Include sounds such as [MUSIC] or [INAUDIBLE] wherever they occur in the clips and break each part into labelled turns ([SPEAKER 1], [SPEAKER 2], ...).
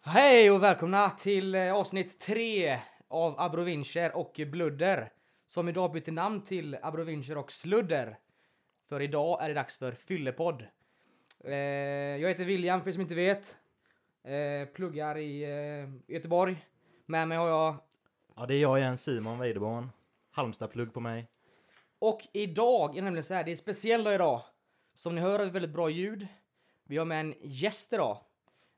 [SPEAKER 1] Hej och välkomna till eh, avsnitt 3 av Abrovincher och Bludder. Som idag bytte namn till Abrovincher och Sludder. För idag är det dags för Fyllepodd. Eh, jag heter William för er som inte vet. Eh, pluggar i eh, Göteborg. Med mig har jag...
[SPEAKER 2] Ja, det är jag igen, Simon Weideborn. Halmstadplugg på mig.
[SPEAKER 1] Och idag är det nämligen så här, det är speciell dag idag. Som ni hör har vi väldigt bra ljud. Vi har med en gäst idag.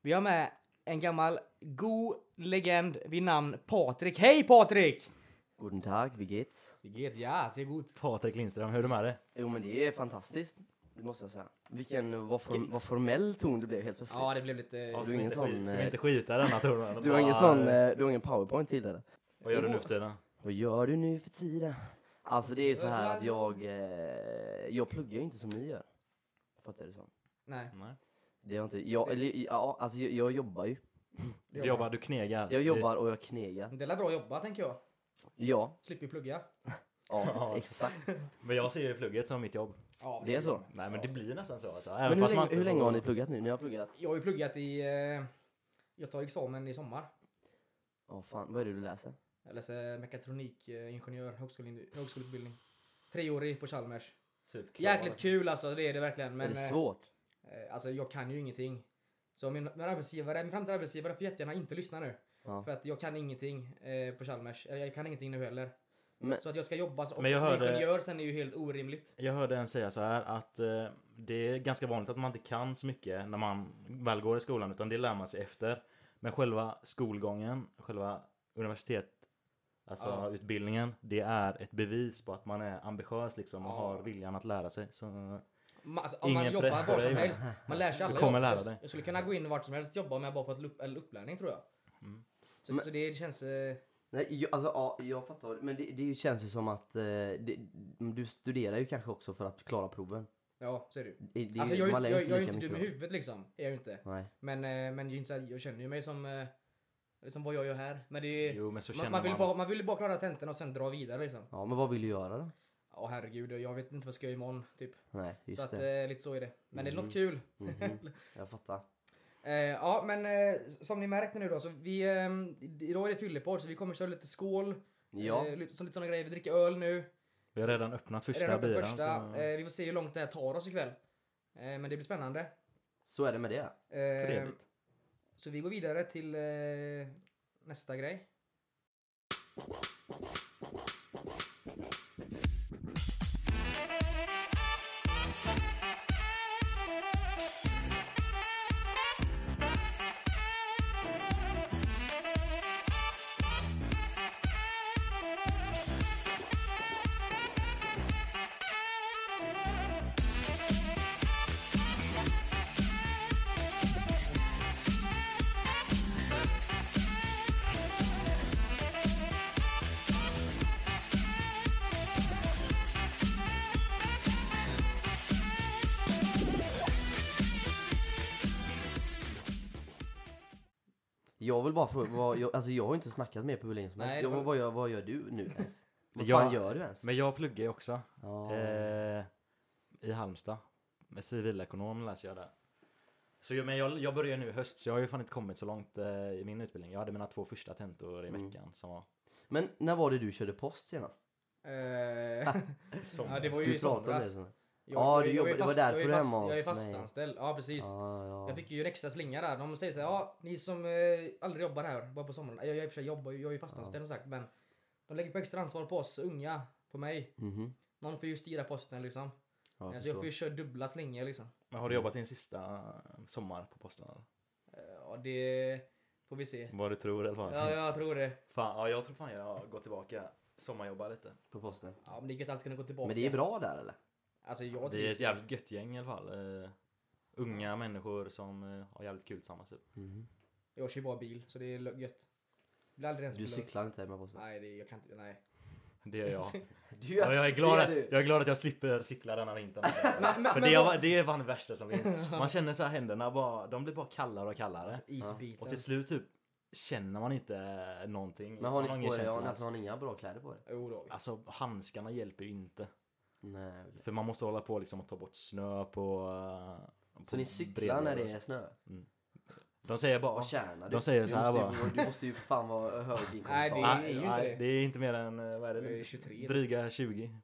[SPEAKER 1] Vi har med en gammal god legend vid namn Patrik. Hej Patrik!
[SPEAKER 3] Guten Tag, wie geht's?
[SPEAKER 1] Det geht ja, ser god.
[SPEAKER 2] Patrik Lindström, hur är det med dig?
[SPEAKER 3] Jo men det är fantastiskt, det måste jag säga. Vilken, vad, form, vad formell ton det blev helt plötsligt.
[SPEAKER 1] Ja, det blev lite...
[SPEAKER 2] Ja, ska
[SPEAKER 3] du är
[SPEAKER 2] vi
[SPEAKER 3] ingen
[SPEAKER 2] inte,
[SPEAKER 3] sån,
[SPEAKER 2] skit- ska vi
[SPEAKER 3] eh,
[SPEAKER 2] inte skita i denna turen?
[SPEAKER 3] Du har ingen sån, eh, du har ingen powerpoint tidigare?
[SPEAKER 2] Vad gör du nu för tiden?
[SPEAKER 3] Vad gör du nu för tiden? Alltså det är ju så här att jag, eh, jag pluggar ju inte som ni gör. Fattar du så?
[SPEAKER 1] Nej.
[SPEAKER 2] Nej.
[SPEAKER 3] Det är inte, jag, eller, ja, alltså jag, jag jobbar ju.
[SPEAKER 2] Du jobbar, du knegar.
[SPEAKER 3] Jag jobbar och jag knegar.
[SPEAKER 1] Det är bra jobbat tänker jag.
[SPEAKER 3] Ja,
[SPEAKER 1] Slipper plugga.
[SPEAKER 3] [LAUGHS] ja, exakt.
[SPEAKER 2] Men jag ser ju plugget som mitt jobb.
[SPEAKER 1] Ja,
[SPEAKER 3] Det är så.
[SPEAKER 2] Nej, men det blir nästan så alltså.
[SPEAKER 3] Men hur länge, hur länge har ni pluggat nu? Ni har pluggat?
[SPEAKER 1] Jag har ju pluggat i... Eh, jag tar examen i sommar.
[SPEAKER 3] Ja fan, vad är det du läser?
[SPEAKER 1] Jag läser mekatronikingenjör, högskole, högskoleutbildning. Treårig på Chalmers.
[SPEAKER 2] Typ klar.
[SPEAKER 1] Jäkligt kul alltså, det är det verkligen. Men,
[SPEAKER 3] är det
[SPEAKER 1] eh,
[SPEAKER 3] svårt?
[SPEAKER 1] Eh, Alltså jag kan ju ingenting. Så min, min, arbetsgivare, min framtida arbetsgivare får jättegärna inte lyssna nu.
[SPEAKER 3] Ja.
[SPEAKER 1] För att jag kan ingenting eh, på Chalmers. Eller jag kan ingenting nu heller.
[SPEAKER 3] Men-
[SPEAKER 1] så att jag ska jobba som,
[SPEAKER 2] Men jag
[SPEAKER 1] som
[SPEAKER 2] hörde-
[SPEAKER 1] ingenjör sen är ju helt orimligt.
[SPEAKER 2] Jag hörde en säga så här att eh, det är ganska vanligt att man inte kan så mycket när man väl går i skolan utan det lär man sig efter. Men själva skolgången, själva universitet, alltså
[SPEAKER 1] Ja.
[SPEAKER 2] utbildningen, det är ett bevis på att man är ambitiös liksom och
[SPEAKER 1] Ja.
[SPEAKER 2] har viljan att lära sig. Så,
[SPEAKER 1] Ma- alltså, om man
[SPEAKER 2] Ingen press
[SPEAKER 1] jobbar
[SPEAKER 2] på
[SPEAKER 1] var
[SPEAKER 2] dig,
[SPEAKER 1] som
[SPEAKER 2] men-
[SPEAKER 1] helst. Man lär sig alla
[SPEAKER 2] Du kommer
[SPEAKER 1] jobb.
[SPEAKER 2] lära
[SPEAKER 1] Jag-
[SPEAKER 2] dig.
[SPEAKER 1] Jag skulle kunna gå in vart som helst och jobba om jag bara fått en upp, en upplärning tror jag. Så,
[SPEAKER 3] Mm. Men-
[SPEAKER 1] så det känns... Eh,
[SPEAKER 3] Nej, jag, alltså, ja, jag fattar. Men det, det känns ju som att eh, det, du studerar ju kanske också för att klara proven.
[SPEAKER 1] ja, så är det ju.
[SPEAKER 3] Det, det,
[SPEAKER 1] Alltså jag, är ju
[SPEAKER 3] man
[SPEAKER 1] inte-
[SPEAKER 3] lär
[SPEAKER 1] jag,
[SPEAKER 3] sig
[SPEAKER 1] jag är ju
[SPEAKER 3] lika
[SPEAKER 1] inte dum i
[SPEAKER 3] mycket då.
[SPEAKER 1] huvudet liksom. Är jag ju inte.
[SPEAKER 3] Nej.
[SPEAKER 1] Men, eh, men det är ju inte så här, jag känner ju mig som... Eh, liksom vad jag gör här. Men det är,
[SPEAKER 2] jo, men så
[SPEAKER 1] man,
[SPEAKER 2] känner
[SPEAKER 1] man,
[SPEAKER 2] man.
[SPEAKER 1] vill bara, man vill ju bara klara tentorna och sen dra vidare liksom.
[SPEAKER 3] Ja, men vad vill du göra då?
[SPEAKER 1] Ja herregud, jag vet inte vad jag ska göra imorgon typ.
[SPEAKER 3] Nej, just
[SPEAKER 1] så att,
[SPEAKER 3] det.
[SPEAKER 1] eh, lite så är det. Men det är något kul. [LAUGHS]
[SPEAKER 3] Mhm. Jag fattar.
[SPEAKER 1] Eh, ja men eh, som ni märkte nu då, så vi, ehm, idag är det fyllepodd så vi kommer köra lite skål.
[SPEAKER 3] Ja.
[SPEAKER 1] Eh, lite, som lite såna grejer, vi dricker öl nu.
[SPEAKER 2] Vi har redan öppnat första
[SPEAKER 1] Redan öppet
[SPEAKER 2] bilen.
[SPEAKER 1] första.
[SPEAKER 2] Så...
[SPEAKER 1] Eh, vi får se hur långt det här tar oss ikväll. Eh, men det blir spännande.
[SPEAKER 3] Så är det med det.
[SPEAKER 1] Eh,
[SPEAKER 2] Trevligt.
[SPEAKER 1] Så vi går vidare till eh, nästa grej.
[SPEAKER 3] Jag vill bara fråga, vad, jag, alltså jag har ju inte snackat med på hur länge som
[SPEAKER 1] Nej,
[SPEAKER 3] helst.
[SPEAKER 1] det
[SPEAKER 3] Jag,
[SPEAKER 1] var-
[SPEAKER 3] bara, vad, gör, vad gör du nu ens? Vad
[SPEAKER 2] Jag-
[SPEAKER 3] fan gör du ens?
[SPEAKER 2] Men jag pluggar ju också.
[SPEAKER 3] Ja.
[SPEAKER 2] Eh, I Halmstad. Med civilekonom läser jag där. Så, jag- men jag, jag börjar nu i höst så jag har ju fan inte kommit så långt eh, i min utbildning. Jag hade mina två första tentor i
[SPEAKER 3] Mm.
[SPEAKER 2] veckan. Som var
[SPEAKER 3] Men när var det du körde post senast?
[SPEAKER 1] Eh, [LAUGHS] ja, det var ju i
[SPEAKER 3] Ah, Du pratade om det.
[SPEAKER 1] somras.
[SPEAKER 3] sen.
[SPEAKER 1] Jag-
[SPEAKER 3] Ja,
[SPEAKER 1] jag-
[SPEAKER 3] du
[SPEAKER 1] jag är
[SPEAKER 3] jobbade- det var
[SPEAKER 1] fast-
[SPEAKER 3] därför
[SPEAKER 1] jag är
[SPEAKER 3] du är
[SPEAKER 1] fast-
[SPEAKER 3] hemma
[SPEAKER 1] Jag är
[SPEAKER 3] hos mig. Ah.
[SPEAKER 1] fastanställd, ja precis.
[SPEAKER 3] Ja, ja.
[SPEAKER 1] Jag fick ju en extra slinga där. De säger såhär, ja ni som eh, aldrig jobbar här, bara på sommaren. Jag, jag, i och för sig jobbar, ju- jag är ju fastanställd som sagt. Men de lägger på extra ansvar på oss unga, på mig.
[SPEAKER 3] Mhm.
[SPEAKER 1] Någon får ju styra posten liksom.
[SPEAKER 3] Ja,
[SPEAKER 1] Jag
[SPEAKER 3] jag
[SPEAKER 1] så jag
[SPEAKER 3] förstår.
[SPEAKER 1] får ju köra dubbla slingor liksom.
[SPEAKER 2] Men har du jobbat din sista eh, sommar på posten? eller?
[SPEAKER 1] Eh, Ja det får vi
[SPEAKER 3] Mm.
[SPEAKER 1] se.
[SPEAKER 2] Vad du tror i alla fall.
[SPEAKER 1] Ja jag tror det.
[SPEAKER 2] Fan, ja, jag tror fan jag går tillbaka. Sommarjobbar lite.
[SPEAKER 3] På posten.
[SPEAKER 1] Ja men det är gött att alltid kunna gå tillbaka.
[SPEAKER 3] Men det är bra där eller?
[SPEAKER 1] Alltså jag
[SPEAKER 2] Det är
[SPEAKER 1] trivs.
[SPEAKER 2] ett jävligt gött gäng i alla fall. Eh, unga människor som eh, har jävligt kul tillsammans. Typ.
[SPEAKER 3] Mhm.
[SPEAKER 1] Jag kör ju bara bil så det är lö- gött. Jag blir aldrig ens
[SPEAKER 3] Du
[SPEAKER 1] belönad.
[SPEAKER 3] cyklar inte hem med posten?
[SPEAKER 1] Nej det, jag kan inte, nej.
[SPEAKER 2] Det gör jag.
[SPEAKER 3] Du
[SPEAKER 2] Ja, jag, är glad
[SPEAKER 3] det
[SPEAKER 2] att,
[SPEAKER 3] gör du.
[SPEAKER 2] jag är glad att jag slipper cykla denna
[SPEAKER 3] [LAUGHS]
[SPEAKER 2] vintern.
[SPEAKER 1] Men- men-
[SPEAKER 2] För
[SPEAKER 1] men
[SPEAKER 2] det,
[SPEAKER 1] vad-
[SPEAKER 2] är, det är fan det värsta som finns. Man känner så här händerna bara, de blir bara kallare och kallare.
[SPEAKER 1] Isbiten.
[SPEAKER 2] Och till slut typ känner man inte någonting.
[SPEAKER 3] Men har ni
[SPEAKER 2] Man
[SPEAKER 3] inte på er,
[SPEAKER 2] känsla
[SPEAKER 3] har ni-
[SPEAKER 2] alls.
[SPEAKER 3] alltså, har ni inga bra kläder på er?
[SPEAKER 1] Jo då.
[SPEAKER 2] Alltså handskarna hjälper ju inte.
[SPEAKER 3] Nej. okej.
[SPEAKER 2] För man måste hålla på liksom att ta bort snö på... eh,
[SPEAKER 3] Så
[SPEAKER 2] på
[SPEAKER 3] ni cyklar
[SPEAKER 2] bredvid
[SPEAKER 3] när
[SPEAKER 2] och
[SPEAKER 3] det
[SPEAKER 2] så.
[SPEAKER 3] är snö?
[SPEAKER 2] De säger bara...
[SPEAKER 3] Vad tjänar du?
[SPEAKER 2] de säger så här
[SPEAKER 3] du,
[SPEAKER 2] bara.
[SPEAKER 3] måste ju, du måste ju för
[SPEAKER 2] [LAUGHS]
[SPEAKER 3] fan vara hög
[SPEAKER 1] Nej, det
[SPEAKER 2] "Ah,
[SPEAKER 1] är
[SPEAKER 3] inkomsttagare.
[SPEAKER 1] ju inte
[SPEAKER 2] nej,
[SPEAKER 1] det."
[SPEAKER 2] det är inte mer än, eh, vad är det
[SPEAKER 1] Det
[SPEAKER 2] nu?
[SPEAKER 1] är 23.
[SPEAKER 2] Dryga 20.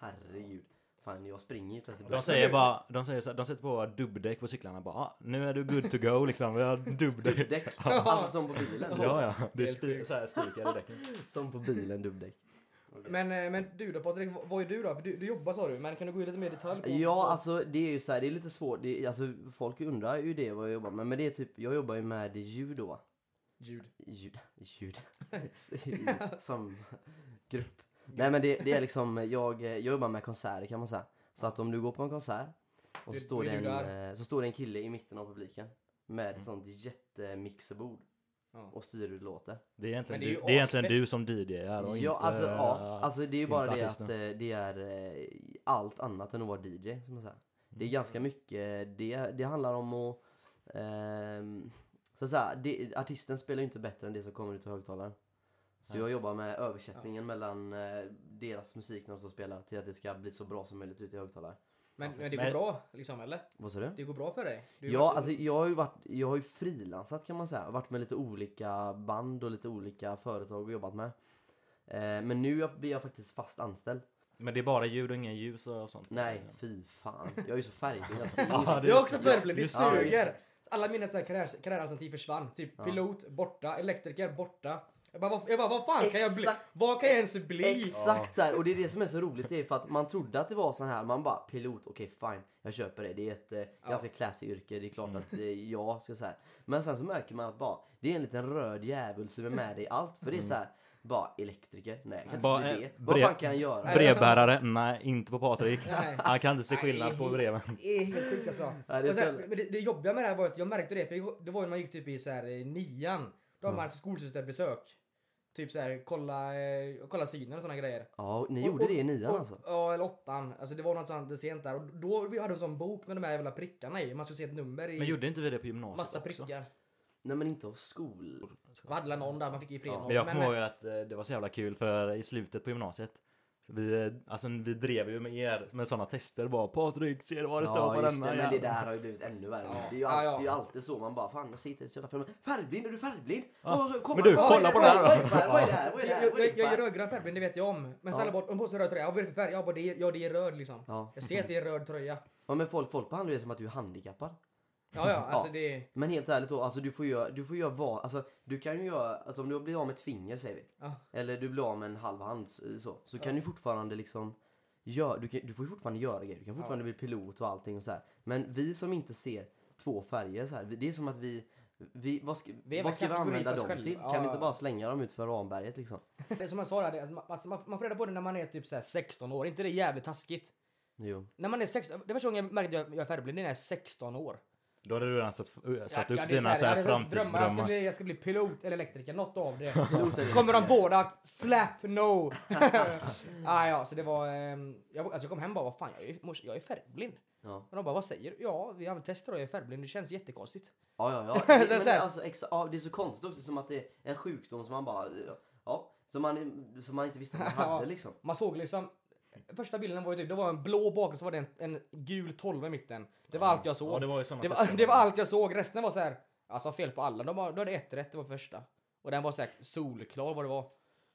[SPEAKER 3] Herregud. Fan jag springer ju plötsligt.
[SPEAKER 2] De säger bara, de säger så här, de sätter på dubbdäck på cyklarna bara ah, nu är du good to go liksom, vi har dubbdäck. [LAUGHS]
[SPEAKER 3] Dubbdäck. Alltså som på bilen.
[SPEAKER 2] Ja, ja. Det är
[SPEAKER 1] Helt
[SPEAKER 2] spi- så här spikar i däcken.
[SPEAKER 3] Som på bilen dubbdäck.
[SPEAKER 1] Men, eh, men du då Patrik, v- vad är du då? För du, du jobbar sa du, men kan du gå in lite mer i detalj? På,
[SPEAKER 3] Ja, alltså det är ju så här, det är lite svårt. Det, är- alltså, folk undrar ju det vad jag jobbar med. Men det är typ, jag jobbar ju med ljud då.
[SPEAKER 1] Ljud.
[SPEAKER 3] Ljud.
[SPEAKER 1] [LAUGHS]
[SPEAKER 3] ljud. Som grupp. Nej men det, det är liksom, jag, jag jobbar med konserter kan man säga. Så att om du går på en konsert och så
[SPEAKER 1] Det-
[SPEAKER 3] står
[SPEAKER 1] det
[SPEAKER 3] det,
[SPEAKER 1] är du Mm.
[SPEAKER 3] en, eh, så står det en kille i mitten av publiken med ett sånt jättemixerbord
[SPEAKER 1] Ja.
[SPEAKER 3] och styr hur det låter.
[SPEAKER 2] Det är egentligen,
[SPEAKER 1] Men det är
[SPEAKER 2] du,
[SPEAKER 1] ju
[SPEAKER 2] det är egentligen
[SPEAKER 1] asfett.
[SPEAKER 2] du som DJar och
[SPEAKER 3] Ja,
[SPEAKER 2] inte...
[SPEAKER 3] alltså, ja, alltså det är ju bara
[SPEAKER 2] inte
[SPEAKER 3] det att eh,
[SPEAKER 2] artisten.
[SPEAKER 3] det är eh, allt annat än att vara DJ. Som man säger. Det
[SPEAKER 2] Mm.
[SPEAKER 3] är ganska mycket, det, det handlar om att... ehm, så att säga, det, artisten spelar ju inte bättre än det som kommer ut ur högtalaren. Så
[SPEAKER 2] Nej.
[SPEAKER 3] jag jobbar med översättningen mellan eh, deras musik när de står och spelar till att det ska bli så bra som möjligt ute i högtalaren.
[SPEAKER 1] Men, men det går
[SPEAKER 2] Men-
[SPEAKER 1] bra liksom eller?
[SPEAKER 3] Vad sa du?
[SPEAKER 1] Det går bra för dig? Du
[SPEAKER 3] Ja, alltså jag har ju varit, jag har ju frilansat kan man säga. Varit med lite olika band och lite olika företag och jobbat med. Eh, men nu är jag- blir jag faktiskt fast anställd.
[SPEAKER 2] Men det är bara ljud och inga ljus och sånt?
[SPEAKER 3] Nej, fy fan. Jag är ju så
[SPEAKER 2] [LAUGHS]
[SPEAKER 3] färgblind. Jag ser ju
[SPEAKER 2] Ja,
[SPEAKER 3] ingenting.
[SPEAKER 2] det
[SPEAKER 1] Jag är också
[SPEAKER 2] ja,
[SPEAKER 1] purple, det
[SPEAKER 2] just
[SPEAKER 1] suger! Alla mina såna här karriär- karriäralternativ försvann. Typ pilot borta, elektriker borta. Jag bara, vad, jag bara, vad fan kan jag bli?
[SPEAKER 3] Exakt.
[SPEAKER 1] Vad kan jag ens bli?
[SPEAKER 3] Exakt så här. Och det är det som är så roligt. Det är för att man trodde att det var så här. Man bara pilot, okej fine. Jag köper det. Det är ett eh, ganska classy yrke. Det är
[SPEAKER 2] Mm.
[SPEAKER 3] klart att eh, jag ska så här. Men sen så märker man att bara, det är en liten röd djävul som är med dig i allt. För det är så här. Bara elektriker? Nej, jag kan
[SPEAKER 2] Mm. Bara,
[SPEAKER 3] inte
[SPEAKER 2] eh,
[SPEAKER 3] bli det. Vad
[SPEAKER 2] brev-
[SPEAKER 3] fan kan jag göra?
[SPEAKER 2] Brevbärare? Nej, inte på Patrik.
[SPEAKER 1] Nej.
[SPEAKER 2] Han kan inte se skillnad på breven.
[SPEAKER 1] Det är helt sjukt alltså.
[SPEAKER 3] Ja, det är
[SPEAKER 1] Och sen,
[SPEAKER 3] så-
[SPEAKER 1] men det, det jobbiga med det här var att jag märkte det, för jag- det var ju när man gick typ i så här, eh, nian. Då har
[SPEAKER 3] Mm.
[SPEAKER 1] man alltså skolsysterbesök. Typ så här, kolla, eh, kolla synen och såna grejer.
[SPEAKER 3] Ja, ni
[SPEAKER 1] Och-
[SPEAKER 3] gjorde
[SPEAKER 1] och-
[SPEAKER 3] det i nian
[SPEAKER 1] och-
[SPEAKER 3] alltså?
[SPEAKER 1] Ja, eller åttan. Alltså det var något sånt det sent där. Och då hade vi en sån bok med de här jävla prickarna i. Man skulle se ett nummer i.
[SPEAKER 2] Men gjorde inte vi det på gymnasiet
[SPEAKER 1] massa
[SPEAKER 2] också?
[SPEAKER 1] prickar.
[SPEAKER 3] Nej men inte av skol...
[SPEAKER 1] Vaddla någon där, man fick ju Ipren.
[SPEAKER 2] Men jag kommer ihåg att eh, det var så jävla kul för i slutet på gymnasiet vi, eh, alltså, vi drev ju med er med sådana tester bara Patrik, ser du vad det står på
[SPEAKER 3] just
[SPEAKER 2] denna?
[SPEAKER 3] det, men det
[SPEAKER 2] jäveln?"
[SPEAKER 3] där har ju blivit ännu värre.
[SPEAKER 1] Ja.
[SPEAKER 3] Det är ju
[SPEAKER 1] Ja,
[SPEAKER 3] alltid,
[SPEAKER 1] ja.
[SPEAKER 3] det är ju alltid så man bara fan jag sitter så jävla framme. Färgblind, är du färgblind? Åh, så-
[SPEAKER 2] men du,
[SPEAKER 3] vad är
[SPEAKER 2] kolla
[SPEAKER 3] det-
[SPEAKER 2] på det här
[SPEAKER 3] vad är det för färg? Vad är det här? Vad är det
[SPEAKER 1] Jag,
[SPEAKER 3] här?
[SPEAKER 1] jag,
[SPEAKER 3] Vad är det
[SPEAKER 1] jag,
[SPEAKER 3] för
[SPEAKER 1] jag är
[SPEAKER 3] färg?
[SPEAKER 1] rödgrön färgblind, det vet jag om. Men sen alla bara, "Men på sig röd tröja. Ja, vad är det för färg? Ja, bara, det är, ja, det är röd liksom.
[SPEAKER 3] Ja.
[SPEAKER 1] Jag ser att det är röd tröja.
[SPEAKER 3] Ja men folk, folk behandlar det som att du är handikappad.
[SPEAKER 2] [LAUGHS]
[SPEAKER 1] Ja, ja, alltså
[SPEAKER 3] Ja.
[SPEAKER 1] det...
[SPEAKER 3] Men helt ärligt då, alltså du får göra, du får göra vad, alltså du kan ju göra, alltså om du blir av med ett finger säger vi.
[SPEAKER 1] Ja.
[SPEAKER 3] Eller du blir av med en halv hand eh, så. Så kan du fortfarande liksom, gör, du, kan, du får ju fortfarande göra grejer. Du kan fortfarande bli pilot och allting och så här. Men vi som inte ser två färger så här, vi- det är som att vi, vi vad ska
[SPEAKER 1] Vi
[SPEAKER 3] vi,
[SPEAKER 1] är
[SPEAKER 3] vad
[SPEAKER 1] väl
[SPEAKER 3] ska vi
[SPEAKER 1] kategori
[SPEAKER 3] använda
[SPEAKER 1] på oss
[SPEAKER 3] dem
[SPEAKER 1] själva.
[SPEAKER 3] till?
[SPEAKER 1] Ja.
[SPEAKER 3] Kan vi inte bara slänga dem ut för ramberget liksom?
[SPEAKER 1] Det är som jag sa där, det är att man, alltså, man, man får reda på det när man är typ så här 16 år. inte det är jävligt taskigt?
[SPEAKER 3] Jo.
[SPEAKER 1] När man är 16, det var första gången jag märkte att jag, jag är färgblind, det är när jag är 16 år.
[SPEAKER 2] Då hade du redan satt, ö, satt upp
[SPEAKER 1] det är
[SPEAKER 2] dina så här,
[SPEAKER 1] jag hade drömmar, Alltså, Jag ska,
[SPEAKER 2] framtidsdrömmar.
[SPEAKER 1] bli, jag ska bli pilot eller elektriker, något
[SPEAKER 2] [LAUGHS]
[SPEAKER 1] av det.
[SPEAKER 3] Pilot
[SPEAKER 1] Kommer de båda, slap no! [LAUGHS] ah, ja, så det var... ehm, jag, alltså jag kom hem och bara, vad fan, jag är, ju- mors, jag är färgblind.
[SPEAKER 3] Ja,
[SPEAKER 1] Och de bara, vad säger du? Ja, vi har väl testat och jag är färgblind, det känns jättekonstigt. [LAUGHS]
[SPEAKER 3] ja, ja. ja. Det,
[SPEAKER 1] Så
[SPEAKER 3] men
[SPEAKER 1] så
[SPEAKER 3] det,
[SPEAKER 1] här-
[SPEAKER 3] är alltså, exa, ja, det är så konstigt också som att det är en sjukdom som man bara, ja, som man, som man inte visste att man
[SPEAKER 1] Ja.
[SPEAKER 3] hade liksom.
[SPEAKER 1] Man såg liksom... Första bilden var ju typ, det var en blå bakgrund så var det en, en gul tolva i mitten. Det var allt jag såg.
[SPEAKER 2] Ja, det var ju såna
[SPEAKER 1] det, var, [LAUGHS]
[SPEAKER 2] tester.
[SPEAKER 1] det var allt jag såg, resten var så här, alltså fel på alla. De bara, du hade ett rätt, det var första. Och den var så här solklar vad det var.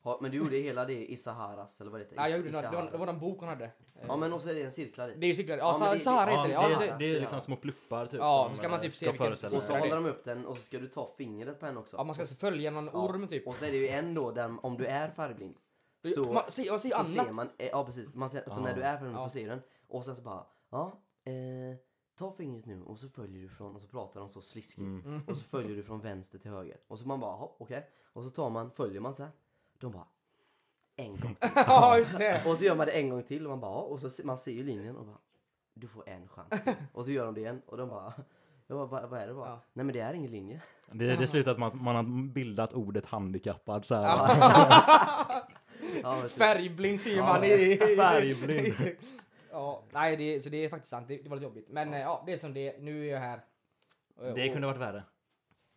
[SPEAKER 3] Ja, men du gjorde hela det i Saharas eller vad det heter?
[SPEAKER 1] Ja, jag
[SPEAKER 3] I-
[SPEAKER 1] gjorde,
[SPEAKER 3] i
[SPEAKER 1] det, var, det
[SPEAKER 3] Saharas.
[SPEAKER 1] var den bok hon hade. Eh,
[SPEAKER 3] Ja men och så är det en cirklar i.
[SPEAKER 1] Det är ju cyklar. Ja,
[SPEAKER 3] Ja, men
[SPEAKER 1] Sa-
[SPEAKER 3] det-
[SPEAKER 1] Sahara
[SPEAKER 2] Ja,
[SPEAKER 1] heter det.
[SPEAKER 2] det,
[SPEAKER 1] Ja,
[SPEAKER 3] precis.
[SPEAKER 2] är,
[SPEAKER 1] det-
[SPEAKER 2] det är
[SPEAKER 3] Ja.
[SPEAKER 2] liksom små pluppar typ.
[SPEAKER 1] Ja,
[SPEAKER 2] som,
[SPEAKER 1] ska man
[SPEAKER 2] eh,
[SPEAKER 1] typ se
[SPEAKER 2] ska
[SPEAKER 1] vilken-
[SPEAKER 2] föreställa
[SPEAKER 3] Och
[SPEAKER 1] precis.
[SPEAKER 3] så
[SPEAKER 1] Ja, det-
[SPEAKER 3] håller de upp den och så ska du ta fingret på henne också.
[SPEAKER 1] ja, man ska alltså följa någon
[SPEAKER 3] Ja.
[SPEAKER 1] orm typ.
[SPEAKER 3] Och så är det ju en då den, om du är färgblind. Så,
[SPEAKER 1] man, se, jag ser ju
[SPEAKER 3] så
[SPEAKER 1] annat.
[SPEAKER 3] ser man, eh, ja precis. Man ser, så när du är färgblind
[SPEAKER 1] Ja.
[SPEAKER 3] så ser du den. Och sen så bara, ja. Eh, ta fingret nu och så följer du från, och så pratar de så sliskigt.
[SPEAKER 1] Mm.
[SPEAKER 3] Och så följer du från vänster till höger. Och så man bara, hopp, okej. Och så tar man, följer man så här. De bara, en gång till.
[SPEAKER 1] [LAUGHS] ja, just det.
[SPEAKER 3] Och så gör man det en gång till och man bara, ja. och så se- man ser ju linjen och bara, du får en
[SPEAKER 1] [LAUGHS]
[SPEAKER 3] chans till. Och så gör de det igen och de bara, jag bara vad, vad är det bara?
[SPEAKER 1] Ja.
[SPEAKER 3] Nej men det är ingen linje. [LAUGHS]
[SPEAKER 2] Det, det slutar att man, man har bildat ordet handikappad så här.
[SPEAKER 3] Ja, precis.
[SPEAKER 1] Färgblind skriver man i... i-
[SPEAKER 2] Färgblind.
[SPEAKER 1] [LAUGHS] ja, nej, det, så det är faktiskt sant. Det, det var lite jobbigt. Men eh, ja, det är som det är. Nu är jag här. Eh,
[SPEAKER 2] Det
[SPEAKER 1] och-
[SPEAKER 2] kunde varit värre.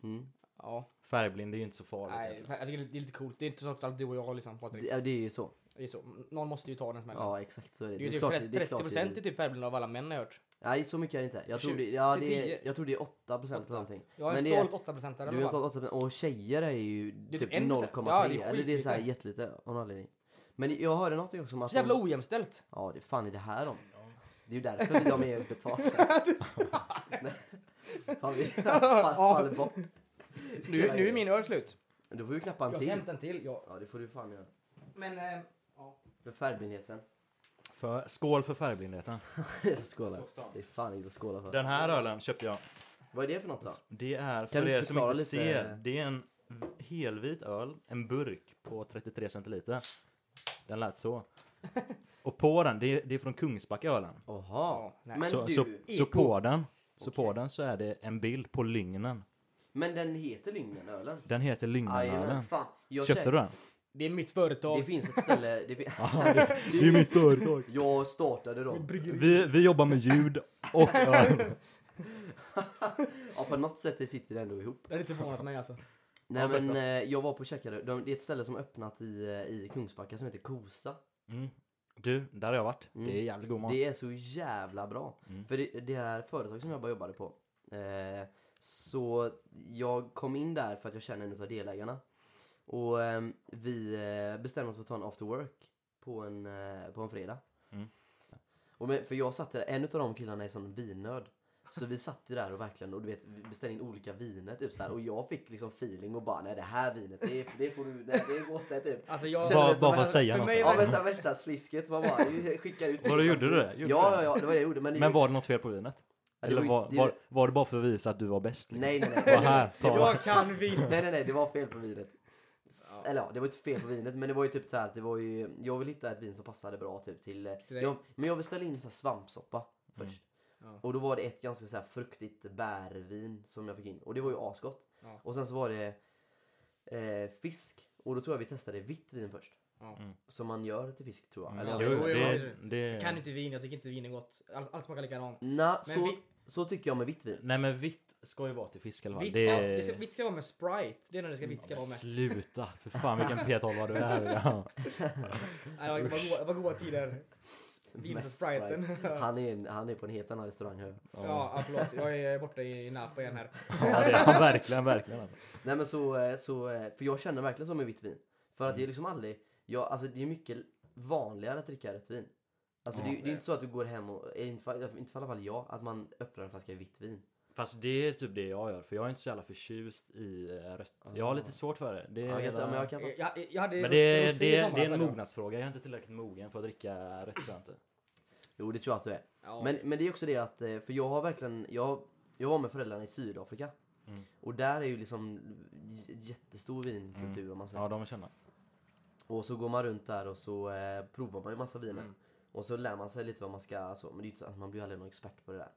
[SPEAKER 3] mm.
[SPEAKER 1] Ja,
[SPEAKER 2] Färgblind det är ju inte så farligt.
[SPEAKER 1] nej, jag tycker det är lite coolt. Det är inte så trots allt du och jag liksom, Patrik.
[SPEAKER 3] det, ja, det är ju så.
[SPEAKER 1] Det är så. Någon måste ju ta den smällen.
[SPEAKER 3] Ja, exakt så är det.
[SPEAKER 1] det är ju typ
[SPEAKER 3] klart- det är
[SPEAKER 1] 30
[SPEAKER 3] klart det är-
[SPEAKER 1] procent i typ färgblind av alla män har jag hört.
[SPEAKER 3] Nej, så mycket är det inte. Jag tror det,
[SPEAKER 1] 20
[SPEAKER 3] ja,
[SPEAKER 1] till
[SPEAKER 3] det, är,
[SPEAKER 1] 10.
[SPEAKER 3] jag tror det är 8 procent eller någonting.
[SPEAKER 1] Jag är
[SPEAKER 3] Men
[SPEAKER 1] en
[SPEAKER 3] det är-
[SPEAKER 1] stolt 8 procent
[SPEAKER 3] Du är en sån 8 och tjejer är ju
[SPEAKER 1] är
[SPEAKER 3] typ
[SPEAKER 1] typ 1%.
[SPEAKER 3] 0,3.
[SPEAKER 1] Ja, det är
[SPEAKER 3] eller det är så här
[SPEAKER 1] skitlite.
[SPEAKER 3] jättelite av någon anledning. Men jag hörde någonting också om att...
[SPEAKER 1] Så jävla
[SPEAKER 3] de-
[SPEAKER 1] ojämställt.
[SPEAKER 3] Ja, det fan är det här om? Det är ju därför de är betalda. fan, vi fa- faller bort.
[SPEAKER 1] Nu, nu är min öl slut.
[SPEAKER 3] Då får vi knappa en
[SPEAKER 1] Jag ska
[SPEAKER 3] till.
[SPEAKER 1] hämta en till. Ja.
[SPEAKER 3] Ja, det får du fan göra.
[SPEAKER 1] Men, eh, ja.
[SPEAKER 3] För färgblindheten.
[SPEAKER 2] För, skål för färgblindheten.
[SPEAKER 3] [LAUGHS] Jag skålar. Det är fan inte att skåla för.
[SPEAKER 2] Den här ölen köpte jag.
[SPEAKER 3] Vad är det för något då?
[SPEAKER 2] Det är,
[SPEAKER 3] Kan
[SPEAKER 2] för
[SPEAKER 3] du
[SPEAKER 2] er som
[SPEAKER 3] förklara
[SPEAKER 2] inte
[SPEAKER 3] lite?
[SPEAKER 2] ser, det är en v- helvit öl, en burk på 33 centiliter. Den lät så. Och på den, det är, det är från Kungsbacka ölen.
[SPEAKER 3] Jaha.
[SPEAKER 1] Ja, nej.
[SPEAKER 3] men
[SPEAKER 2] Så,
[SPEAKER 3] du,
[SPEAKER 2] så, så på den, så på
[SPEAKER 3] Okej.
[SPEAKER 2] den så är det en bild på Lygnen.
[SPEAKER 3] men den heter Lygnen, ölen?
[SPEAKER 2] Den heter Lygnenölen.
[SPEAKER 3] Jajamän, fan. Jag
[SPEAKER 2] Köpte
[SPEAKER 3] käk-
[SPEAKER 2] du den?
[SPEAKER 1] Det är mitt
[SPEAKER 3] Det
[SPEAKER 1] företag.
[SPEAKER 3] finns ett ställe... Det fin-
[SPEAKER 2] Det är mitt företag.
[SPEAKER 3] [LAUGHS] jag
[SPEAKER 1] [LAUGHS]
[SPEAKER 3] startade dem.
[SPEAKER 2] Vi, vi jobbar med ljud och öl.
[SPEAKER 3] Ja, på något sätt det sitter det ändå ihop.
[SPEAKER 1] Det är inte förvånat mig alltså.
[SPEAKER 3] Nej
[SPEAKER 2] Ja,
[SPEAKER 3] men
[SPEAKER 2] berätta.
[SPEAKER 3] eh, jag var på och käkade. De, det är ett ställe som har öppnat i, eh, i Kungsbacka som heter Kosa.
[SPEAKER 2] Mm. Du, där har jag varit.
[SPEAKER 3] Mm.
[SPEAKER 2] Det är jävligt god mat.
[SPEAKER 3] Det är så jävla bra.
[SPEAKER 2] Mm.
[SPEAKER 3] För det, det här företag som jag bara jobbade på. Eh, så jag kom in där för att jag känner en av delägarna. Och eh, vi eh, bestämde oss för att ta en after work på en, eh, på en fredag.
[SPEAKER 2] Mm.
[SPEAKER 3] Och men, för jag satt där, en av de killarna är sån vinnörd. Så vi satt ju där och verkligen och du vet, vi beställde in olika viner typ så här. Och jag fick liksom feeling och bara nej det här vinet det, det får du, nej det är gott det typ.
[SPEAKER 1] Alltså jag...
[SPEAKER 3] Bara-
[SPEAKER 1] Känner det som
[SPEAKER 2] bara för att säga
[SPEAKER 1] för
[SPEAKER 2] något.
[SPEAKER 1] mig
[SPEAKER 3] Ja
[SPEAKER 1] var det-
[SPEAKER 3] men så här, värsta slisket man bara skickar ut.
[SPEAKER 2] Vad du gjorde du det? Gjorde
[SPEAKER 3] Ja,
[SPEAKER 2] du
[SPEAKER 3] ja,
[SPEAKER 2] det?
[SPEAKER 3] ja, det var det jag gjorde. Men, det-
[SPEAKER 2] Men var det något fel på vinet?
[SPEAKER 3] Ja, det
[SPEAKER 2] Eller
[SPEAKER 3] var ju-
[SPEAKER 2] var,
[SPEAKER 3] det-
[SPEAKER 2] var, var det bara för att visa att du var bäst? liksom?
[SPEAKER 3] Nej, nej, nej.
[SPEAKER 2] Var här, ta.
[SPEAKER 1] Jag kan vinna.
[SPEAKER 3] nej, nej, nej, det var fel på vinet. S- Eller ja, det var inte fel på vinet men det var ju typ så här att det var ju, jag ville hitta ett vin som passade bra typ till, eh,
[SPEAKER 1] dig?
[SPEAKER 3] jag, men jag beställde in så här svampsoppa
[SPEAKER 2] Mm.
[SPEAKER 3] först.
[SPEAKER 1] Ja.
[SPEAKER 3] Och då var det ett ganska så här fruktigt bärvin som jag fick in och det var ju asgott.
[SPEAKER 1] Ja.
[SPEAKER 3] Och sen så var det eh, fisk och då tror jag vi testade vitt vin först.
[SPEAKER 1] Ja.
[SPEAKER 2] Mm.
[SPEAKER 3] Som man gör till fisk tror jag.
[SPEAKER 2] Mm.
[SPEAKER 3] Eller jag
[SPEAKER 2] Jo,
[SPEAKER 3] vet
[SPEAKER 1] jo,
[SPEAKER 3] inte.
[SPEAKER 1] jo,
[SPEAKER 2] det,
[SPEAKER 1] jo.
[SPEAKER 2] det...
[SPEAKER 1] Jag kan inte vin, jag tycker inte vin är gott. Allt, allt smakar likadant.
[SPEAKER 3] Nå,
[SPEAKER 1] Men
[SPEAKER 3] så,
[SPEAKER 1] vi-
[SPEAKER 3] så tycker jag med vitt vin.
[SPEAKER 2] Nej men vitt ska ju vara till fisk i alla fall.
[SPEAKER 1] Vitt,
[SPEAKER 2] Det-
[SPEAKER 1] ja, det ska, vitt ska vara med Sprite. Det är när det ska vitt ska vara med.
[SPEAKER 2] Sluta! För fan vilken P12 du är. Ja.
[SPEAKER 1] Nej, det var- det var goda- det var goda tider. Vin för
[SPEAKER 3] Med
[SPEAKER 1] Spriten.
[SPEAKER 2] [LAUGHS]
[SPEAKER 3] Han är, en- han är på en helt annan restaurang här.
[SPEAKER 1] [LAUGHS] Ja, ja, förlåt. Jag är borta i Napa igen här.
[SPEAKER 2] Ja, det är han verkligen, verkligen. alltså.
[SPEAKER 3] Nej men så, eh, så, eh, för jag känner verkligen så med vitt vin. För att
[SPEAKER 2] Mm.
[SPEAKER 3] det är liksom aldrig, jag, alltså det är mycket vanligare att dricka rött vin. Alltså
[SPEAKER 2] Ja,
[SPEAKER 3] det, är ju- det
[SPEAKER 1] det
[SPEAKER 3] är
[SPEAKER 1] är.
[SPEAKER 3] inte så att du går hem och, eh, inte fall- inte i alla fall jag, att man öppnar en flaska vitt vin.
[SPEAKER 2] Fast det är typ det jag gör. För jag är inte så jävla förtjust i eh, rött. Jag har lite svårt för det. Det
[SPEAKER 3] Ja,
[SPEAKER 2] är eh.
[SPEAKER 3] jag,
[SPEAKER 2] hela...
[SPEAKER 3] men jag kan fatta.
[SPEAKER 1] Jag, jag hade
[SPEAKER 2] Men
[SPEAKER 1] ros-
[SPEAKER 2] det,
[SPEAKER 1] rosé
[SPEAKER 2] det,
[SPEAKER 1] i
[SPEAKER 2] det,
[SPEAKER 1] somras, alltså.
[SPEAKER 2] är en
[SPEAKER 1] hade jag.
[SPEAKER 2] mognadsfråga. Jag är inte tillräckligt mogen för att dricka rött tror jag inte.
[SPEAKER 3] Mm. Jo det tror jag att du är.
[SPEAKER 1] Ja.
[SPEAKER 3] Men, men det är också det att, eh, för jag har verkligen, jag, jag var med föräldrarna i Sydafrika.
[SPEAKER 2] Mm.
[SPEAKER 3] Och där är ju liksom j- jättestor vinkultur om man säger.
[SPEAKER 2] Mm. Ja, de känner.
[SPEAKER 3] Och så går man runt där och så eh, provar man ju massa viner.
[SPEAKER 1] Mm.
[SPEAKER 3] Och så lär man sig lite vad man ska, alltså, men det är ju inte så, alltså, man blir ju aldrig någon expert på det där.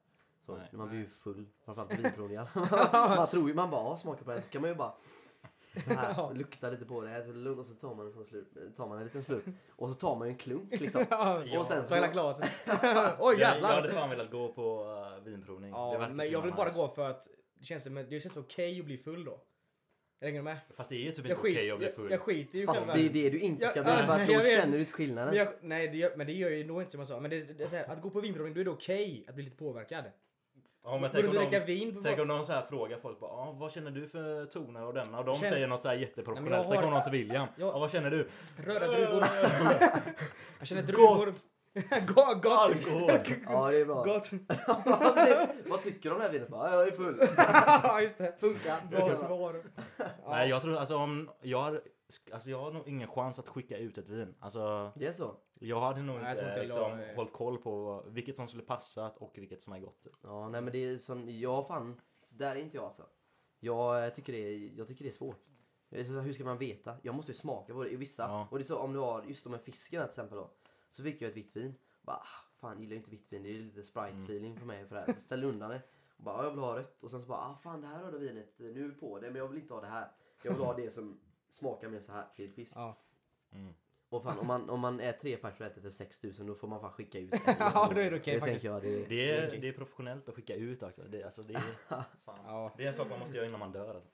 [SPEAKER 3] Så,
[SPEAKER 2] Nej.
[SPEAKER 3] man blir ju full,
[SPEAKER 1] [LAUGHS]
[SPEAKER 3] framförallt på vinprovningar. man tror ju, man bara "Ja, smaka på det här, så ska man ju bara så här, och lukta lite på det, här, så lugn, och så tar man en, sån slurp, tar man en liten slurp. Och så tar man ju en klunk liksom.
[SPEAKER 1] [LAUGHS] Ja,
[SPEAKER 3] och sen
[SPEAKER 1] så
[SPEAKER 3] så-
[SPEAKER 1] hela
[SPEAKER 3] [LAUGHS]
[SPEAKER 1] glaset. Oj
[SPEAKER 2] jag, jag
[SPEAKER 1] jävlar!
[SPEAKER 2] hade fan velat gå på eh, vinprovning. Det
[SPEAKER 1] Ja,
[SPEAKER 2] verkar
[SPEAKER 1] men
[SPEAKER 2] så
[SPEAKER 1] jag vill
[SPEAKER 2] jävla
[SPEAKER 1] bara
[SPEAKER 2] nice.
[SPEAKER 1] gå för att det känns, som- det känns okej att bli full då. Hänger du med?
[SPEAKER 2] Fast det är ju typ inte
[SPEAKER 1] Jag,
[SPEAKER 2] okej
[SPEAKER 1] skit,
[SPEAKER 2] att bli full.
[SPEAKER 1] jag, jag skiter ju
[SPEAKER 3] Fast det
[SPEAKER 1] själva-
[SPEAKER 3] är det du inte ska
[SPEAKER 1] Ja,
[SPEAKER 3] bli,
[SPEAKER 1] ja,
[SPEAKER 3] för att då
[SPEAKER 1] jag vet.
[SPEAKER 3] känner du inte
[SPEAKER 1] Men
[SPEAKER 3] skillnaden.
[SPEAKER 1] jag, nej, det gör, men det gör ju nog inte som jag sa. Men det, det är så här, att gå på vinprovning, då är det okej att bli lite påverkad.
[SPEAKER 2] ja, men
[SPEAKER 1] Borde
[SPEAKER 2] tänk
[SPEAKER 1] du
[SPEAKER 2] om
[SPEAKER 1] dricka
[SPEAKER 2] de,
[SPEAKER 1] vin? På
[SPEAKER 2] tänk
[SPEAKER 1] folk?
[SPEAKER 2] om de så här frågar folk bara, ah, vad känner du för toner och denna? Och de
[SPEAKER 1] Känn-
[SPEAKER 2] säger något så här
[SPEAKER 1] Nej, men
[SPEAKER 2] jätteprofessionellt.
[SPEAKER 1] jag
[SPEAKER 2] Sen
[SPEAKER 1] har-
[SPEAKER 2] kommer de till William.
[SPEAKER 1] Jag-
[SPEAKER 2] ah, vad känner du?
[SPEAKER 1] Röda
[SPEAKER 2] [LAUGHS]
[SPEAKER 1] druvor. Jag känner druvor. [LAUGHS] Gott! Gott!
[SPEAKER 2] Alkohol!
[SPEAKER 3] Ja det är
[SPEAKER 2] [LAUGHS]
[SPEAKER 3] bra.
[SPEAKER 1] Gott!
[SPEAKER 3] vad tycker du om det här vinet? Bara, "Ja, jag är full.
[SPEAKER 1] Ja, Just det.
[SPEAKER 3] Funkar.
[SPEAKER 1] Bra
[SPEAKER 3] Funkar.
[SPEAKER 1] svar. Ja.
[SPEAKER 2] Nej, jag tror alltså om jag har, alltså jag har nog ingen chans att skicka ut ett vin. Alltså,
[SPEAKER 3] Det är så?
[SPEAKER 2] jag hade
[SPEAKER 1] Nej,
[SPEAKER 2] nog inte,
[SPEAKER 1] jag tror inte
[SPEAKER 2] liksom,
[SPEAKER 1] jag-
[SPEAKER 2] hållit koll på vilket som skulle passa och vilket som är gott. typ.
[SPEAKER 3] Ja, nej men det är sån, jag fan, så där är inte jag alltså. Jag eh, tycker det är, jag tycker det är svårt. Jag är så här, Hur ska man veta? Jag måste ju smaka på det i vissa.
[SPEAKER 2] Ja.
[SPEAKER 3] Och det är så om du har, just de här fisken här till exempel då. Så fick jag ett vitt vin. Bara, ah, fan jag gillar ju inte vitt vin, det är ju lite
[SPEAKER 1] Mm.
[SPEAKER 3] sprite feeling för mig för det här. Så ställde jag undan det. Och bara, ah, jag vill ha rött. Och sen så bara, ah fan det här röda vinet, eh, nu är vi på det men jag vill inte ha det här. Jag vill ha det som smakar mer så här till fisk.
[SPEAKER 1] Ja.
[SPEAKER 2] Mm.
[SPEAKER 3] Och fan om man, om man är tre personer och äter för 6000 då får man fan
[SPEAKER 1] [LAUGHS]
[SPEAKER 3] skicka ut
[SPEAKER 1] Ja, då är det okej
[SPEAKER 3] det
[SPEAKER 1] faktiskt.
[SPEAKER 3] tänker jag, det,
[SPEAKER 2] Det är, det är professionellt att skicka ut också. Det, alltså, det, är, fan.
[SPEAKER 1] Ja.
[SPEAKER 2] det är en sak man måste göra innan man dör. Alltså.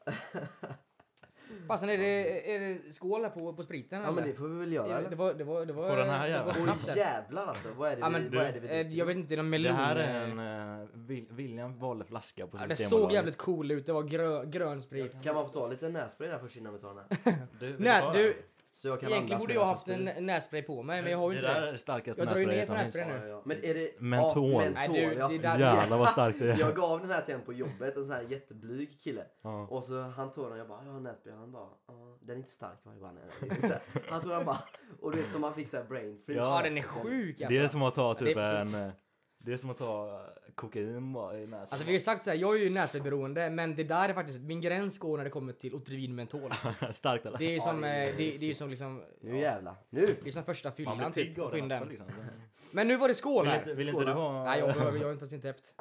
[SPEAKER 1] Passen, är det, är det skål här på, på spriten
[SPEAKER 3] Ja
[SPEAKER 1] eller?
[SPEAKER 3] men det får vi väl göra
[SPEAKER 1] det,
[SPEAKER 3] eller?
[SPEAKER 1] var, det, var, det var...
[SPEAKER 2] På den här
[SPEAKER 1] det var
[SPEAKER 2] jäveln.
[SPEAKER 1] snabbt
[SPEAKER 3] Åh
[SPEAKER 1] där.
[SPEAKER 3] jävlar alltså, vad är det
[SPEAKER 1] Ja,
[SPEAKER 3] vi,
[SPEAKER 1] men
[SPEAKER 3] vad är det vi
[SPEAKER 1] eh,
[SPEAKER 3] dricker?
[SPEAKER 1] Jag vet inte, någon
[SPEAKER 2] Det
[SPEAKER 1] melon...
[SPEAKER 2] här är en... eh, Vil- William valde flaska på
[SPEAKER 1] Ja, det
[SPEAKER 2] Systembolaget.
[SPEAKER 1] såg jävligt cool ut, det var grö, grön sprit.
[SPEAKER 3] Kan man få ta lite nässpray där först innan vi
[SPEAKER 1] [LAUGHS]
[SPEAKER 3] tar den här?
[SPEAKER 2] Du, vill
[SPEAKER 1] Nej,
[SPEAKER 2] ta
[SPEAKER 1] du-
[SPEAKER 2] den?
[SPEAKER 3] Så jag kan
[SPEAKER 1] Egentligen
[SPEAKER 3] andas
[SPEAKER 1] borde
[SPEAKER 3] medan
[SPEAKER 1] jag haft
[SPEAKER 3] spyr.
[SPEAKER 1] en nässpray på mig, men jag har ju
[SPEAKER 2] det
[SPEAKER 1] inte
[SPEAKER 2] där är
[SPEAKER 1] det.
[SPEAKER 2] det starkaste
[SPEAKER 1] Jag drar ju ner
[SPEAKER 2] nässprayet
[SPEAKER 1] på
[SPEAKER 2] som finns.
[SPEAKER 1] nässprayen nu.
[SPEAKER 3] Ja, ja. Men är det...
[SPEAKER 2] Mentol.
[SPEAKER 3] Ja,
[SPEAKER 1] Nej,
[SPEAKER 3] mentol
[SPEAKER 1] du,
[SPEAKER 3] ja.
[SPEAKER 1] det där-
[SPEAKER 2] Jävlar vad starkt det är.
[SPEAKER 3] [LAUGHS] Jag gav den här till en på jobbet, en sån här jätteblyg kille.
[SPEAKER 2] Ja.
[SPEAKER 3] Och så han tog den jag bara, jag har nässpray. Han bara, "Ja, den är inte stark. va?" Jag bara, "Nej, nej, nej." Så här, Han tog den bara, och du vet som han fick såhär brain freeze.
[SPEAKER 1] Ja, den är sjuk alltså.
[SPEAKER 2] Det är som att ta typ
[SPEAKER 1] det är-
[SPEAKER 2] en... eh, Det är som att ta eh, kokain bara i näsan.
[SPEAKER 1] Alltså vi har ju sagt såhär, jag är ju näsberoende men det där är faktiskt, min gräns går när det kommer till Otrivin
[SPEAKER 2] [LAUGHS]
[SPEAKER 1] mentol.
[SPEAKER 2] Starkt eller?
[SPEAKER 1] Det är ju som,
[SPEAKER 3] det är
[SPEAKER 1] eh, det, det är ju som liksom,
[SPEAKER 3] Nu
[SPEAKER 1] ja,
[SPEAKER 3] jävlar, nu!
[SPEAKER 1] det är som första
[SPEAKER 2] Man blir
[SPEAKER 1] fyllan typ.
[SPEAKER 2] pigg av den
[SPEAKER 1] Fynden.
[SPEAKER 2] också liksom.
[SPEAKER 1] Men nu var det skål
[SPEAKER 2] Vill
[SPEAKER 1] här.
[SPEAKER 2] inte, vill inte
[SPEAKER 3] Skål,
[SPEAKER 2] du
[SPEAKER 3] va?
[SPEAKER 2] ha...
[SPEAKER 1] Nej jag, behöver- jag är faktiskt inte häppt.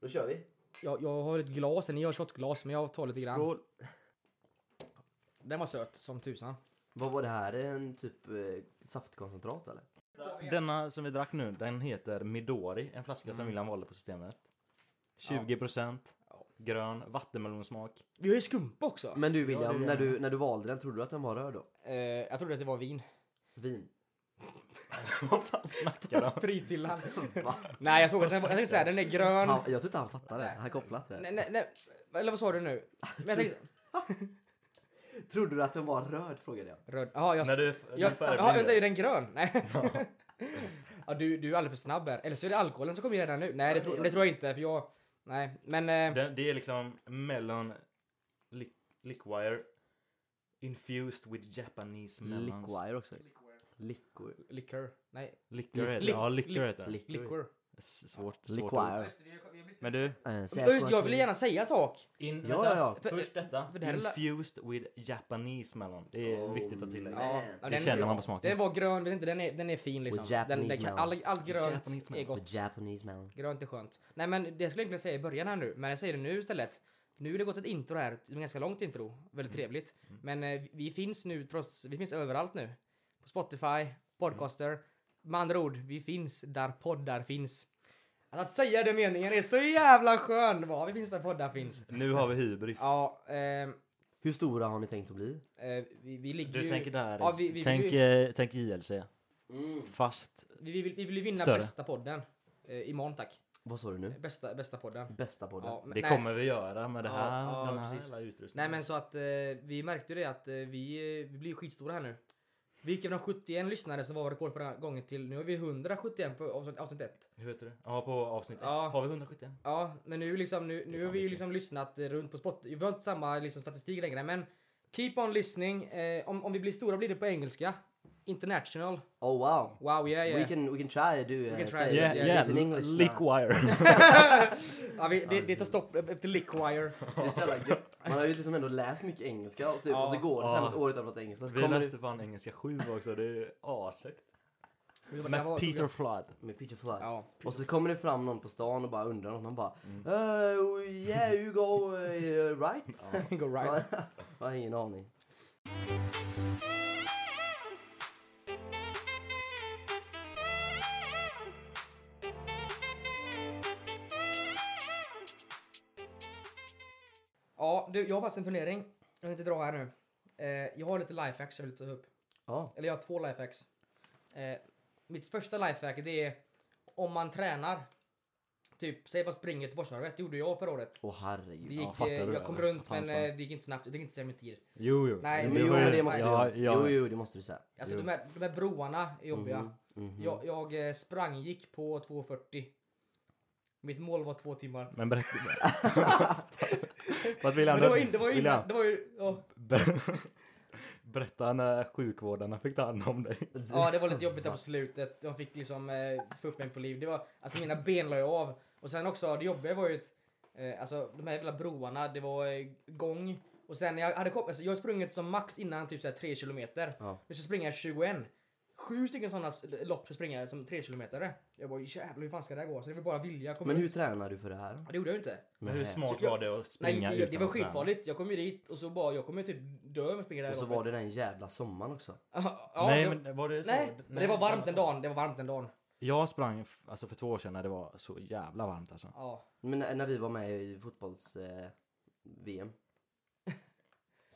[SPEAKER 3] Då kör vi.
[SPEAKER 1] Jag, jag har ett glas, ni har ett shotglas men jag tar lite grann.
[SPEAKER 2] Skål.
[SPEAKER 1] Den var söt som tusan.
[SPEAKER 3] Vad var det här? En typ eh, saftkoncentrat eller?
[SPEAKER 2] Denna som vi drack nu, den heter Midori. En flaska som William valde på systemet. 20% grön vattenmelonsmak.
[SPEAKER 1] Vi har ju skumpa också.
[SPEAKER 3] Men du
[SPEAKER 2] Ja, det
[SPEAKER 3] William,
[SPEAKER 2] är
[SPEAKER 3] när,
[SPEAKER 2] det.
[SPEAKER 3] du, när du valde den, trodde du att den var röd då?
[SPEAKER 1] Eh, jag trodde att det var vin.
[SPEAKER 3] Vin? [LAUGHS]
[SPEAKER 2] Vad fan snackar
[SPEAKER 1] [LAUGHS]
[SPEAKER 2] de?
[SPEAKER 1] Sprit till han.
[SPEAKER 3] Va?
[SPEAKER 1] Nej jag såg att den var, jag tänkte såhär, den är grön.
[SPEAKER 3] Han, jag tror inte han fattade, han kopplat det.
[SPEAKER 1] Nej, nej, nej. Eller vad sa du nu? Men jag tänkte,
[SPEAKER 3] Trodde du att den var röd frågade jag.
[SPEAKER 1] röd. Jaha, jag
[SPEAKER 2] När du,
[SPEAKER 1] Ja,
[SPEAKER 2] du
[SPEAKER 1] aha, vänta, är
[SPEAKER 2] färgblinda.
[SPEAKER 1] den grön? Nej. [LAUGHS] ja, du, du är alldeles för snabb här. Eller så är det alkoholen som kommer in redan nu. Nej, det, tror- det tror jag inte. För jag... Nej, men... Eh,
[SPEAKER 2] Det, det är liksom melon li, liquire infused with Japanese melons.
[SPEAKER 3] Liquire också. Liquor.
[SPEAKER 1] liquor. Nej,
[SPEAKER 2] Liquor heter det.
[SPEAKER 1] Lick-
[SPEAKER 2] Ja, liquor
[SPEAKER 1] lick-
[SPEAKER 2] heter det.
[SPEAKER 1] liquor.
[SPEAKER 2] S- Svårt. svårt ord.
[SPEAKER 3] Liquire.
[SPEAKER 2] Men du,
[SPEAKER 3] Eh,
[SPEAKER 1] Ja, just, jag ville gärna säga en sak.
[SPEAKER 2] in,
[SPEAKER 3] Ja,
[SPEAKER 2] vänta,
[SPEAKER 3] ja,
[SPEAKER 1] ja.
[SPEAKER 2] först detta.
[SPEAKER 1] för det här lilla-
[SPEAKER 2] infused with Japanese melon. Det är
[SPEAKER 3] Oh,
[SPEAKER 2] viktigt att tillägga.
[SPEAKER 3] man.
[SPEAKER 1] Ja,
[SPEAKER 3] Det
[SPEAKER 1] den-
[SPEAKER 2] Det känner man på smaken.
[SPEAKER 1] Den var grön, vet inte, den är, den är fin liksom. Den,
[SPEAKER 3] With
[SPEAKER 1] den
[SPEAKER 3] Japanese
[SPEAKER 1] kan,
[SPEAKER 3] melon.
[SPEAKER 1] all, allt grönt är
[SPEAKER 2] Japanese melon.
[SPEAKER 1] gott.
[SPEAKER 3] The Japanese man.
[SPEAKER 1] Grönt är skönt. Nej men det skulle jag egentligen säga i början här nu, men jag säger det nu istället. Nu har det gått ett intro här, ett ganska långt intro.
[SPEAKER 2] Mm.
[SPEAKER 1] Väldigt trevligt. Men eh, vi finns nu trots, vi finns överallt nu. På Spotify, Podcaster. Med andra ord, vi finns där poddar finns. Att, att säga den meningen är så jävla skön! Va? Vi finns där poddar finns.
[SPEAKER 2] Nu har vi hybris.
[SPEAKER 1] Ja, ehm,
[SPEAKER 3] Hur stora har ni tänkt att bli?
[SPEAKER 1] eh, vi, vi ligger
[SPEAKER 2] Du
[SPEAKER 1] ju...
[SPEAKER 2] tänker där.
[SPEAKER 1] Ja, vi, vi,
[SPEAKER 2] tänk,
[SPEAKER 1] vi, vi,
[SPEAKER 2] eh, tänk JLC.
[SPEAKER 1] Mm.
[SPEAKER 2] Fast
[SPEAKER 1] vi, vi, vill- vi vill ju vinna
[SPEAKER 2] Större.
[SPEAKER 1] bästa podden. Eh, imorgon tack.
[SPEAKER 3] Vad sa du nu?
[SPEAKER 1] Bästa, bästa podden.
[SPEAKER 3] Bästa podden?
[SPEAKER 1] Ja, men-
[SPEAKER 2] Mm. det
[SPEAKER 1] nej.
[SPEAKER 2] kommer vi göra med det
[SPEAKER 1] Ja,
[SPEAKER 2] här.
[SPEAKER 1] ja,
[SPEAKER 2] den här
[SPEAKER 1] precis.
[SPEAKER 2] hela utrustningen.
[SPEAKER 1] Nej men så att eh, vi märkte ju det att eh, vi, eh, vi blir ju skitstora här nu. Vi gick från 71 lyssnare som var rekord förra gången till nu har vi 171 på avsnitt, avsnitt 1.
[SPEAKER 2] Hur heter det? Ja, på avsnitt ett.
[SPEAKER 1] Ja.
[SPEAKER 2] Har vi 171?
[SPEAKER 1] Ja men nu liksom nu, nu har vi ju liksom lyssnat eh, runt på spot. Vi har inte samma liksom, statistik längre men keep on listening. Eh, om, om vi blir stora blir det på engelska. International.
[SPEAKER 3] Oh wow!
[SPEAKER 1] Wow yeah
[SPEAKER 3] We
[SPEAKER 1] yeah.
[SPEAKER 3] can, we can try to do uh,
[SPEAKER 1] can try
[SPEAKER 3] say
[SPEAKER 1] it, Yeah,
[SPEAKER 3] it
[SPEAKER 1] yeah,
[SPEAKER 3] in English.
[SPEAKER 1] [LAUGHS]
[SPEAKER 3] now.
[SPEAKER 2] Liquire.
[SPEAKER 1] Ja, vi, det, det tar stopp efter Lickwire.
[SPEAKER 3] Det är så jävla gött. Man har ju liksom ändå läst mycket engelska och, typ, och så går det sen
[SPEAKER 2] Ja.
[SPEAKER 3] ett år utan att prata engelska. Så
[SPEAKER 2] vi
[SPEAKER 3] kommer
[SPEAKER 2] läste
[SPEAKER 3] det
[SPEAKER 2] fan engelska 7 också. Det är ashögt.
[SPEAKER 1] Vi bara, det här
[SPEAKER 2] Med
[SPEAKER 1] var-
[SPEAKER 2] Peter Flood.
[SPEAKER 3] med Peter Fly.
[SPEAKER 1] Ja.
[SPEAKER 3] Och så kommer det fram någon på stan och bara undrar något. Man bara
[SPEAKER 2] Mm.
[SPEAKER 3] uh, yeah you go uh, right?
[SPEAKER 1] Go right.
[SPEAKER 3] [LAUGHS] Jag har ingen aning.
[SPEAKER 1] Ja du jag har faktiskt en fundering. Jag vill inte dra här nu. Eh, jag har lite lifehacks jag vill ta upp.
[SPEAKER 3] Ja.
[SPEAKER 1] Eller jag har två lifehacks. Eh, mitt första lifehack det är om man tränar. Typ, säg bara spring Göteborgsvarvet. Det gjorde jag förra året.
[SPEAKER 3] Åh herregud.
[SPEAKER 1] Det gick,
[SPEAKER 2] Ja, fattar
[SPEAKER 1] eh,
[SPEAKER 2] du
[SPEAKER 1] jag
[SPEAKER 2] det,
[SPEAKER 1] kom
[SPEAKER 2] eller?
[SPEAKER 1] runt men
[SPEAKER 2] Fan, fan.
[SPEAKER 1] eh, det gick inte snabbt. Jag tänker inte säga min tid.
[SPEAKER 2] Jo, jo.
[SPEAKER 1] Nej,
[SPEAKER 3] Men
[SPEAKER 1] det
[SPEAKER 3] jo,
[SPEAKER 1] var-
[SPEAKER 3] men det måste
[SPEAKER 2] ja,
[SPEAKER 3] du
[SPEAKER 2] ja.
[SPEAKER 3] göra. Jo, jo, det måste du säga.
[SPEAKER 1] Alltså
[SPEAKER 2] Jo.
[SPEAKER 1] de här, de här broarna är jobbiga.
[SPEAKER 3] Mhm.
[SPEAKER 1] Jag, jag eh, sprang, gick på 2.40. Mitt mål var två timmar. [LAUGHS]
[SPEAKER 2] Men berätta. Fast William,
[SPEAKER 1] Men det var, in, det var, ju
[SPEAKER 2] William,
[SPEAKER 1] innan, det var ju... Ja,
[SPEAKER 2] ber- berätta när sjukvårdarna fick ta hand om dig.
[SPEAKER 1] ja, det var lite jobbigt där på slutet. De fick liksom eh, få upp mig på liv. Det var, alltså mina ben la jag av. Och sen också, det jobbiga var ju ett, eh, alltså de här jävla broarna, det var eh, gång. Och sen när jag hade kommit, alltså, jag har sprungit som max innan typ såhär 3 kilometer.
[SPEAKER 3] Ja.
[SPEAKER 1] Nu ska jag springa 21. Sju stycken sådana lopp ska springa som 3 kilometer. Jag bara jävlar hur fan ska det här gå? Så det var bara vilja. Kom
[SPEAKER 3] Men hur
[SPEAKER 1] ut.
[SPEAKER 3] tränar du för det här?
[SPEAKER 1] Ja, Det gjorde jag ju inte.
[SPEAKER 2] Men hur smart
[SPEAKER 1] Så jag-
[SPEAKER 2] var det att
[SPEAKER 1] Nej,
[SPEAKER 2] springa
[SPEAKER 1] det- det
[SPEAKER 2] utan
[SPEAKER 1] var
[SPEAKER 2] att träna?
[SPEAKER 1] skitfarligt. Jag kom ju dit och så bara, jag kommer typ dö om jag springer det här
[SPEAKER 3] Och så
[SPEAKER 1] loppet.
[SPEAKER 3] var det den jävla sommaren också.
[SPEAKER 1] [LAUGHS] ja,
[SPEAKER 2] nej,
[SPEAKER 1] jag-
[SPEAKER 2] men var det så?
[SPEAKER 1] nej, men det var varmt den dagen. Det var varmt den dagen.
[SPEAKER 2] Jag sprang f- alltså, för två år sedan när det var så jävla varmt alltså.
[SPEAKER 1] Ja. [LAUGHS]
[SPEAKER 3] Men när, när vi var med i fotbolls-VM. så eh,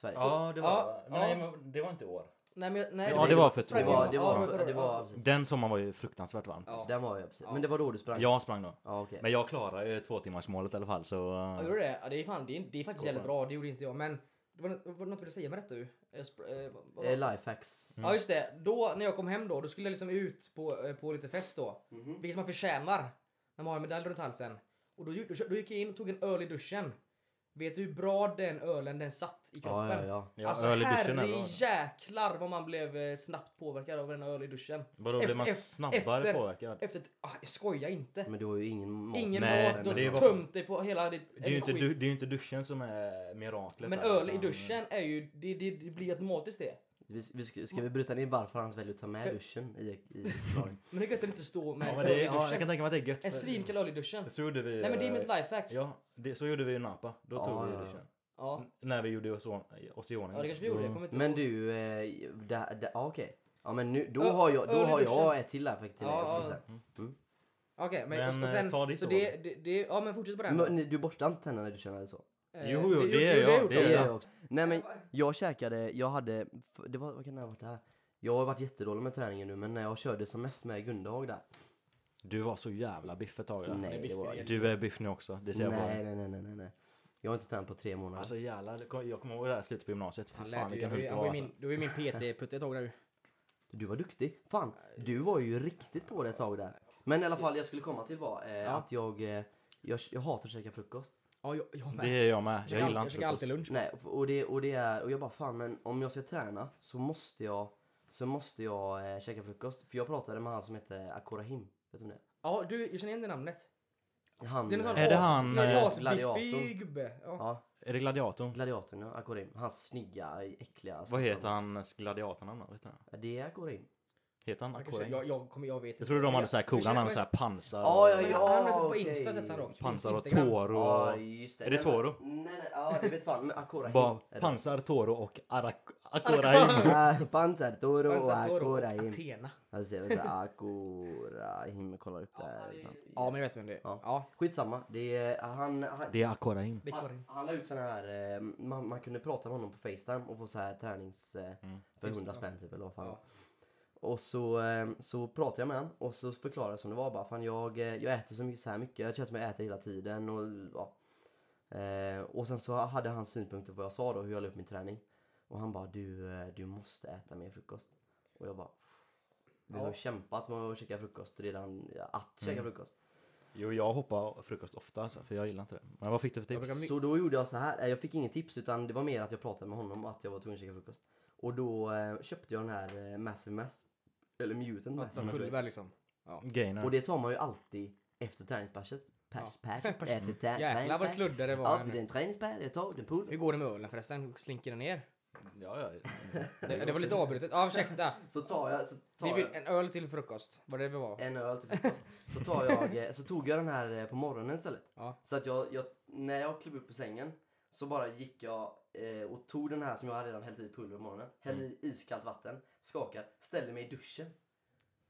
[SPEAKER 3] Sverige.
[SPEAKER 2] Ja, det var
[SPEAKER 1] Ja,
[SPEAKER 2] men Nej,
[SPEAKER 1] ja.
[SPEAKER 2] men det var inte i år.
[SPEAKER 1] Nej, men nej.
[SPEAKER 2] Ja, det var för två
[SPEAKER 3] Det var, det
[SPEAKER 1] Ja, typ.
[SPEAKER 3] var,
[SPEAKER 1] men förra-
[SPEAKER 3] det var, precis.
[SPEAKER 2] Den sommaren var ju fruktansvärt varmt.
[SPEAKER 1] Ja.
[SPEAKER 3] Den var jag precis.
[SPEAKER 1] Ja.
[SPEAKER 3] Men det var då du sprang?
[SPEAKER 2] Jag sprang då.
[SPEAKER 3] Ja, okej.
[SPEAKER 2] Men jag klarade ju två timmars målet i alla fall så...
[SPEAKER 1] Ja, gjorde du det? Ja, det är, fan, det är, det är faktiskt
[SPEAKER 2] Skål.
[SPEAKER 1] jävligt bra, det gjorde inte jag. Men det var, det var något jag ville säga med detta ju. Jag spr- eh, vad- vad var det?
[SPEAKER 3] Eh, Lifehacks.
[SPEAKER 1] Ja just det, då när jag kom hem då, då skulle jag liksom ut på, eh, på lite fest då.
[SPEAKER 3] Mhm.
[SPEAKER 1] Vilket man förtjänar när man har en medalj runt halsen. Och då, gick- då kö- då gick jag in och tog en öl i duschen. Vet du hur bra den ölen den satt i kroppen?
[SPEAKER 3] Ja, ja, ja.
[SPEAKER 2] Ja,
[SPEAKER 1] alltså
[SPEAKER 2] öl i duschen är bra.
[SPEAKER 1] herrejäklar vad man blev eh, snabbt påverkad av en öl i duschen.
[SPEAKER 2] Vadå,
[SPEAKER 1] Efter-
[SPEAKER 2] blev man
[SPEAKER 1] ef-
[SPEAKER 2] snabbare
[SPEAKER 1] efter-
[SPEAKER 2] påverkad?
[SPEAKER 1] Efter ett, ah, skoja inte.
[SPEAKER 3] Men du har ju ingen mat.
[SPEAKER 1] Ingen
[SPEAKER 2] Nej,
[SPEAKER 1] mat,
[SPEAKER 2] men
[SPEAKER 1] du
[SPEAKER 2] det är
[SPEAKER 1] har
[SPEAKER 2] bara-
[SPEAKER 1] tömt dig på hela ditt
[SPEAKER 2] Det är, ju inte,
[SPEAKER 1] energi.
[SPEAKER 2] du, det är ju inte duschen som är miraklet.
[SPEAKER 1] Men
[SPEAKER 2] där,
[SPEAKER 1] öl i
[SPEAKER 2] utan-
[SPEAKER 1] duschen är ju, det, det, det blir automatiskt det.
[SPEAKER 3] Vi, vi ska, ska vi bryta ner varför han väljer att ta med duschen i, i förklaringen?
[SPEAKER 1] Men det är gött att inte stå med
[SPEAKER 2] Ja, men
[SPEAKER 1] öl i
[SPEAKER 2] det är, ja, jag kan
[SPEAKER 1] duschen.
[SPEAKER 2] tänka mig att det är gött. för-
[SPEAKER 1] En svinkall öl i duschen.
[SPEAKER 2] Så gjorde vi...
[SPEAKER 1] Nej men det är mitt
[SPEAKER 2] eh,
[SPEAKER 1] lifehack.
[SPEAKER 2] Ja, det, så gjorde vi i Napa. Då
[SPEAKER 3] Ja,
[SPEAKER 2] tog vi
[SPEAKER 3] ja, ja.
[SPEAKER 2] duschen.
[SPEAKER 1] Ja.
[SPEAKER 2] N- När vi gjorde oss, oss i ordning. liksom.
[SPEAKER 1] Ja det kanske vi gjorde, jag
[SPEAKER 2] Då-
[SPEAKER 1] kommer inte
[SPEAKER 3] Men
[SPEAKER 1] ihåg.
[SPEAKER 3] du, eh, där- där- ja okej. Ja men nu, då
[SPEAKER 1] Ö-
[SPEAKER 3] har jag, då
[SPEAKER 1] öl i
[SPEAKER 3] har jag
[SPEAKER 1] duschen.
[SPEAKER 3] ett till lifehack
[SPEAKER 1] Ja,
[SPEAKER 3] till dig
[SPEAKER 1] ja.
[SPEAKER 3] också. sen.
[SPEAKER 1] Okej, men,
[SPEAKER 2] Men,
[SPEAKER 1] och
[SPEAKER 2] eh,
[SPEAKER 1] sen,
[SPEAKER 2] ta ditt
[SPEAKER 1] så
[SPEAKER 2] ord.
[SPEAKER 1] det, det, det, ja men fortsätt på den då.
[SPEAKER 3] Men ni- Du borstar inte tänderna när du känner det så?
[SPEAKER 1] Eh,
[SPEAKER 2] Jo, jo, det
[SPEAKER 1] det
[SPEAKER 2] är
[SPEAKER 1] har
[SPEAKER 2] jag,
[SPEAKER 1] gjort
[SPEAKER 2] det är
[SPEAKER 1] också.
[SPEAKER 3] Det gör jag också. Nej men jag käkade, jag hade, det var, vad kan det ha varit det här? Jag har varit jättedålig med träningen nu men när jag körde som mest med Gundehag där.
[SPEAKER 2] Du var så jävla biff ett tag. där.
[SPEAKER 3] Nej, det var-
[SPEAKER 2] Du är biff nu också. Det ser jag på dig.
[SPEAKER 3] Nej, nej, nej, nej, nej, nej. Jag har inte tränat på tre månader.
[SPEAKER 2] Alltså jävlar, det kom- jag kommer ihåg det här i slutet på gymnasiet. Fy
[SPEAKER 1] Han
[SPEAKER 2] fan
[SPEAKER 1] lärde ju,
[SPEAKER 2] vilken hunk det
[SPEAKER 1] han
[SPEAKER 2] var
[SPEAKER 1] var ju
[SPEAKER 2] alltså.
[SPEAKER 1] min, du är min PT-putte ett tag nu.
[SPEAKER 3] Du var duktig. Fan, du var ju riktigt på det ett tag där. Men i alla fall, jag skulle komma till var eh, att jag, eh, jag, jag hatar att käka frukost.
[SPEAKER 1] Ja, jag, jag med.
[SPEAKER 2] Det är jag med.
[SPEAKER 1] Jag käkar
[SPEAKER 2] Jag
[SPEAKER 1] all-
[SPEAKER 2] gillar
[SPEAKER 1] jag
[SPEAKER 2] inte
[SPEAKER 1] käkar alltid
[SPEAKER 2] frukost.
[SPEAKER 1] lunch.
[SPEAKER 3] Nej, och- och det, och det är, och jag bara fan men om jag ska träna så måste jag, så måste jag eh, käka frukost. För jag pratade med han som heter Akorahim. Vet du om det är?
[SPEAKER 1] Ja, du, jag känner igen det namnet.
[SPEAKER 3] Han,
[SPEAKER 1] Det är någon sån
[SPEAKER 2] Är det
[SPEAKER 1] as-
[SPEAKER 2] han,
[SPEAKER 1] någon
[SPEAKER 2] eh,
[SPEAKER 1] asbiffig
[SPEAKER 3] gladiatorn?
[SPEAKER 1] gubbe. Ja.
[SPEAKER 3] Ja,
[SPEAKER 2] Är det gladiatorn?
[SPEAKER 3] gladiatorn ja, Akorahim. Hans snygga, äckliga.
[SPEAKER 2] Vad heter han gladiatorn? Vet du?
[SPEAKER 3] Ja, Det är Akorahim.
[SPEAKER 2] Heter han
[SPEAKER 1] Jag, kanske- jag,
[SPEAKER 2] Akorin?
[SPEAKER 1] jag, kommer, jag vet inte.
[SPEAKER 2] Jag trodde de hade så här
[SPEAKER 1] Jag
[SPEAKER 2] coola
[SPEAKER 1] känner-
[SPEAKER 2] namn, så här pansar
[SPEAKER 3] Ja,
[SPEAKER 2] och-
[SPEAKER 1] Men
[SPEAKER 3] ja,
[SPEAKER 1] Han har sett på
[SPEAKER 3] okej.
[SPEAKER 1] Insta sett han dock.
[SPEAKER 2] Pansar och
[SPEAKER 1] Instagram.
[SPEAKER 2] Toro.
[SPEAKER 3] Ja, just det.
[SPEAKER 2] Är det
[SPEAKER 3] Nej, men-
[SPEAKER 2] Toro?
[SPEAKER 3] Nej, nej, ja det vet fan. Men Akorahim.
[SPEAKER 2] Bara
[SPEAKER 3] är det.
[SPEAKER 2] pansar, Toro och Arak- Akoraim.
[SPEAKER 3] Ah, Pansar Toro och
[SPEAKER 1] Pansar Toro och
[SPEAKER 3] Akorahim.
[SPEAKER 1] Athena.
[SPEAKER 3] Han ser väl såhär Akorahim. Kolla upp det här snabbt.
[SPEAKER 1] Ja, men jag vet vem det är.
[SPEAKER 3] Ja.
[SPEAKER 1] Ja,
[SPEAKER 3] Skitsamma. Det är, han, han,
[SPEAKER 2] Det är Akoraim.
[SPEAKER 1] det är
[SPEAKER 3] han,
[SPEAKER 1] Karin.
[SPEAKER 3] han la ut sån här, eh, man, man kunde prata med honom på Facetime och få så här tränings... Eh, För 100 spänn typ eller vad fan.
[SPEAKER 1] Mm, Ja.
[SPEAKER 3] Och så, eh, så pratade jag med honom och så förklarade jag som det var bara. Fan jag, eh, jag äter så, mycket, så här mycket, jag känns som jag äter hela tiden och ja. Eh, och sen så hade han synpunkter på vad jag sa då, hur jag la upp min träning. Och han bara du, eh, du måste äta mer frukost. Och jag bara vi har
[SPEAKER 1] Ja. Mm.
[SPEAKER 3] kämpat med att käka frukost redan, ja, att käka frukost.
[SPEAKER 2] Jo, jag hoppar frukost ofta alltså, för jag gillar inte det. Men vad fick du för tips?
[SPEAKER 1] brukar-
[SPEAKER 3] Så då gjorde jag så här. Eh, Jag fick inget tips utan det var mer att jag pratade med honom och att jag var tvungen att käka frukost. Och då eh, köpte jag den här eh, Massive Mass. Eller Mutant Mass. som jag tror det
[SPEAKER 1] Pulver liksom.
[SPEAKER 3] Och
[SPEAKER 2] Gainer.
[SPEAKER 3] det tar man ju alltid efter träningspasset. Pers,
[SPEAKER 1] [LAUGHS]
[SPEAKER 3] pers, efter trä-
[SPEAKER 1] Jävlar vad
[SPEAKER 3] träningspass.
[SPEAKER 1] sluddare det var.
[SPEAKER 3] Alltid
[SPEAKER 1] här nu.
[SPEAKER 3] den träningspass, jag tar den
[SPEAKER 1] Hur
[SPEAKER 3] pulver.
[SPEAKER 1] går det med ölen förresten? Slinker den
[SPEAKER 3] [LAUGHS]
[SPEAKER 1] ner?
[SPEAKER 2] Ja, ja.
[SPEAKER 1] Det, det var lite avbrutet. Ja,
[SPEAKER 3] [LAUGHS]
[SPEAKER 1] ursäkta.
[SPEAKER 3] Så tar jag, så
[SPEAKER 1] Vi
[SPEAKER 3] tar
[SPEAKER 1] vill,
[SPEAKER 3] jag
[SPEAKER 1] en öl till frukost. Var det det vi var?
[SPEAKER 3] en öl till frukost. Så, tar jag, eh, så tog jag den här eh, på morgonen istället.
[SPEAKER 1] Ja.
[SPEAKER 3] Så att jag, jag, när jag klev upp ur sängen så bara gick jag eh, och tog den här som jag hade redan hällt i pulver på morgonen. Hällde i iskallt vatten, skakar, ställer mig i duschen.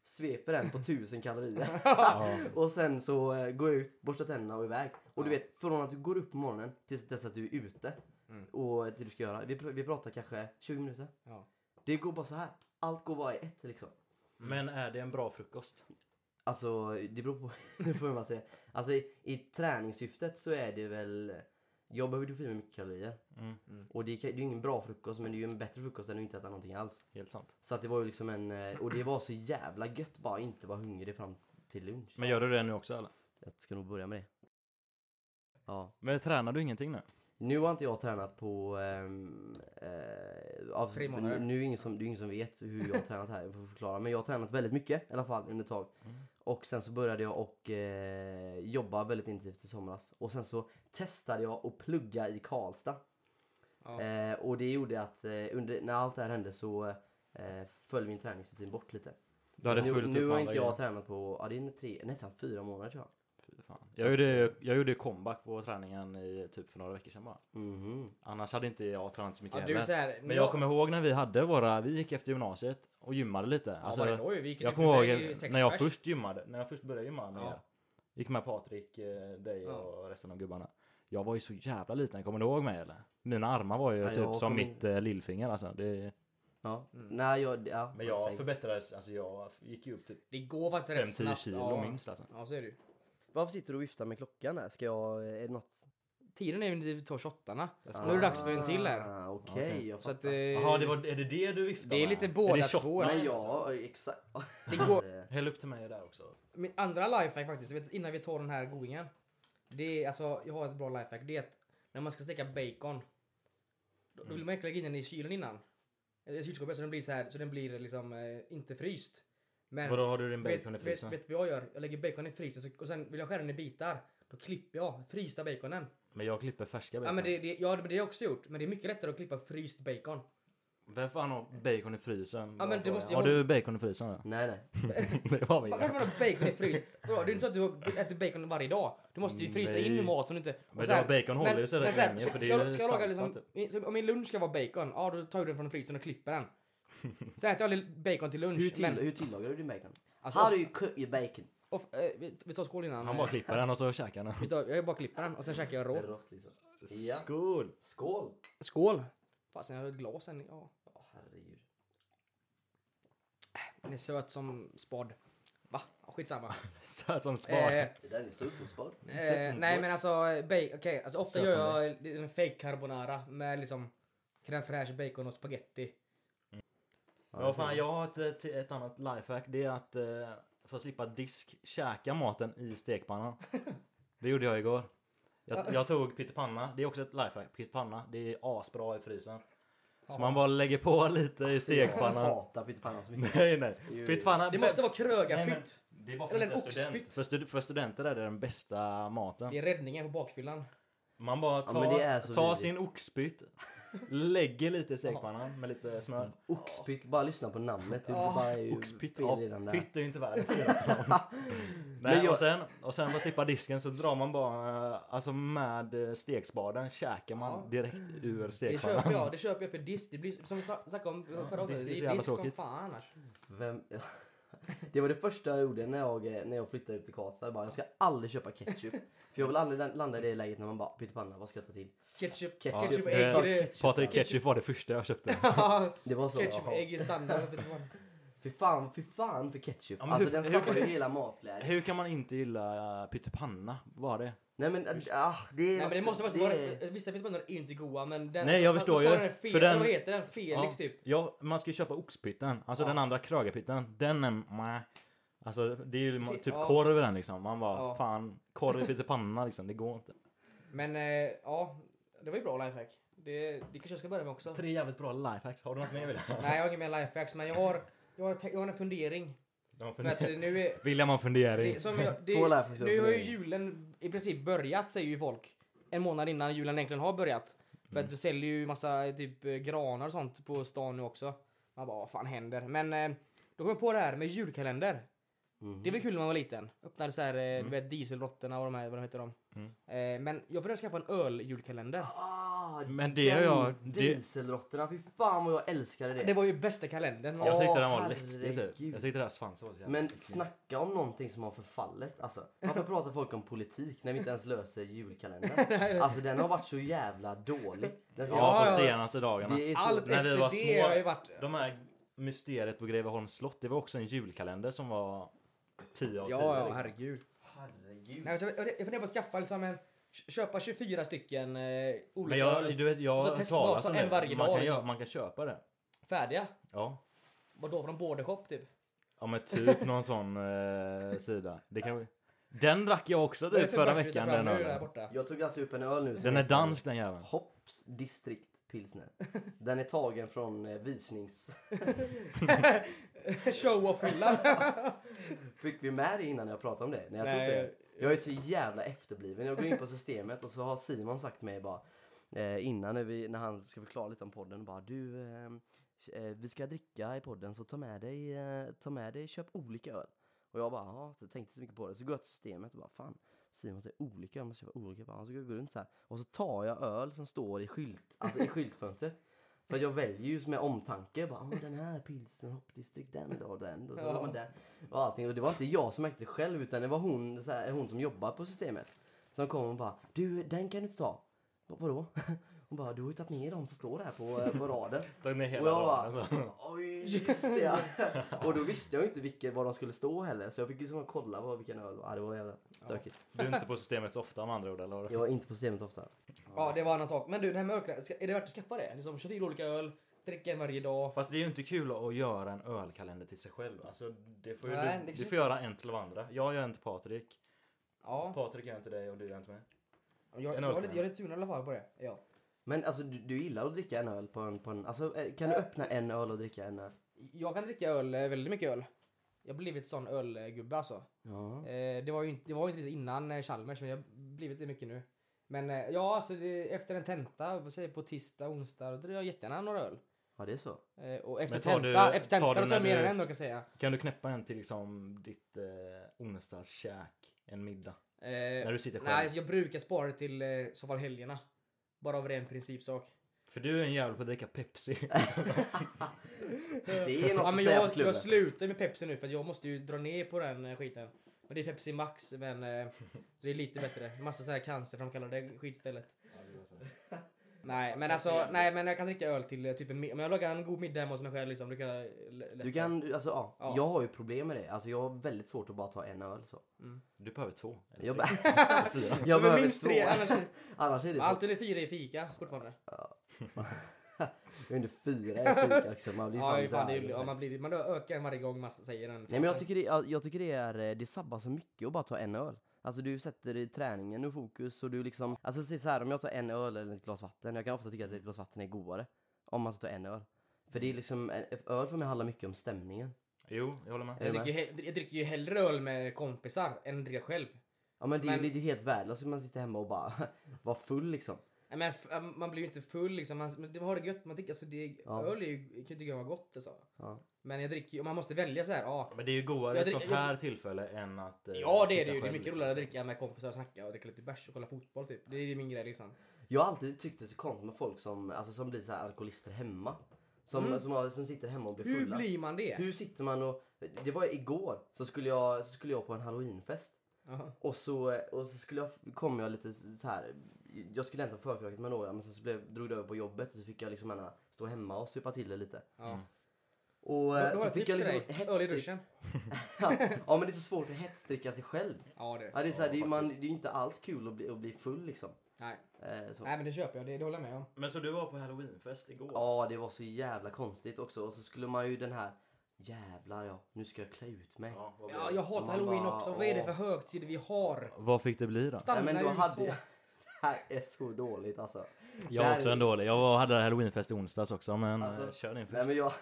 [SPEAKER 3] Sveper den på tusen kalorier. och sen så eh, går jag ut, borstar tänderna och iväg. Och du vet, från att du går upp på morgonen tills dess att du är ute och det du ska göra. Vi, pr- vi pratar kanske 20 minuter.
[SPEAKER 1] Ja.
[SPEAKER 3] Det går bara så här. Allt går bara i ett liksom.
[SPEAKER 2] Men är det en bra frukost?
[SPEAKER 3] Alltså det beror på [LAUGHS] det får man säga. Alltså i, i träningssyftet så är det väl jag behöver ju få i mig mycket kalorier.
[SPEAKER 2] Mm.
[SPEAKER 3] Och det, kan- det är ju ingen bra frukost men det är ju en bättre frukost än att inte äta någonting alls.
[SPEAKER 2] Helt sant.
[SPEAKER 3] Så att det var ju liksom en eh, och det var så jävla gött bara att inte vara hungrig fram till lunch.
[SPEAKER 2] Men gör du det nu också eller?
[SPEAKER 3] Jag ska nog börja med det. Ja.
[SPEAKER 2] Men tränar du ingenting nu?
[SPEAKER 3] Nu har inte jag tränat på... ehm, eh, av,
[SPEAKER 1] Tre
[SPEAKER 3] för
[SPEAKER 1] månader.
[SPEAKER 3] Nu, nu är det ingen som, det är ingen som vet hur jag har tränat här, jag får förklara. Men jag har tränat väldigt mycket i alla fall under ett tag.
[SPEAKER 1] Mm.
[SPEAKER 3] Och sen så började jag och eh, jobba väldigt intensivt i somras. Och sen så testade jag att plugga i Karlstad.
[SPEAKER 1] Ja.
[SPEAKER 3] Eh, och det gjorde att eh, under, när allt det här hände så eh, föll min träningsrutin bort lite.
[SPEAKER 2] Du hade
[SPEAKER 3] så nu,
[SPEAKER 2] fullt upp
[SPEAKER 3] nu
[SPEAKER 2] med
[SPEAKER 3] har
[SPEAKER 2] andra
[SPEAKER 3] inte jag
[SPEAKER 2] grejer.
[SPEAKER 3] tränat på, ja det är tre, nästan fyra månader tror jag.
[SPEAKER 2] Fy fan. Jag gjorde, jag gjorde comeback på träningen i typ för några veckor sedan bara.
[SPEAKER 3] Mhm.
[SPEAKER 2] Annars hade inte jag tränat så mycket
[SPEAKER 1] Ja, du är
[SPEAKER 2] heller.
[SPEAKER 1] så här,
[SPEAKER 2] Men jag kommer ihåg när vi hade våra, vi gick efter gymnasiet och gymmade lite. Alltså,
[SPEAKER 1] Ja, var det då ju? Vi gick ju
[SPEAKER 2] jag
[SPEAKER 1] typ
[SPEAKER 2] kommer
[SPEAKER 1] iväg i
[SPEAKER 2] ihåg
[SPEAKER 1] sex
[SPEAKER 2] när jag
[SPEAKER 1] pers.
[SPEAKER 2] först gymmade, när jag först började gymma med
[SPEAKER 1] Ja.
[SPEAKER 2] er. Gick med Patrik, eh, dig
[SPEAKER 1] Ja.
[SPEAKER 2] och resten av gubbarna. Jag var ju så jävla liten, kommer du ihåg mig eller? Mina armar var ju
[SPEAKER 3] Ja, jag
[SPEAKER 2] typ som
[SPEAKER 3] kommer-
[SPEAKER 2] mitt eh, lillfinger alltså. Det...
[SPEAKER 3] Ja.
[SPEAKER 1] Mm.
[SPEAKER 3] Nej, jag... Ja,
[SPEAKER 2] Men jag
[SPEAKER 3] säkert.
[SPEAKER 2] förbättrades, alltså jag gick ju upp typ
[SPEAKER 1] Det går faktiskt rätt
[SPEAKER 2] 5-10
[SPEAKER 1] snabbt.
[SPEAKER 2] kilo
[SPEAKER 1] ja.
[SPEAKER 2] minst alltså.
[SPEAKER 1] Ja, så är det ju.
[SPEAKER 3] Varför sitter du och viftar med klockan där? Ska jag... Är det något?
[SPEAKER 1] Tiden är ju när vi tar shottarna. Nu är det dags för en till här.
[SPEAKER 3] Ah, Okej,
[SPEAKER 2] Okej.
[SPEAKER 3] jag
[SPEAKER 1] Så
[SPEAKER 3] fattar.
[SPEAKER 1] att... eh,
[SPEAKER 2] Jaha, det var, är det det du viftade
[SPEAKER 1] Det är
[SPEAKER 2] med?
[SPEAKER 1] lite båda
[SPEAKER 2] det
[SPEAKER 1] två.
[SPEAKER 2] shotgun?
[SPEAKER 3] Nej, ja, exakt.
[SPEAKER 1] [LAUGHS] det går,
[SPEAKER 3] [LAUGHS]
[SPEAKER 2] Häll upp till mig där också.
[SPEAKER 1] Min andra lifehack faktiskt, vet, innan vi tar den här godingen. Det är alltså, jag har ett bra lifehack. Det är att när man ska steka bacon. Då, då vill man egentligen lägga in den i kylen innan. Eller I kylskåpet så den blir så här, så den blir liksom eh, inte fryst. Men
[SPEAKER 2] Vadå, har du din bacon i
[SPEAKER 1] vet, vet,
[SPEAKER 2] frysen?
[SPEAKER 1] vet vad jag gör? Jag lägger bacon i frysen så, och sen vill jag skära den i bitar. Då klipper jag frysta baconen.
[SPEAKER 2] Men jag klipper färska bacon.
[SPEAKER 1] Ja men det, det, ja, men det har jag också gjort. Men det är mycket lättare att klippa fryst bacon.
[SPEAKER 2] Vem fan har bacon i frysen?
[SPEAKER 1] Ja, men det måste jag-
[SPEAKER 2] Har du bacon i frysen? då?
[SPEAKER 3] Nej,
[SPEAKER 1] [LAUGHS]
[SPEAKER 3] nej.
[SPEAKER 2] [LAUGHS] det var vi.
[SPEAKER 1] Varför har du bacon i frys? Vadå, Det är inte så att du äter bacon varje dag. Du måste ju frysa
[SPEAKER 2] Mm, Nej.
[SPEAKER 1] in mat som du inte... och
[SPEAKER 2] Men
[SPEAKER 1] så här-
[SPEAKER 2] då, bacon håller ju sig
[SPEAKER 1] men
[SPEAKER 2] rätt
[SPEAKER 1] så här,
[SPEAKER 2] länge,
[SPEAKER 1] så-
[SPEAKER 2] för det är
[SPEAKER 1] ska,
[SPEAKER 2] ju
[SPEAKER 1] ska jag laga
[SPEAKER 2] saltat,
[SPEAKER 1] liksom, Om min lunch ska vara bacon, ja då tar du den från frysen och klipper den. Så äter jag li- bacon till lunch.
[SPEAKER 3] Hur, till,
[SPEAKER 1] men,
[SPEAKER 3] hur tillagar du din bacon?
[SPEAKER 1] Alltså-
[SPEAKER 3] How do you cook your bacon?
[SPEAKER 1] och, eh, vi, vi tar skål innan.
[SPEAKER 2] Han bara klipper den och så käkar han.
[SPEAKER 1] vi tar, jag bara klipper den och sen käkar jag rå.
[SPEAKER 3] Rått liksom. Ja.
[SPEAKER 2] Skål!
[SPEAKER 3] Skål!
[SPEAKER 1] Skål! Fasen jag har ett glas än. Ja.
[SPEAKER 3] Ja, herregud.
[SPEAKER 1] Den är söt som spad. Va? Ja, Skitsamma.
[SPEAKER 2] Söt som spad.
[SPEAKER 1] Eh,
[SPEAKER 3] Det där är
[SPEAKER 1] [LAUGHS]
[SPEAKER 3] så otroligt
[SPEAKER 1] Eh, nej men alltså, bacon, okej, alltså ofta
[SPEAKER 2] Söt som
[SPEAKER 1] gör jag lite en fake carbonara med liksom crème fraîche, bacon och spaghetti.
[SPEAKER 2] Men vad fan, jag har ett, eh, till- ett annat lifehack. Det är att eh, för att slippa disk käka maten i
[SPEAKER 3] [LAUGHS]
[SPEAKER 2] stekpannan. Det gjorde jag igår. Jag, jag tog pyttipanna. Det är också ett lifehack. Pyttipanna. Det är asbra i frysen. Så man bara lägger på [LAUGHS] lite i
[SPEAKER 3] Jag
[SPEAKER 2] stekpannan.
[SPEAKER 3] hatar pyttipanna så
[SPEAKER 2] [LAUGHS]
[SPEAKER 3] mycket.
[SPEAKER 2] Nej nej.
[SPEAKER 3] Jo.
[SPEAKER 2] Pyttipanna.
[SPEAKER 1] Det måste vara
[SPEAKER 2] Nej, men
[SPEAKER 1] krögarpytt.
[SPEAKER 2] Det är bara
[SPEAKER 1] Eller en
[SPEAKER 2] inte student.
[SPEAKER 1] oxpytt.
[SPEAKER 2] För, stud- för studenter är det den bästa maten.
[SPEAKER 1] Det är räddningen på bakfyllan.
[SPEAKER 2] Man bara tar,
[SPEAKER 3] men det är så
[SPEAKER 2] tar
[SPEAKER 3] vidrigt.
[SPEAKER 2] sin oxpytt, lägger lite i stekpannan med lite smör.
[SPEAKER 3] Oxpytt, bara lyssna på namnet. Det är
[SPEAKER 1] Ja.
[SPEAKER 3] bara ju
[SPEAKER 2] Oxpytt,
[SPEAKER 3] fel
[SPEAKER 2] ja,
[SPEAKER 3] redan där.
[SPEAKER 2] pytt är ju inte världens Nej,
[SPEAKER 3] Men jag-
[SPEAKER 2] och, sen, och sen för att slippa disken så drar man bara, eh, alltså med eh, stekspaden käkar man
[SPEAKER 1] Ja.
[SPEAKER 2] direkt ur
[SPEAKER 1] Det köper
[SPEAKER 2] stekpannan.
[SPEAKER 1] jag, det köper jag för disk. Det blir som vi sa- snackade om förra avsnittet,
[SPEAKER 2] disk är så
[SPEAKER 1] det är
[SPEAKER 2] jävla
[SPEAKER 1] disk som
[SPEAKER 2] tråkigt.
[SPEAKER 1] fan annars.
[SPEAKER 3] Vem... [LAUGHS] Det var det första jag gjorde när jag, eh, när jag flyttade ut till Karlstad. Jag bara, jag ska aldrig köpa ketchup. För jag vill aldrig la- landa i det läget när man bara, pyttipanna, vad ska jag ta till?
[SPEAKER 1] Ketchup,
[SPEAKER 3] Ketchup,
[SPEAKER 1] ketchup, och
[SPEAKER 2] det-
[SPEAKER 1] ägg. det
[SPEAKER 2] [LAUGHS]
[SPEAKER 1] är-
[SPEAKER 2] Patrik Ketchup var det första jag köpte.
[SPEAKER 3] Det var så.
[SPEAKER 1] ketchup,
[SPEAKER 3] jaha.
[SPEAKER 1] ägg är standard. vet du vad.
[SPEAKER 3] Fy fan, fy fan för ketchup.
[SPEAKER 2] Ja, men
[SPEAKER 3] alltså
[SPEAKER 2] hur-
[SPEAKER 3] den
[SPEAKER 2] hur-
[SPEAKER 3] sabbar ju hela matglädjen.
[SPEAKER 2] Hur kan man inte gilla eh, pyttipanna? Vad var det?
[SPEAKER 3] Nej men, ah, det är...
[SPEAKER 1] Nej men det måste faktiskt
[SPEAKER 3] är-
[SPEAKER 1] vara, vissa pyttipanor är inte goda men den,
[SPEAKER 2] Nej, jag
[SPEAKER 1] vad-
[SPEAKER 2] förstår
[SPEAKER 1] vad ska
[SPEAKER 2] ju.
[SPEAKER 1] Den fel,
[SPEAKER 2] För den-
[SPEAKER 1] Vad heter den? Felix typ?
[SPEAKER 2] Ja, man ska ju köpa oxpytten. Alltså
[SPEAKER 1] Ja.
[SPEAKER 2] den andra krögarpytten. Den är... Mäh. Alltså det är ju
[SPEAKER 1] Fy-
[SPEAKER 2] typ
[SPEAKER 1] ja.
[SPEAKER 2] korv i den liksom. Man bara
[SPEAKER 1] Ja.
[SPEAKER 2] fan, korv i pyttipanna liksom. Det går inte.
[SPEAKER 1] Men eh, ja, det var ju bra lifehack. Det, det kanske jag ska börja med också.
[SPEAKER 2] Tre jävligt bra lifehacks. Har du något mer William?
[SPEAKER 1] Nej, jag har ingen mer lifehacks, men jag har, jag har, jag har en fundering.
[SPEAKER 2] [LAUGHS] De har
[SPEAKER 1] För att
[SPEAKER 2] funder-
[SPEAKER 1] eh, nu är...
[SPEAKER 2] William har fundering.
[SPEAKER 1] Det, som jag, det,
[SPEAKER 3] Två lifehacks och
[SPEAKER 1] nu har ju
[SPEAKER 3] fundering.
[SPEAKER 1] julen i princip börjat, säger ju folk. En månad innan julen egentligen har börjat. För
[SPEAKER 3] Mm.
[SPEAKER 1] att du säljer ju massa typ eh, granar och sånt på stan nu också. Man bara, vad fan händer? Men eh, då kom jag på det här med julkalender. Det
[SPEAKER 3] Mm.
[SPEAKER 1] var kul när man var liten. Öppnade så här, eh, du vet, dieselrottorna och de här, vad heter de?
[SPEAKER 3] Mm.
[SPEAKER 1] Eh, men jag började skaffa en öljulkalender.
[SPEAKER 3] Ah,
[SPEAKER 2] Men det har
[SPEAKER 3] den
[SPEAKER 2] jag- det-
[SPEAKER 3] Dieselråttorna, fy fan vad jag älskade det.
[SPEAKER 1] Det var ju bästa kalendern.
[SPEAKER 2] Jag tyckte den
[SPEAKER 3] Åh,
[SPEAKER 2] var läskig typ.
[SPEAKER 3] herregud.
[SPEAKER 2] Jag tyckte deras svansar var så jävla
[SPEAKER 3] Men
[SPEAKER 2] äcklig.
[SPEAKER 3] snacka om någonting som har förfallet. Alltså, varför pratar folk om politik när vi inte ens
[SPEAKER 1] [LAUGHS]
[SPEAKER 3] löser julkalendern? Alltså den har varit så jävla dålig. Den ska-
[SPEAKER 2] Ja,
[SPEAKER 1] Ja,
[SPEAKER 2] på
[SPEAKER 1] ja.
[SPEAKER 2] senaste dagarna.
[SPEAKER 3] Det är så...
[SPEAKER 1] Allt
[SPEAKER 2] När vi
[SPEAKER 1] efter
[SPEAKER 2] var
[SPEAKER 1] det
[SPEAKER 2] små-
[SPEAKER 1] har ju varit...
[SPEAKER 2] De här mysteriet på Greveholms slott. Det var också en julkalender som var 10 av 10.
[SPEAKER 1] Ja, ja,
[SPEAKER 2] liksom.
[SPEAKER 1] herregud.
[SPEAKER 3] Herregud.
[SPEAKER 1] Nej, alltså, jag, jag jag funderar på att skaffa liksom en, köpa 24 stycken eh, olika
[SPEAKER 2] Men jag, du vet, jag
[SPEAKER 1] Och så
[SPEAKER 2] har hört
[SPEAKER 1] testbara,
[SPEAKER 2] talas
[SPEAKER 1] så
[SPEAKER 2] om
[SPEAKER 1] en
[SPEAKER 2] det.
[SPEAKER 1] varje
[SPEAKER 2] man
[SPEAKER 1] dag,
[SPEAKER 2] kan,
[SPEAKER 1] liksom.
[SPEAKER 2] gö- man kan köpa det.
[SPEAKER 1] färdiga.
[SPEAKER 2] Ja.
[SPEAKER 1] Vadå, från Bordershop typ?
[SPEAKER 2] Ja men typ någon sån eh, sida. Det kan vi... Den drack jag också
[SPEAKER 1] Vad är
[SPEAKER 2] typ
[SPEAKER 1] det för
[SPEAKER 2] förra
[SPEAKER 1] bärs vi tar
[SPEAKER 2] veckan
[SPEAKER 1] fram
[SPEAKER 2] den
[SPEAKER 1] nu där
[SPEAKER 2] ölen.
[SPEAKER 1] borta?
[SPEAKER 3] Jag tog alltså upp en öl nu. som
[SPEAKER 2] Den är
[SPEAKER 3] heter
[SPEAKER 2] dansk den jäveln.
[SPEAKER 3] Hopps distrikt pilsner. Den är tagen från eh, visnings...
[SPEAKER 1] [LAUGHS] Show off hyllan.
[SPEAKER 3] Fick vi med det innan jag pratade om det? Nej, jag
[SPEAKER 1] Nej,
[SPEAKER 3] tror inte det. Jag är så jävla efterbliven. Jag går in på systemet och så har Simon sagt till mig bara eh, innan när, vi, när han ska förklara lite om podden bara du eh, eh, vi ska dricka i podden så ta med dig, eh, ta med dig, köp olika öl. Och jag bara ja, så tänkte inte så mycket på det. Så går jag till systemet och bara fan Simon säger olika, jag måste köpa olika. Jag Bara, så går jag runt så här och så tar jag öl som står i skylt, alltså i skyltfönstret. För jag väljer ju med omtanke. Bara, "Ah, den här pilsen, hoppdistrikt, den då, den då. Så
[SPEAKER 1] Ja.
[SPEAKER 3] ja. den och allting. Och det var inte jag som märkte det själv utan det var hon, så här, hon som jobbar på systemet. Som kom och bara du den kan du inte ta. Bara, Vadå? [LAUGHS] Hon bara du har ju tagit ner dem som står där på, eh, på raden.
[SPEAKER 2] Tagit ner
[SPEAKER 3] och
[SPEAKER 2] hela alltså.
[SPEAKER 3] jag
[SPEAKER 2] raden
[SPEAKER 3] bara,
[SPEAKER 2] så.
[SPEAKER 3] [LAUGHS] oj just det ja. [LAUGHS] Och då visste jag ju inte vilken, var de skulle stå heller så jag fick liksom kolla vad, vilken öl det var. Ja, det var jävla stökigt.
[SPEAKER 2] Du är inte på systemet så ofta med andra ord eller?
[SPEAKER 3] Jag var inte på systemet så ofta.
[SPEAKER 1] Ja, det var en annan sak. Men du, det här med ölkalendern, ska- är det värt att skaffa det? Liksom 24 olika öl, dricka en varje dag.
[SPEAKER 2] Fast det är ju inte kul att göra en ölkalender till sig själv. Alltså, det får ju
[SPEAKER 1] Nej,
[SPEAKER 2] du,
[SPEAKER 1] det-
[SPEAKER 2] du får göra en till varandra. Jag gör en till Patrik.
[SPEAKER 1] Ja,
[SPEAKER 2] Patrik gör en till dig och du gör en till mig.
[SPEAKER 1] jag, jag,
[SPEAKER 2] en
[SPEAKER 1] är
[SPEAKER 2] ölkalender.
[SPEAKER 1] lite, jag är lite sugen i alla fall på det. Ja.
[SPEAKER 3] Men alltså du, du gillar att dricka en öl på en, på en alltså eh, kan du öppna en öl och dricka en öl?
[SPEAKER 1] Jag kan dricka öl, eh, väldigt mycket öl. Jag har blivit sån ölgubbe alltså.
[SPEAKER 3] Ja.
[SPEAKER 1] Eh, det var ju inte, det var ju inte riktigt innan eh, Chalmers, men jag har blivit det mycket nu. Men eh, ja, alltså det, efter en tenta, vad säger jag, på tisdag, onsdag, då dricker jag jättegärna några öl.
[SPEAKER 3] Ja det är så.
[SPEAKER 1] Eh, och efter
[SPEAKER 2] Men tar
[SPEAKER 1] tenta,
[SPEAKER 2] du-
[SPEAKER 1] efter tenta,
[SPEAKER 2] tar du
[SPEAKER 1] då tar jag
[SPEAKER 2] när
[SPEAKER 1] mer
[SPEAKER 2] du-
[SPEAKER 1] än en då kan jag säga.
[SPEAKER 2] Kan du knäppa en till liksom ditt eh, onsdagskäk? En middag?
[SPEAKER 1] Eh,
[SPEAKER 2] När du sitter själv?
[SPEAKER 1] nej, jag brukar spara det till eh, i så fall helgerna. Bara av ren principsak.
[SPEAKER 2] För du är en jävel på att dricka
[SPEAKER 1] [LAUGHS]
[SPEAKER 2] Pepsi.
[SPEAKER 3] Det är något
[SPEAKER 1] Ja,
[SPEAKER 3] att
[SPEAKER 1] men
[SPEAKER 3] säga på
[SPEAKER 1] jag,
[SPEAKER 3] klubben.
[SPEAKER 1] jag slutar med Pepsi nu för att jag måste ju dra ner på den eh, skiten. Men det är Pepsi Max, men eh, det är lite bättre. Massa så här cancerframkallande skit istället. nej, men alltså, nej, men jag kan dricka öl till eh, typ en mid- Om jag lagar en god middag hemma hos mig själv liksom, då kan jag l- lätt-
[SPEAKER 3] Du kan, alltså ja,
[SPEAKER 1] Ja.
[SPEAKER 3] Jag har ju problem med det. Alltså jag har väldigt svårt att bara ta en öl så.
[SPEAKER 2] Du behöver två. eller
[SPEAKER 3] Jag,
[SPEAKER 2] tre.
[SPEAKER 3] be-
[SPEAKER 1] [LAUGHS]
[SPEAKER 2] Fyra.
[SPEAKER 1] Ja, men
[SPEAKER 3] jag behöver
[SPEAKER 1] minst
[SPEAKER 3] två.
[SPEAKER 1] tre, annars,
[SPEAKER 3] Annars är [LAUGHS] det så.
[SPEAKER 1] alltid är fyra i fika fortfarande.
[SPEAKER 3] Jag är under fyra i
[SPEAKER 1] [LAUGHS]
[SPEAKER 3] fika också. Man blir
[SPEAKER 1] Ja,
[SPEAKER 3] fan,
[SPEAKER 1] fan, det är,
[SPEAKER 3] död. liksom.
[SPEAKER 1] ja, man, blir, man ökar varje gång man säger den.
[SPEAKER 3] Nej men jag tycker, det, jag, jag tycker det är, eh, det sabbar så mycket att bara ta en öl. Alltså du sätter i träningen ur fokus och du liksom, alltså se så här om jag tar en öl eller ett glas vatten, jag kan ofta tycka att ett glas vatten är godare. Om man tar en öl. För
[SPEAKER 1] Mm.
[SPEAKER 3] det är liksom, en- öl för mig handlar mycket om stämningen.
[SPEAKER 2] Jo, jag håller med.
[SPEAKER 3] Är
[SPEAKER 1] jag,
[SPEAKER 3] du
[SPEAKER 1] dricker, ju he- jag dricker ju hellre öl med kompisar än dricker själv.
[SPEAKER 3] Ja men det,
[SPEAKER 1] Men-
[SPEAKER 3] men... det är ju helt värdelöst att man sitter hemma och bara [LAUGHS] vara full liksom.
[SPEAKER 1] Nej, Men f- man blir ju inte full liksom. Man, men det- man har det gött. Man tycker, alltså det,
[SPEAKER 3] Ja.
[SPEAKER 1] Öl är ju, kan ju tycka jag var gott. Alltså.
[SPEAKER 3] Ja.
[SPEAKER 1] Men jag dricker ju, om man måste välja så här. Ja,
[SPEAKER 2] Men det är ju godare i
[SPEAKER 1] Jag
[SPEAKER 2] ett
[SPEAKER 1] drick-
[SPEAKER 2] sånt här tillfälle än att eh,
[SPEAKER 1] ja det är det ju.
[SPEAKER 2] sitta
[SPEAKER 1] Det är
[SPEAKER 2] själv,
[SPEAKER 1] mycket
[SPEAKER 2] liksom.
[SPEAKER 1] roligare att dricka med kompisar och snacka och dricka lite bärs och kolla fotboll typ. Det är ju min grej liksom.
[SPEAKER 3] Jag har alltid tyckt det är så konstigt med folk som, alltså, som blir så här alkoholister hemma. Som, som, har, som sitter hemma och blir
[SPEAKER 1] Mm. Hur
[SPEAKER 3] fulla.
[SPEAKER 1] blir man det?
[SPEAKER 3] Hur sitter man och... Det var igår så skulle jag, så skulle jag på en halloweenfest.
[SPEAKER 1] Jaha.
[SPEAKER 3] Och så, och så skulle jag, kom jag lite så här. Jag skulle hämta förkröket med några men sen så blev, drog det över på jobbet och så fick jag liksom gärna stå hemma och supa till det lite.
[SPEAKER 1] Ja.
[SPEAKER 3] Och
[SPEAKER 1] Då, då
[SPEAKER 3] eh,
[SPEAKER 1] har
[SPEAKER 3] så
[SPEAKER 1] jag
[SPEAKER 3] fick
[SPEAKER 1] tips
[SPEAKER 3] jag
[SPEAKER 1] till
[SPEAKER 3] liksom
[SPEAKER 1] dig. Öl i
[SPEAKER 3] hetsdrick-
[SPEAKER 1] duschen.
[SPEAKER 3] [LAUGHS] ja men det är så svårt att hetsdricka sig själv.
[SPEAKER 1] Ja det.
[SPEAKER 3] Ja, det, är så här,
[SPEAKER 2] Ja,
[SPEAKER 3] det, är, man, det
[SPEAKER 2] faktiskt.
[SPEAKER 3] är ju inte alls kul att bli, att bli full liksom.
[SPEAKER 1] Nej.
[SPEAKER 3] Eh, så.
[SPEAKER 1] Nej men det köper jag. Det, det håller jag med om.
[SPEAKER 2] Men så du var på halloweenfest igår?
[SPEAKER 3] Ja, det var så jävla konstigt också. Och så skulle man ju den här... Jävlar ja, nu ska jag klä ut mig.
[SPEAKER 2] Ja, vad blev
[SPEAKER 1] Ja,
[SPEAKER 2] det?
[SPEAKER 1] jag hatar
[SPEAKER 3] Man
[SPEAKER 1] halloween
[SPEAKER 3] bara,
[SPEAKER 1] också. Vad är det
[SPEAKER 3] åh.
[SPEAKER 1] för högtid vi har?
[SPEAKER 2] Vad fick det bli då?
[SPEAKER 1] Stanna
[SPEAKER 3] Nej, men då
[SPEAKER 1] ju
[SPEAKER 3] hade
[SPEAKER 1] så.
[SPEAKER 3] jag... [LAUGHS] Det här är så dåligt alltså.
[SPEAKER 2] Jag
[SPEAKER 3] Där-
[SPEAKER 2] var också en dålig. Jag var, hade halloweenfest i onsdags också men
[SPEAKER 3] Alltså,
[SPEAKER 2] eh, kör din
[SPEAKER 3] Nej
[SPEAKER 2] först.
[SPEAKER 3] men jag...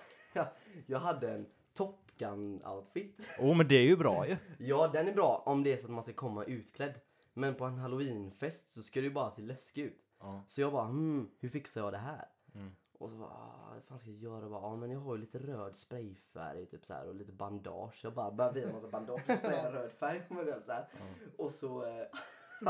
[SPEAKER 3] [LAUGHS] Jag hade en Top Gun-outfit.
[SPEAKER 2] Åh men det är ju bra ju.
[SPEAKER 3] Ja, den är bra om det är så att man ska komma utklädd. Men på en halloweenfest så ska det ju bara se läskig ut.
[SPEAKER 2] Ja.
[SPEAKER 3] Så jag bara, hmm, hur fixar jag det här?
[SPEAKER 2] Mm.
[SPEAKER 3] Och så bara, ah, vad fan ska jag göra? Jag bara, ah, men jag har ju lite röd sprayfärg typ så här, och lite bandage. Jag bara började vira en massa bandage
[SPEAKER 2] [LAUGHS]
[SPEAKER 3] och sprayade röd färg på mig själv så här. Och så... eh, [LAUGHS]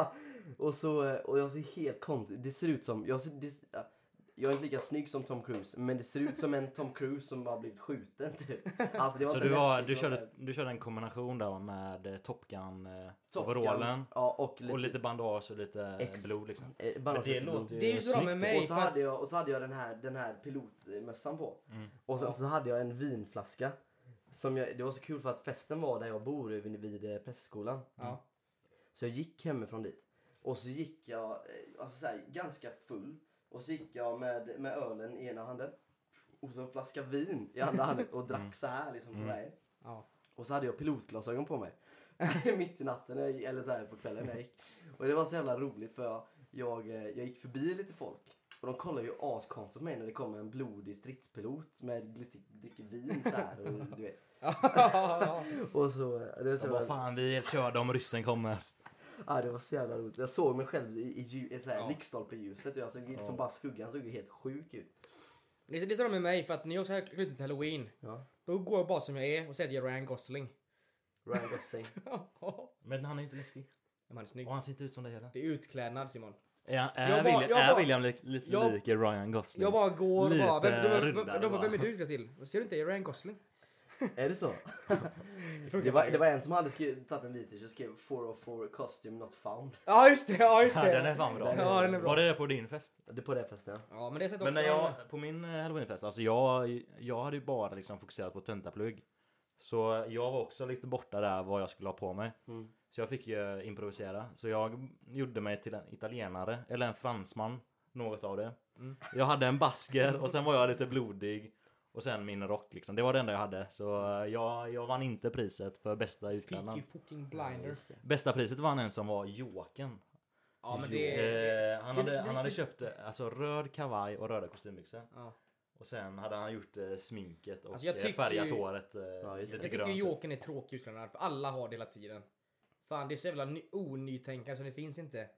[SPEAKER 3] och så... eh, Och jag ser helt konstigt... Det ser ut som... Jag, ser, det, ja, jag är inte lika snygg som Tom Cruise men det ser ut som en Tom Cruise som har blivit skjuten typ. Alltså, det var
[SPEAKER 2] Så
[SPEAKER 3] inte
[SPEAKER 2] du, var,
[SPEAKER 3] läskigt,
[SPEAKER 2] du,
[SPEAKER 3] det
[SPEAKER 2] körde,
[SPEAKER 3] var bara-
[SPEAKER 2] du körde en kombination där med eh, Top Gun, eh,
[SPEAKER 3] Top Gun,
[SPEAKER 2] overallen
[SPEAKER 3] Ja, och lite...
[SPEAKER 2] och lite bandage och lite eh,
[SPEAKER 3] Ex-
[SPEAKER 2] blod liksom.
[SPEAKER 3] eh,
[SPEAKER 2] Men
[SPEAKER 3] bandage
[SPEAKER 2] det
[SPEAKER 3] och lite blod.
[SPEAKER 2] låter ju
[SPEAKER 1] Det är ju så bra med
[SPEAKER 2] snyggt.
[SPEAKER 1] mig
[SPEAKER 3] och, så
[SPEAKER 1] för att-
[SPEAKER 3] hade jag, och så hade jag den här, den här pilotmössan på.
[SPEAKER 2] Mm.
[SPEAKER 3] Och sen
[SPEAKER 1] Ja.
[SPEAKER 3] så hade jag en vinflaska. Som jag, det var så kul för att festen var där jag bor vid, vid eh, Prästskolan.
[SPEAKER 1] Ja.
[SPEAKER 3] Så jag gick hemifrån dit. Och så gick jag eh, alltså så här, ganska full. Och så gick jag med, med ölen i ena handen. Och så en flaska vin i andra handen och
[SPEAKER 2] Mm.
[SPEAKER 3] drack så här liksom på vägen.
[SPEAKER 1] Ja. [LAUGHS]
[SPEAKER 3] Och så hade jag pilotglasögon på mig. [LAUGHS] Mitt i natten, när jag, gick- eller så här på kvällen när jag gick. Och det var så jävla roligt för jag, jag, eh, jag gick förbi lite folk. Och de kollade ju askonstigt på mig när det kom en blodig stridspilot med lite, dricker vin så här. Och, du vet. och så... eh, Det var så,
[SPEAKER 2] Jag bara
[SPEAKER 3] jävla,
[SPEAKER 2] fan vi är helt körda om ryssen kommer.
[SPEAKER 3] ja, det var så jävla roligt. Jag såg mig själv i, i, lju- i så här,
[SPEAKER 1] Ja.
[SPEAKER 3] lyktstolpe i ljuset och jag såg liksom bara skuggan såg ju helt sjuk ut.
[SPEAKER 1] Det är det är så bra med mig för att när jag ska klä ut mig till halloween
[SPEAKER 3] Ja.
[SPEAKER 1] Då går jag bara som jag är och säger att jag är Ryan Gosling. [LAUGHS]
[SPEAKER 3] Ryan Gosling.
[SPEAKER 2] Men han är ju inte läskig.
[SPEAKER 1] Men han är snygg.
[SPEAKER 2] Och han ser inte ut som det heller.
[SPEAKER 1] Det är utklädnad Simon.
[SPEAKER 2] Är,
[SPEAKER 1] är jag bara- William- jag är bara- William
[SPEAKER 2] lite
[SPEAKER 1] jag-
[SPEAKER 2] lik Ryan Gosling?
[SPEAKER 1] Jag bara går och bara...
[SPEAKER 2] Lite
[SPEAKER 1] Vem, de, de, de,
[SPEAKER 2] rundare
[SPEAKER 1] de, bara,
[SPEAKER 2] bara.
[SPEAKER 1] vem är du utklädd till? Ser du inte, jag är Ryan Gosling.
[SPEAKER 3] Är det så? Det var, det var en som hade skrivit, tagit en vit t-shirt och skrev 404 costume not found.
[SPEAKER 1] Ja just det, ja just
[SPEAKER 2] Ja,
[SPEAKER 1] det.
[SPEAKER 2] den är fan bra.
[SPEAKER 1] Ja, den är bra.
[SPEAKER 2] Var det det på din fest?
[SPEAKER 3] Det är på det festen ja.
[SPEAKER 1] Ja men det sätter också...
[SPEAKER 2] Men när jag, på min eh, halloweenfest, alltså jag, jag hade ju bara liksom fokuserat på töntaplugg. Så jag var också lite borta där vad jag skulle ha på mig.
[SPEAKER 3] Mm.
[SPEAKER 2] Så jag fick ju improvisera. Så jag gjorde mig till en italienare, eller en fransman. Något av det.
[SPEAKER 1] Mm.
[SPEAKER 2] Jag hade en basker och sen var jag lite blodig. Och sen min rock liksom. Det var det enda jag hade. Så eh, jag, jag vann inte priset för bästa
[SPEAKER 1] Peaky
[SPEAKER 2] utklädnad.
[SPEAKER 1] fucking blinders.
[SPEAKER 2] Bästa priset vann en som var Joakim.
[SPEAKER 1] Ja men
[SPEAKER 2] Jo.
[SPEAKER 1] det...
[SPEAKER 2] eh, han, hade, han hade köpt eh, alltså, röd kavaj och röda kostymbyxor.
[SPEAKER 1] Ja.
[SPEAKER 2] Och sen hade han gjort eh, sminket och
[SPEAKER 1] Alltså, jag
[SPEAKER 2] eh,
[SPEAKER 1] tycker
[SPEAKER 2] färgat
[SPEAKER 1] ju-
[SPEAKER 2] håret eh,
[SPEAKER 3] just det.
[SPEAKER 1] Jag
[SPEAKER 2] lite
[SPEAKER 1] tycker
[SPEAKER 2] grönt.
[SPEAKER 1] Jokern är tråkig utklädnad, för alla har det hela tiden. Fan det är så jävla ny- onytänkande så det finns inte.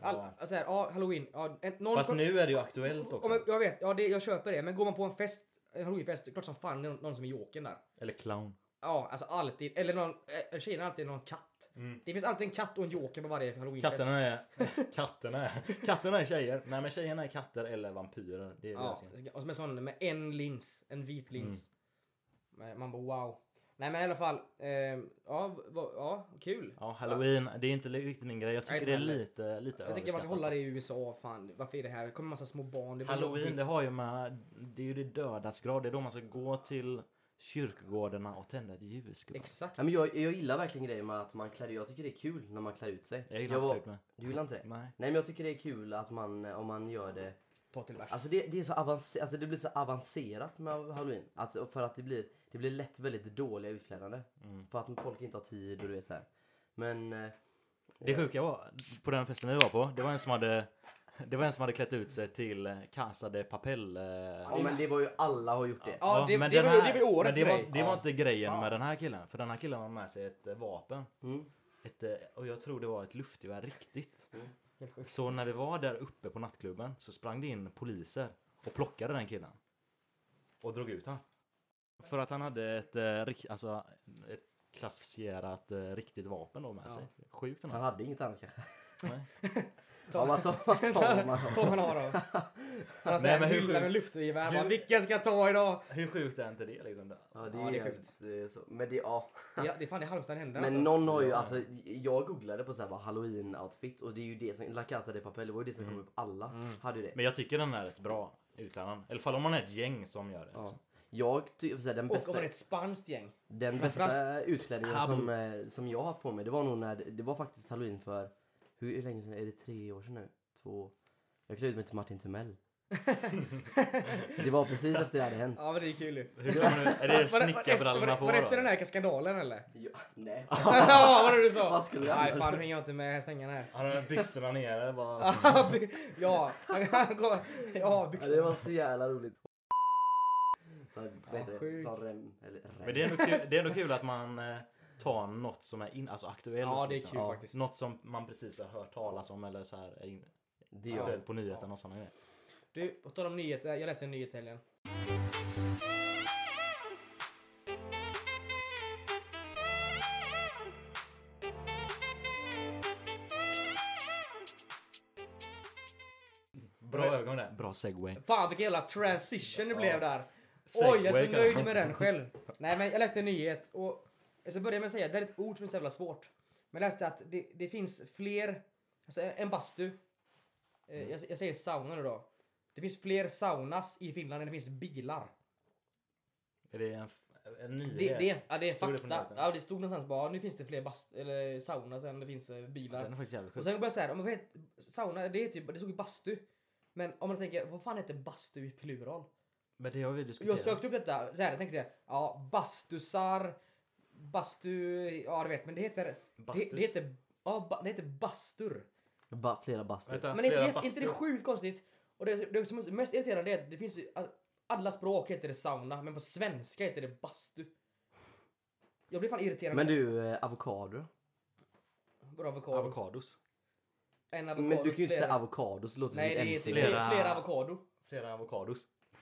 [SPEAKER 1] All,
[SPEAKER 2] Ja.
[SPEAKER 1] alltså här, ja halloween, ja, en, någon
[SPEAKER 2] Fast nu är det ju aktuellt
[SPEAKER 1] Ja,
[SPEAKER 2] också.
[SPEAKER 1] men jag vet, ja, det, jag köper det. Men går man på en fest, en halloweenfest, det är klart som fan det är någon, någon som är jokern där.
[SPEAKER 2] Eller clown.
[SPEAKER 1] Ja, alltså alltid. Eller någon, eh, tjejerna har alltid någon katt.
[SPEAKER 2] Mm.
[SPEAKER 1] Det finns alltid en katt och en joker på varje halloweenfest.
[SPEAKER 2] Katterna är... [LAUGHS] Katterna är... Katterna är tjejer. Nej men tjejerna är katter eller vampyrer. Det är
[SPEAKER 1] Ja,
[SPEAKER 2] deras grej.
[SPEAKER 1] och som en sån med en lins, en vit lins.
[SPEAKER 2] Mm.
[SPEAKER 1] Men Man bara wow. Nej men i alla fall, eh, ja, va, ja, kul.
[SPEAKER 2] Ja, halloween. Det är inte li- riktigt min grej. Jag
[SPEAKER 1] Nej,
[SPEAKER 2] tycker
[SPEAKER 1] inte
[SPEAKER 2] det är
[SPEAKER 1] heller.
[SPEAKER 2] lite, lite
[SPEAKER 1] Jag tycker man ska
[SPEAKER 2] överskattat.
[SPEAKER 1] hålla det i USA, fan varför är det här? Det kommer massa små barn. Det blir
[SPEAKER 2] Halloween,
[SPEAKER 1] jobbigt.
[SPEAKER 2] det har ju med... Det är ju det dödas grad. Det är då man ska gå till kyrkogårdarna och tända ett ljus. gubbar.
[SPEAKER 1] Exakt.
[SPEAKER 3] ja men jag, jag gillar verkligen grejen med att man klär Jag tycker det är kul när man klär ut sig.
[SPEAKER 2] Jag gillar inte
[SPEAKER 3] var-
[SPEAKER 2] typ med.
[SPEAKER 3] Du gillar inte det?
[SPEAKER 2] Nej.
[SPEAKER 3] Nej men jag tycker det är kul att man, eh, om man gör det
[SPEAKER 1] Ta till värsta.
[SPEAKER 3] Alltså det, det, är så avance- alltså det blir så avancerat med halloween. Alltså för att det blir, det blir lätt väldigt dåliga utklädande. För att folk inte har tid och du vet så här. Men eh,
[SPEAKER 2] Det sjuka var, på den festen vi var på, det var en som hade, det var en som hade klätt ut sig till eh, Casa de Papel. eh,
[SPEAKER 3] ja, men det var ju alla har gjort det.
[SPEAKER 1] Ja, det, det,
[SPEAKER 2] den
[SPEAKER 1] var,
[SPEAKER 2] här-
[SPEAKER 1] det var årets
[SPEAKER 2] men det var,
[SPEAKER 1] grej.
[SPEAKER 2] Det var inte grejen
[SPEAKER 1] Ja.
[SPEAKER 2] med den här killen, för den här killen hade med sig ett eh, vapen.
[SPEAKER 3] Mm.
[SPEAKER 2] Ett, eh, och jag tror det var ett luftgevär riktigt.
[SPEAKER 1] Mm. Helt sjukt.
[SPEAKER 2] Så när vi var där uppe på nattklubben så sprang det in poliser och plockade den killen. Och drog ut han. För att han hade ett, eh, rikt- alltså, ett klassificerat eh, riktigt vapen då med
[SPEAKER 1] Ja.
[SPEAKER 2] sig. Sjukt den
[SPEAKER 3] Han
[SPEAKER 2] här.
[SPEAKER 3] hade inget annat kanske.
[SPEAKER 2] Nej.
[SPEAKER 3] Ja, man tar,
[SPEAKER 1] [LAUGHS]
[SPEAKER 3] man tar vad man har.
[SPEAKER 1] Tom han har
[SPEAKER 3] [LAUGHS]
[SPEAKER 1] då. Han har
[SPEAKER 2] Nej,
[SPEAKER 1] såhär
[SPEAKER 2] men
[SPEAKER 1] en
[SPEAKER 2] hur
[SPEAKER 1] hylla
[SPEAKER 2] sjukt?
[SPEAKER 1] med luftgevär.
[SPEAKER 2] Hur-
[SPEAKER 1] Bara, Vilken ska jag ta idag?
[SPEAKER 2] Hur sjukt är inte det liksom?
[SPEAKER 3] Ja det
[SPEAKER 1] Ja,
[SPEAKER 3] är,
[SPEAKER 1] det är
[SPEAKER 3] jävligt, eh, så. Men det, ja.
[SPEAKER 1] Ja, det är fan i Halmstad det händer
[SPEAKER 3] Men
[SPEAKER 1] alltså.
[SPEAKER 3] någon har ju,
[SPEAKER 2] Ja.
[SPEAKER 3] alltså jag googlade på så här vad halloween outfit och det är ju det som, La Casa de Papel, det var ju det som kom upp. Alla hade ju det.
[SPEAKER 2] Men jag tycker den är ett bra utklädnad. I alla fall om man är ett gäng som gör det.
[SPEAKER 3] Ja.
[SPEAKER 2] Liksom.
[SPEAKER 3] Jag tycker, så här, den
[SPEAKER 1] Och
[SPEAKER 3] bästa...
[SPEAKER 1] om man är ett spanskt gäng.
[SPEAKER 3] Den bästa
[SPEAKER 1] Framförallt-
[SPEAKER 3] utklädningen
[SPEAKER 2] Habu.
[SPEAKER 3] som, eh, som jag har haft på mig, det var nog när, det var faktiskt halloween för, hur, hur länge sedan, är det tre år sedan nu? Två? Jag klädde ut mig till Martin Timell. det var precis efter det
[SPEAKER 1] [LAUGHS]
[SPEAKER 3] hade hänt.
[SPEAKER 1] Ja men det är kul ju.
[SPEAKER 2] Hur kommer du,
[SPEAKER 1] [LAUGHS] Var det- var
[SPEAKER 2] är det
[SPEAKER 1] det efter-
[SPEAKER 2] snickarbrallorna på
[SPEAKER 1] Var det efter
[SPEAKER 2] då?
[SPEAKER 1] den här skandalen
[SPEAKER 3] [LAUGHS]
[SPEAKER 1] eller?
[SPEAKER 3] Ja, nej.
[SPEAKER 1] Ja vad var det du sa?
[SPEAKER 3] Vad skulle jag
[SPEAKER 1] Nej
[SPEAKER 3] göra?
[SPEAKER 1] fan nu hänger jag inte med svängarna här. [LAUGHS]
[SPEAKER 2] Han har byxorna nere bara.
[SPEAKER 1] Ja, by- ja, han- han går... [LAUGHS] Ja,
[SPEAKER 3] Ja, det
[SPEAKER 1] byxorna.
[SPEAKER 3] var så jävla roligt. Så, vad heter det?
[SPEAKER 1] sjukt.
[SPEAKER 3] Så rem, eller rem.
[SPEAKER 2] Men det är, ändå kul, det är ändå kul att man eh, tar något som är in, alltså aktuellt.
[SPEAKER 1] Ja, det är kul faktiskt.
[SPEAKER 2] Något som man precis har hört talas om eller så här är in,
[SPEAKER 3] Det är jag.
[SPEAKER 2] aktuellt på nyheterna och sådana grejer.
[SPEAKER 1] Du, på tal om nyheter. Jag läste en nyhet i helgen.
[SPEAKER 2] Bra övergång där. Bra segway.
[SPEAKER 1] Fan vilken jävla transition det blev där.
[SPEAKER 2] Segway,
[SPEAKER 1] Oj, jag är så
[SPEAKER 2] kallar
[SPEAKER 1] nöjd
[SPEAKER 2] man.
[SPEAKER 1] med den själv. Nej men jag läste en nyhet och jag ska börja med att säga det är ett ord som är så jävla svårt. Men jag läste att det, det finns fler, alltså en bastu. Eh, Jag, jag säger sauna nu då. Det finns fler saunas i Finland än det finns bilar.
[SPEAKER 2] Är det en, en nyhet?
[SPEAKER 1] Det, det, ja, det är
[SPEAKER 2] Stod det på
[SPEAKER 1] fakta. Det,
[SPEAKER 2] nyheten?
[SPEAKER 1] ja, det stod någonstans bara nu finns det fler bastu, eller saunas än det finns eh, bilar.
[SPEAKER 2] Den är faktiskt jävligt
[SPEAKER 1] Och
[SPEAKER 2] sjuk.
[SPEAKER 1] sen började jag säga, men vad heter, sauna, det, heter ju, det stod ju bastu. Men om man tänker, vad fan heter bastu i plural?
[SPEAKER 2] Men det har vi
[SPEAKER 1] Typ Jag
[SPEAKER 3] Typ
[SPEAKER 2] diskuterat.
[SPEAKER 1] sökte upp detta så här, jag tänkte jag, ja, bastusar, bastu, ja du vet, men det heter, det,
[SPEAKER 2] Bastus.
[SPEAKER 1] det heter, ja, ba, det heter bastur.
[SPEAKER 3] Ba, flera bastor.
[SPEAKER 2] Vänta,
[SPEAKER 1] Men är
[SPEAKER 2] flera
[SPEAKER 1] inte, det- inte det
[SPEAKER 2] bastur.
[SPEAKER 1] sjukt konstigt? Och det, det som är mest irriterande är att det finns ju, all- alla språk heter det sauna, men på svenska heter det bastu. Jag blir fan irriterad.
[SPEAKER 3] Men
[SPEAKER 1] på
[SPEAKER 3] du, eh, avokado?
[SPEAKER 1] det. Vadå avokado?
[SPEAKER 2] Avokados.
[SPEAKER 1] En avokado.
[SPEAKER 3] Men du kan ju inte
[SPEAKER 1] flera-
[SPEAKER 3] säga avokado så låter det
[SPEAKER 1] Nej,
[SPEAKER 3] som
[SPEAKER 1] det
[SPEAKER 3] ett
[SPEAKER 1] heter
[SPEAKER 3] MC.
[SPEAKER 2] flera-
[SPEAKER 1] flera avokado.
[SPEAKER 2] Flera avokados.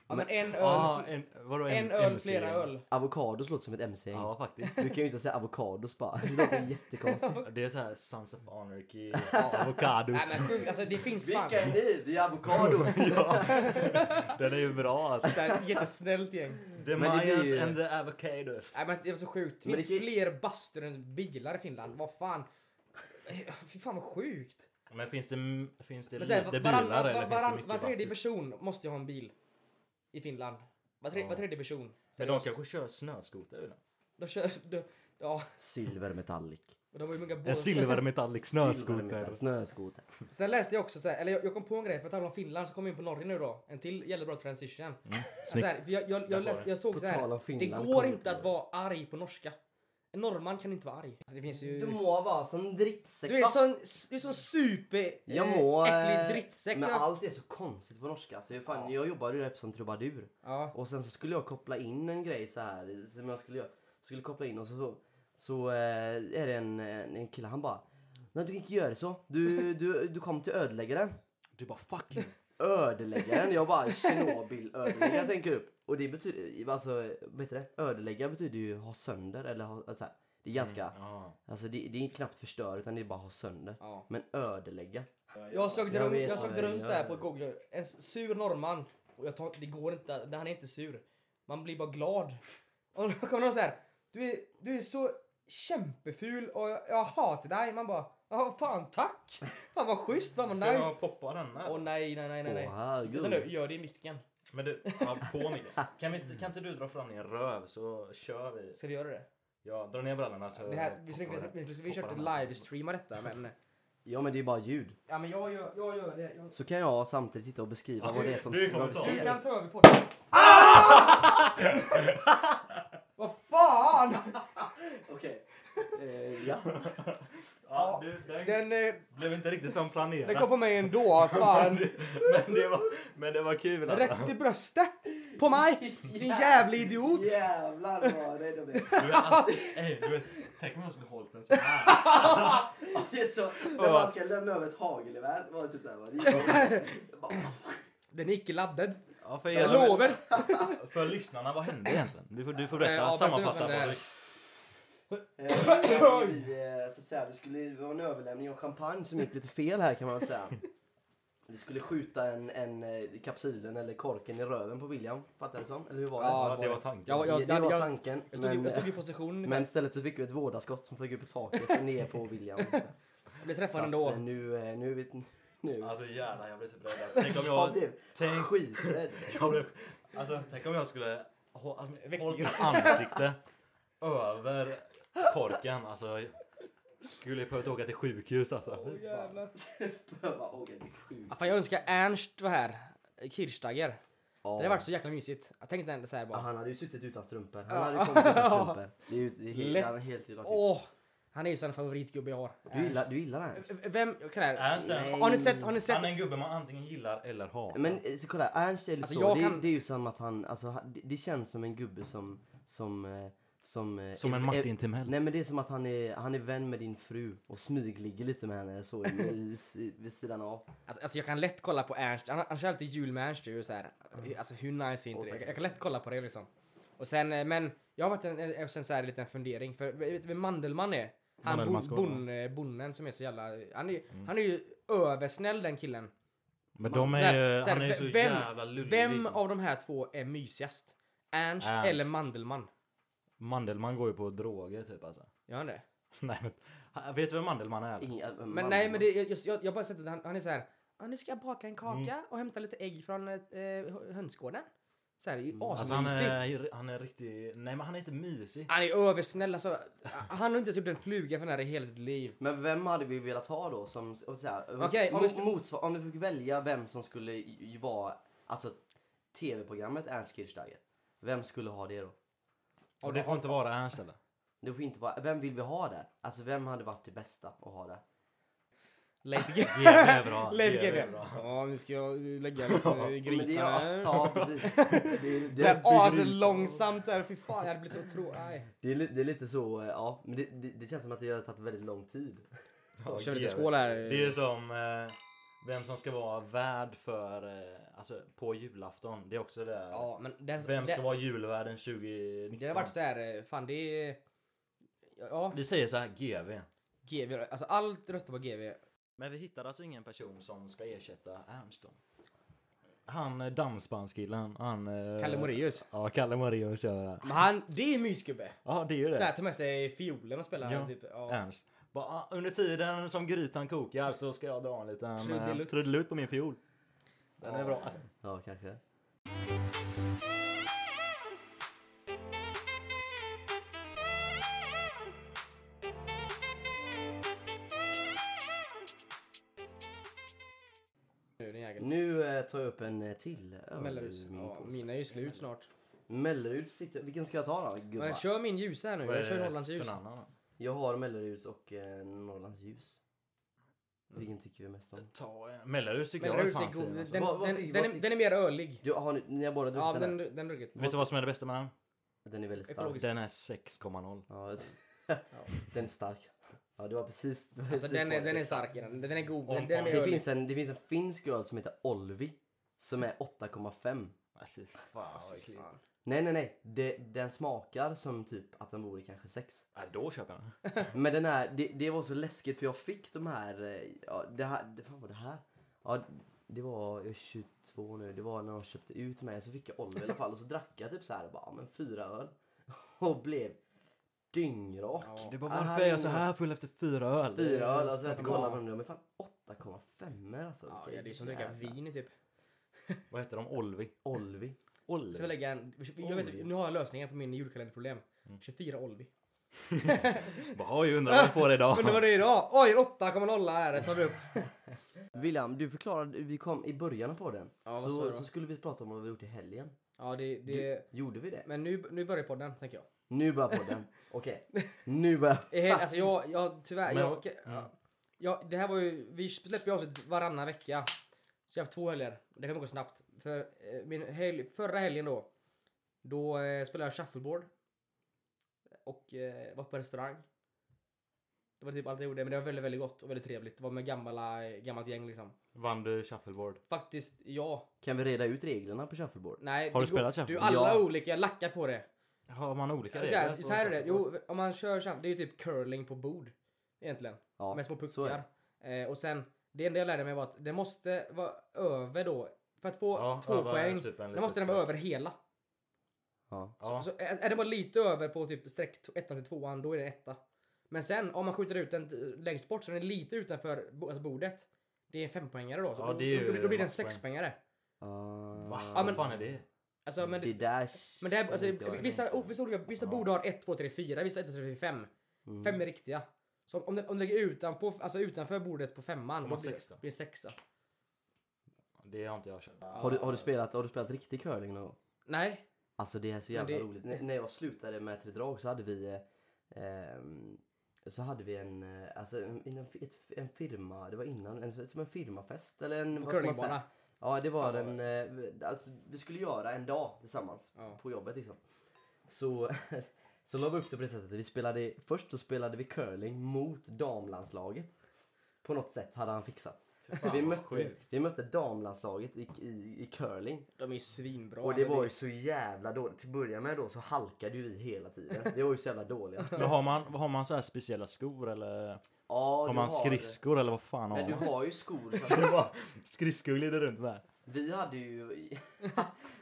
[SPEAKER 1] Ja, men en öl,
[SPEAKER 2] Ah, en, vadå,
[SPEAKER 1] en, öl flera öl.
[SPEAKER 3] Avokados låter som ett mc
[SPEAKER 2] Ja, faktiskt.
[SPEAKER 3] Du kan ju inte säga avokados bara. Det låter jättekonstigt.
[SPEAKER 2] Det är så här Sons of [LAUGHS] Anarchy, Avocados.
[SPEAKER 1] Nej men sjukt, alltså det finns fan.
[SPEAKER 3] Vilka är ni? Vi är avokados!
[SPEAKER 2] Den är ju bra alltså.
[SPEAKER 1] Så här, Jättesnällt gäng.
[SPEAKER 2] The
[SPEAKER 3] Men det blir
[SPEAKER 2] Mayans
[SPEAKER 3] ju-
[SPEAKER 2] and the Avocados.
[SPEAKER 1] Nej men det var så sjukt. Det
[SPEAKER 3] Men
[SPEAKER 1] finns
[SPEAKER 3] det kan-
[SPEAKER 1] fler bastur än bilar i Finland. Vad fan. Eh, Fy fan vad sjukt.
[SPEAKER 2] Men finns det, m- finns det
[SPEAKER 1] Men så här,
[SPEAKER 2] lite bilar
[SPEAKER 1] varann-
[SPEAKER 2] eller
[SPEAKER 1] varann-
[SPEAKER 2] finns det
[SPEAKER 1] var
[SPEAKER 2] mycket
[SPEAKER 1] tredje
[SPEAKER 2] bastus?
[SPEAKER 1] person måste ju ha en bil. I Finland. Var, tre,
[SPEAKER 2] Ja.
[SPEAKER 1] var tredje person.
[SPEAKER 2] Men de
[SPEAKER 1] Seriöst.
[SPEAKER 2] kanske kör snöskoter eller?
[SPEAKER 1] De kör... De, ja,
[SPEAKER 3] Silver metallic.
[SPEAKER 1] och de har ju många båtar.
[SPEAKER 2] En silvermetallic snöskoter.
[SPEAKER 3] Silvermetallic. Snöskoter.
[SPEAKER 1] [LAUGHS] Sen läste jag också så här, eller jag, jag kom på en grej, för att tala om Finland så kom jag in på Norge nu då. En till jättebra transition. Alltså Så
[SPEAKER 2] Mm. Snyggt.
[SPEAKER 1] här, för jag, jag,
[SPEAKER 2] var
[SPEAKER 1] jag, läste, jag såg
[SPEAKER 3] På
[SPEAKER 1] så här,
[SPEAKER 3] tal om Finland,
[SPEAKER 1] det går
[SPEAKER 3] kom
[SPEAKER 1] inte
[SPEAKER 3] till
[SPEAKER 1] att vara arg på norska. En norrman kan inte vara arg. Alltså, det finns ju...
[SPEAKER 3] Du må vara sån drittsäck.
[SPEAKER 1] Du är sån, du är sån super
[SPEAKER 3] Jag
[SPEAKER 1] eh,
[SPEAKER 3] må... eh,
[SPEAKER 1] äcklig drittsäck.
[SPEAKER 3] Men
[SPEAKER 1] Ja.
[SPEAKER 3] allt är så konstigt på norska. Så jag, fan, jag jobbade ju där som trubadur.
[SPEAKER 1] ja.
[SPEAKER 3] Och sen så skulle jag koppla in en grej så här som jag skulle, göra- skulle koppla in och så, så, så eh, är det en, en, en kille han bara Nej du kan inte göra så. Du, du, du kom till ödeläggaren.
[SPEAKER 2] Du bara fuck you.
[SPEAKER 3] Ödeläggaren? Jag bara Tjernobyl ödeläggaren tänker upp. Och det betyder, alltså vad heter det? Ödelägga betyder ju ha sönder eller ha, alltså, så här. Det är ganska,
[SPEAKER 1] Mm,
[SPEAKER 2] Ja.
[SPEAKER 3] alltså det, det är knappt förstöra utan det är bara ha sönder.
[SPEAKER 1] Ja.
[SPEAKER 3] Men ödelägga.
[SPEAKER 1] Jag sökte
[SPEAKER 3] Jag
[SPEAKER 1] runt,
[SPEAKER 3] vet
[SPEAKER 1] jag
[SPEAKER 3] vad
[SPEAKER 1] sökte
[SPEAKER 3] jag
[SPEAKER 1] runt så
[SPEAKER 3] gör.
[SPEAKER 1] här på google. En sur norrman. Och jag tar, det går inte, det- han är inte sur. Man blir bara glad. Och då kommer någon så här. Du är, du är så kämpeful och jag, jag hatar dig. Man bara, ja fan tack. Fan vad schysst, fan vad
[SPEAKER 2] Ska
[SPEAKER 1] nice.
[SPEAKER 2] jag poppa den här?
[SPEAKER 1] Åh nej, nej, nej, nej. nej.
[SPEAKER 3] Åh, herregud.
[SPEAKER 1] Vänta nu, gör det i micken.
[SPEAKER 2] Men du, ja, på mig. Kan, vi, inte- kan inte du dra fram din röv så kör vi.
[SPEAKER 1] Ska vi göra det?
[SPEAKER 2] Ja, dra ner brallorna så
[SPEAKER 1] det här, vi,
[SPEAKER 2] poppar
[SPEAKER 1] skulle,
[SPEAKER 2] det.
[SPEAKER 1] vi, skulle, vi
[SPEAKER 2] Poppar
[SPEAKER 1] köpte
[SPEAKER 2] den här.
[SPEAKER 1] livestreama detta men...
[SPEAKER 3] Ja men det är bara ljud.
[SPEAKER 1] Ja men jag gör, jag gör det. Jag...
[SPEAKER 3] Så kan jag samtidigt sitta och beskriva vad det är som
[SPEAKER 2] du kommer
[SPEAKER 3] vad vi
[SPEAKER 2] ta.
[SPEAKER 1] Du
[SPEAKER 3] ser.
[SPEAKER 1] kan ta över podden. Vad fan!
[SPEAKER 3] Okej. Eh, ja.
[SPEAKER 2] Ja, du, den,
[SPEAKER 1] Den, eh,
[SPEAKER 2] blev inte riktigt som
[SPEAKER 1] den
[SPEAKER 2] planerat.
[SPEAKER 1] kom på mig ändå. Fan.
[SPEAKER 2] men, det var, men det var kul. alltså.
[SPEAKER 1] Rätt i bröstet. På mig. Din jävla idiot.
[SPEAKER 3] Jävlar vad rädd
[SPEAKER 1] [LAUGHS]
[SPEAKER 3] jag blev.
[SPEAKER 2] Du vet, att- ey, du vet, tänk om jag skulle hållit den så här.
[SPEAKER 3] Det är så, när man ska lämna över ett hagelgevär, var det typ såhär. [LAUGHS]
[SPEAKER 1] Den är icke laddad.
[SPEAKER 2] Ja, för,
[SPEAKER 1] Jag lovar.
[SPEAKER 2] för lyssnarna, vad hände egentligen? Du får, du får
[SPEAKER 1] Eh, ja,
[SPEAKER 2] berätta,
[SPEAKER 1] berätta
[SPEAKER 2] sammanfatta.
[SPEAKER 1] vad som hände
[SPEAKER 2] vad-
[SPEAKER 1] här.
[SPEAKER 3] Så Eh, att säga, det skulle vara en överlämning av champagne som gick lite fel här kan man väl säga. Vi skulle skjuta en, en eh, kapsylen eller korken i röven på William, fattar du som? Eller hur var det?
[SPEAKER 1] Ja,
[SPEAKER 2] Ja, det var tanken.
[SPEAKER 1] Jag, jag,
[SPEAKER 3] det
[SPEAKER 1] jag,
[SPEAKER 3] var
[SPEAKER 1] jag,
[SPEAKER 3] tanken.
[SPEAKER 1] jag, stod, i-
[SPEAKER 3] men,
[SPEAKER 1] jag stod i
[SPEAKER 3] eh,
[SPEAKER 1] position.
[SPEAKER 3] men
[SPEAKER 1] Men,
[SPEAKER 3] istället så fick vi ett vådaskott som flög upp i taket och ner på
[SPEAKER 1] [LAUGHS]
[SPEAKER 3] William. Så
[SPEAKER 1] jag blev träffad
[SPEAKER 3] att, eh,
[SPEAKER 1] ändå.
[SPEAKER 3] nu, eh, nu, är vi- nu.
[SPEAKER 2] Alltså jävlar, jag blev typ rädd. Alltså, tänk om
[SPEAKER 3] Jag
[SPEAKER 2] jag...
[SPEAKER 3] blev
[SPEAKER 2] Tänk,
[SPEAKER 1] [LAUGHS]
[SPEAKER 3] skiträdd.
[SPEAKER 2] jag blev, alltså, tänk om jag skulle hå-
[SPEAKER 1] Väckte
[SPEAKER 2] hållit mitt ansikte över korken. Alltså, skulle jag behövt åka till sjukhus alltså.
[SPEAKER 1] Jävlar.
[SPEAKER 3] Jag bara, åh, det är sjukt.
[SPEAKER 1] Ja, fan, jag önskar Ernst var här. Kirchsteiger. Det hade
[SPEAKER 3] Ja.
[SPEAKER 1] varit så jäkla mysigt. Jag tänkte ändå såhär
[SPEAKER 3] Ja,
[SPEAKER 1] bara.
[SPEAKER 3] han hade ju suttit utan strumpor. Han
[SPEAKER 1] Ja.
[SPEAKER 3] hade ju kommit
[SPEAKER 1] [LAUGHS]
[SPEAKER 3] utan strumpor. Det är ju det är
[SPEAKER 1] Lätt.
[SPEAKER 3] helt, han är helt illa till.
[SPEAKER 1] Åh! Han är ju sån favoritgubbe jag har.
[SPEAKER 3] Du gillar, du gillar den?
[SPEAKER 1] Ernst. Vem? Kan
[SPEAKER 2] Ernst är en-
[SPEAKER 1] Har ni sett? Har ni
[SPEAKER 2] Han
[SPEAKER 1] sett?
[SPEAKER 2] är en gubbe man antingen gillar eller hatar.
[SPEAKER 3] Men eh, så kolla, Ernst är lite
[SPEAKER 1] Alltså,
[SPEAKER 3] så.
[SPEAKER 1] jag
[SPEAKER 3] Det,
[SPEAKER 1] kan-
[SPEAKER 3] det är ju som att han, alltså, han- det, det känns som en gubbe som, som, eh, som... eh,
[SPEAKER 2] Som en
[SPEAKER 3] är-
[SPEAKER 2] Martin
[SPEAKER 3] är-
[SPEAKER 2] Timell.
[SPEAKER 3] Nej men det är som att han är, han är vän med din fru och smygligger lite med henne så i- i-
[SPEAKER 1] [LAUGHS]
[SPEAKER 3] i- vid sidan av.
[SPEAKER 1] Alltså, alltså jag kan lätt kolla på Ernst, han, han kör alltid jul med Ernst ju så här.
[SPEAKER 2] Mm.
[SPEAKER 1] Alltså hur nice är inte det? Jag, jag kan lätt kolla på det liksom. Och sen, eh, men jag har varit en, en, en så här liten fundering för vet du vem Mandelmann är? Han
[SPEAKER 2] Mandelmann Mm.
[SPEAKER 1] bon,
[SPEAKER 2] Skål, va?
[SPEAKER 1] bon, eh, bonden som är så jävla, han är, ju- han är ju översnäll den killen.
[SPEAKER 2] Men de
[SPEAKER 1] Så här-
[SPEAKER 2] är ju,
[SPEAKER 1] så här,
[SPEAKER 2] han är ju så
[SPEAKER 1] vem,
[SPEAKER 2] jävla lullig.
[SPEAKER 1] Vem av de här två är mysigast? Ernst,
[SPEAKER 2] liksom- Ernst.
[SPEAKER 1] eller Mandelmann?
[SPEAKER 2] Mandelman går ju på droger typ alltså. [LAUGHS]
[SPEAKER 1] Gör han det?
[SPEAKER 2] Nej men, ha- vet du vem Mandelman är?
[SPEAKER 3] Inga, eh,
[SPEAKER 1] Men
[SPEAKER 3] mannen.
[SPEAKER 1] nej men det, jag, jag, jag bara sett att han, han är så här. "Ja, nu ska jag baka en kaka
[SPEAKER 2] Mm.
[SPEAKER 1] och hämta lite ägg från eh, hö- hönsgården. Så här, det är ju
[SPEAKER 2] Alltså han
[SPEAKER 1] asmysigt.
[SPEAKER 2] är, han är riktig, nej men han är inte mysig.
[SPEAKER 1] Han är översnäll alltså. Han har inte ens gjort en fluga för den här i hela sitt liv.
[SPEAKER 3] Men vem hade vi velat ha då som, och så här,
[SPEAKER 1] Okej, om
[SPEAKER 3] om,
[SPEAKER 1] vi ska-
[SPEAKER 3] motsvar, om vi fick välja vem som skulle ju vara, alltså tv-programmet Ernst Kirchsteiger. Vem skulle ha det då?
[SPEAKER 2] Och det får inte vara
[SPEAKER 1] [LAUGHS]
[SPEAKER 2] Ernst eller?
[SPEAKER 3] Det får inte vara, vem vill vi ha där? Alltså vem hade varit det bästa att ha där?
[SPEAKER 1] Leif GW.
[SPEAKER 2] GB är
[SPEAKER 1] [LAUGHS]
[SPEAKER 2] bra.
[SPEAKER 1] Leif
[SPEAKER 2] GB
[SPEAKER 1] GW.
[SPEAKER 2] är bra.
[SPEAKER 1] Ja, nu ska jag lägga
[SPEAKER 2] [LAUGHS]
[SPEAKER 1] lite
[SPEAKER 3] Ja, men det är- Ja,
[SPEAKER 1] [LAUGHS]
[SPEAKER 3] precis. Det är, det,
[SPEAKER 1] Såhär
[SPEAKER 3] är,
[SPEAKER 1] aslångsamt såhär, fy fan jag hade blivit så tråkig. Nej.
[SPEAKER 3] det, är, li- det är lite så, eh, ja, men det, det, det känns som att det har tagit väldigt lång tid.
[SPEAKER 1] Kör lite
[SPEAKER 2] GB.
[SPEAKER 1] skål här.
[SPEAKER 2] Det är som, eh, Vem som ska vara värd för, eh, alltså på julafton. Det är också det där.
[SPEAKER 1] Ja, men den,
[SPEAKER 2] Vem ska
[SPEAKER 1] den,
[SPEAKER 2] vara julvärden 2019?
[SPEAKER 1] Det har varit så här, eh, fan det är... Ja,
[SPEAKER 2] Vi säger så här, GV.
[SPEAKER 1] GV, alltså allt röstar på GV.
[SPEAKER 2] Men vi hittade alltså ingen person som ska ersätta Ernst då. Han eh, dansbandskillen, han... eh,
[SPEAKER 1] Kalle Moraeus.
[SPEAKER 2] Ja, Kalle Moraeus kör det.
[SPEAKER 1] Men han, det är mysgubbe!
[SPEAKER 2] Ja, det är ju det.
[SPEAKER 1] Såhär, ta med sig fiolen och spela.
[SPEAKER 2] Ja.
[SPEAKER 1] Typ, ja.
[SPEAKER 2] Ernst. Bara, ah, under tiden som grytan kokar så ska jag dra en liten eh,
[SPEAKER 1] Trudelutt.
[SPEAKER 2] trudelutt på min fiol. Den är
[SPEAKER 1] Ja.
[SPEAKER 2] bra alltså.
[SPEAKER 3] Ja, kanske.
[SPEAKER 1] Nu, den jäkeln.
[SPEAKER 3] Nu eh, tar jag upp en eh, till öl
[SPEAKER 1] Mellerus.
[SPEAKER 3] ur min
[SPEAKER 1] Ja,
[SPEAKER 3] påse.
[SPEAKER 1] mina är ju slut snart.
[SPEAKER 3] Melleruds sitter... Vilken ska jag ta då, gubbar?
[SPEAKER 1] Men
[SPEAKER 3] Jag,
[SPEAKER 1] kör min ljus här nu.
[SPEAKER 2] Vad är
[SPEAKER 1] Jag kör
[SPEAKER 2] det
[SPEAKER 1] Norrlands
[SPEAKER 2] för
[SPEAKER 1] ljus.
[SPEAKER 2] en annan då?
[SPEAKER 3] har Melleruds och eh, Norrlands ljus.
[SPEAKER 1] Mm.
[SPEAKER 3] Vilken tycker vi mest om?
[SPEAKER 2] Ta eh, Mellerus tycker jag är
[SPEAKER 1] Mellerus är
[SPEAKER 2] fan
[SPEAKER 1] god. Den,
[SPEAKER 2] fin.
[SPEAKER 1] den,
[SPEAKER 2] Alltså.
[SPEAKER 3] Vad- vad
[SPEAKER 1] den,
[SPEAKER 3] tycker-
[SPEAKER 1] den,
[SPEAKER 3] vad
[SPEAKER 1] är-
[SPEAKER 3] tycker-
[SPEAKER 1] den är mer ölig.
[SPEAKER 3] Jo, har ni, ni har båda druckit
[SPEAKER 1] Ja,
[SPEAKER 3] den,
[SPEAKER 1] den,
[SPEAKER 3] här?
[SPEAKER 1] den är ruggigt.
[SPEAKER 2] Vet du vad som är det bästa med den?
[SPEAKER 3] Den är väldigt stark.
[SPEAKER 1] Ekologisk.
[SPEAKER 2] Den är 6,0.
[SPEAKER 3] Ja, jag [LAUGHS] den är stark. Ja, det var precis... det var
[SPEAKER 1] Alltså
[SPEAKER 3] precis
[SPEAKER 1] den
[SPEAKER 3] på
[SPEAKER 1] är,
[SPEAKER 3] det.
[SPEAKER 1] den är stark i den. Den är god.
[SPEAKER 2] Om-
[SPEAKER 1] Den, den är
[SPEAKER 2] om-
[SPEAKER 1] mer
[SPEAKER 3] Det
[SPEAKER 1] ölig.
[SPEAKER 3] finns, en, det finns en finsk öl som heter Olvi som är 8,5.
[SPEAKER 2] Nej, Fy fan vad äckligt.
[SPEAKER 1] Fan.
[SPEAKER 3] Nej, nej, nej. Det, den smakar som typ att den vore kanske 6.
[SPEAKER 2] Nej, Då köper jag den.
[SPEAKER 3] Men den här, det, det var så läskigt för jag fick de här, eh, ja, det här, det, fan var det här? Ja, det var, jag är 22 nu, det var när de köpte ut mig så fick jag Olvi i alla fall och så drack jag typ så här, bara, ja, men fyra öl [LAUGHS] och blev dyngrak.
[SPEAKER 1] Ja.
[SPEAKER 2] Det är bara,
[SPEAKER 3] Ah,
[SPEAKER 2] varför är jag
[SPEAKER 3] jo.
[SPEAKER 2] så här full efter fyra öl?
[SPEAKER 3] Fyra öl, alltså
[SPEAKER 2] Det är
[SPEAKER 3] jag
[SPEAKER 2] så
[SPEAKER 3] kollar på
[SPEAKER 2] bra.
[SPEAKER 3] dem nu, men fan 8,5 alltså.
[SPEAKER 1] Ja,
[SPEAKER 3] vilka
[SPEAKER 1] det är som att dricka
[SPEAKER 3] jävla-
[SPEAKER 1] vin i typ.
[SPEAKER 2] Vad heter de? Olvi?
[SPEAKER 3] Olvi.
[SPEAKER 2] Olvi?
[SPEAKER 1] Ska vi lägga en... Jag
[SPEAKER 3] Olvi.
[SPEAKER 1] vet, nu har jag lösningen på min julkalenderproblem. 24 Olvi.
[SPEAKER 2] Bara, Oj, undrar vad jag [LAUGHS] får idag.
[SPEAKER 1] Undrar vad det är idag? Oj, 8,0 här tar vi upp.
[SPEAKER 3] William, du förklarade, vi kom i början på den.
[SPEAKER 1] Ja, vad sa
[SPEAKER 3] så,
[SPEAKER 1] jag då?
[SPEAKER 3] så skulle vi prata om vad vi gjort i helgen.
[SPEAKER 1] Ja, det... det...
[SPEAKER 3] Gjorde vi det?
[SPEAKER 1] Men nu, nu börjar podden, tänker jag.
[SPEAKER 3] Nu
[SPEAKER 1] [LAUGHS]
[SPEAKER 3] börjar podden. Okej, nu börjar...
[SPEAKER 1] Eh, Alltså jag, jag tyvärr,
[SPEAKER 2] Men-
[SPEAKER 1] jag, okej,
[SPEAKER 2] Mm.
[SPEAKER 1] ja. jag, det här var ju, vi släpper ju avsnitt varannan vecka. Så jag har haft två helger. Det kommer gå snabbt. För eh, min helg, förra helgen då, då eh, spelade jag shuffleboard. Och eh, var på restaurang. Det var typ allt jag gjorde, men det var väldigt, väldigt gott och väldigt trevligt. Det var med gamla, gammalt gäng liksom.
[SPEAKER 2] Vann du shuffleboard?
[SPEAKER 1] Faktiskt, ja.
[SPEAKER 3] Kan vi reda ut reglerna på shuffleboard?
[SPEAKER 1] Nej.
[SPEAKER 2] Har du
[SPEAKER 1] det går-
[SPEAKER 2] spelat shuffleboard?
[SPEAKER 1] Du, alla
[SPEAKER 3] Ja.
[SPEAKER 1] olika, jag lackar på det.
[SPEAKER 2] Har man olika
[SPEAKER 1] Så här, så här är det, jo, om man kör shuffle, det är ju typ curling på bord. Egentligen.
[SPEAKER 3] Ja,
[SPEAKER 1] med små
[SPEAKER 3] så är det.
[SPEAKER 1] puckar. Eh, och sen, det enda jag lärde mig var att det måste vara över då. För att få
[SPEAKER 2] Ja,
[SPEAKER 1] två
[SPEAKER 2] över
[SPEAKER 1] poäng,
[SPEAKER 2] typ en
[SPEAKER 1] då
[SPEAKER 2] liten
[SPEAKER 1] måste den vara
[SPEAKER 2] streck.
[SPEAKER 1] över hela.
[SPEAKER 3] Ja.
[SPEAKER 2] Ja.
[SPEAKER 1] Så är, är den bara lite över på typ streck 1 till 2 då är det etta. Men sen om man skjuter ut den t- längst bort så den är lite utanför bo, alltså bordet. Det är en fempoängare då. Så
[SPEAKER 2] Ja,
[SPEAKER 1] då,
[SPEAKER 2] det är ju
[SPEAKER 1] då, blir- då blir det en
[SPEAKER 2] maxpoäng.
[SPEAKER 1] sexpoängare.
[SPEAKER 3] Ah.
[SPEAKER 2] Va?
[SPEAKER 1] Ja,
[SPEAKER 2] Vad
[SPEAKER 1] men-
[SPEAKER 2] fan är det?
[SPEAKER 1] Alltså, men,
[SPEAKER 3] Det
[SPEAKER 1] det,
[SPEAKER 3] där...
[SPEAKER 1] men det här, alltså,
[SPEAKER 3] känner inte jag igen.
[SPEAKER 1] vissa, o- vissa, olika, vissa bord har 1, 2, 3, 4, vissa 1, 2, 3, 4, 5. oh,
[SPEAKER 3] Mm.
[SPEAKER 1] Fem är riktiga. Så om den, om den ligger utanpå, alltså utanför bordet på femman,
[SPEAKER 2] Får
[SPEAKER 1] då
[SPEAKER 2] man
[SPEAKER 1] blir,
[SPEAKER 2] sex då?
[SPEAKER 1] blir det sexa.
[SPEAKER 2] Det har inte jag kört.
[SPEAKER 3] har, du, har, du spelat, har du spelat riktig curling någon gång?
[SPEAKER 1] Nej,
[SPEAKER 3] Alltså det är så
[SPEAKER 1] Men
[SPEAKER 3] jävla
[SPEAKER 1] det-
[SPEAKER 3] roligt. N- när jag slutade med Tre Drag så hade vi eh, ehm, så hade vi en, eh, alltså en, en, ett- en firma, det var innan, en, som en firmafest eller en...
[SPEAKER 1] på
[SPEAKER 3] vad ska man säga?
[SPEAKER 1] curlingbana.
[SPEAKER 3] Ja det var
[SPEAKER 1] Fan,
[SPEAKER 3] en, eh, alltså, vi skulle göra en dag tillsammans
[SPEAKER 1] Ja.
[SPEAKER 3] på jobbet liksom. Så, [LAUGHS] så la vi upp det på det sättet, vi spelade, först så spelade vi curling mot damlandslaget. På något sätt hade han fixat. Så vi
[SPEAKER 2] vad
[SPEAKER 3] mötte,
[SPEAKER 2] sjukt.
[SPEAKER 3] vi mötte damlandslaget i, i, i curling.
[SPEAKER 1] De är ju svinbra.
[SPEAKER 3] Och det
[SPEAKER 1] alltså,
[SPEAKER 3] var ju så jävla dåligt. Till att börja med då så halkade ju vi hela tiden. Det var ju så jävla dåligt. [LAUGHS] Ja,
[SPEAKER 2] Men har man, har man så här speciella skor eller?
[SPEAKER 3] du
[SPEAKER 2] har man skridskor eller vad fan har
[SPEAKER 3] Men du
[SPEAKER 2] man?
[SPEAKER 3] har ju skor. [LAUGHS]
[SPEAKER 2] Det
[SPEAKER 3] Så
[SPEAKER 2] är bara Skridskor glider runt med.
[SPEAKER 3] vi hade ju... [LAUGHS]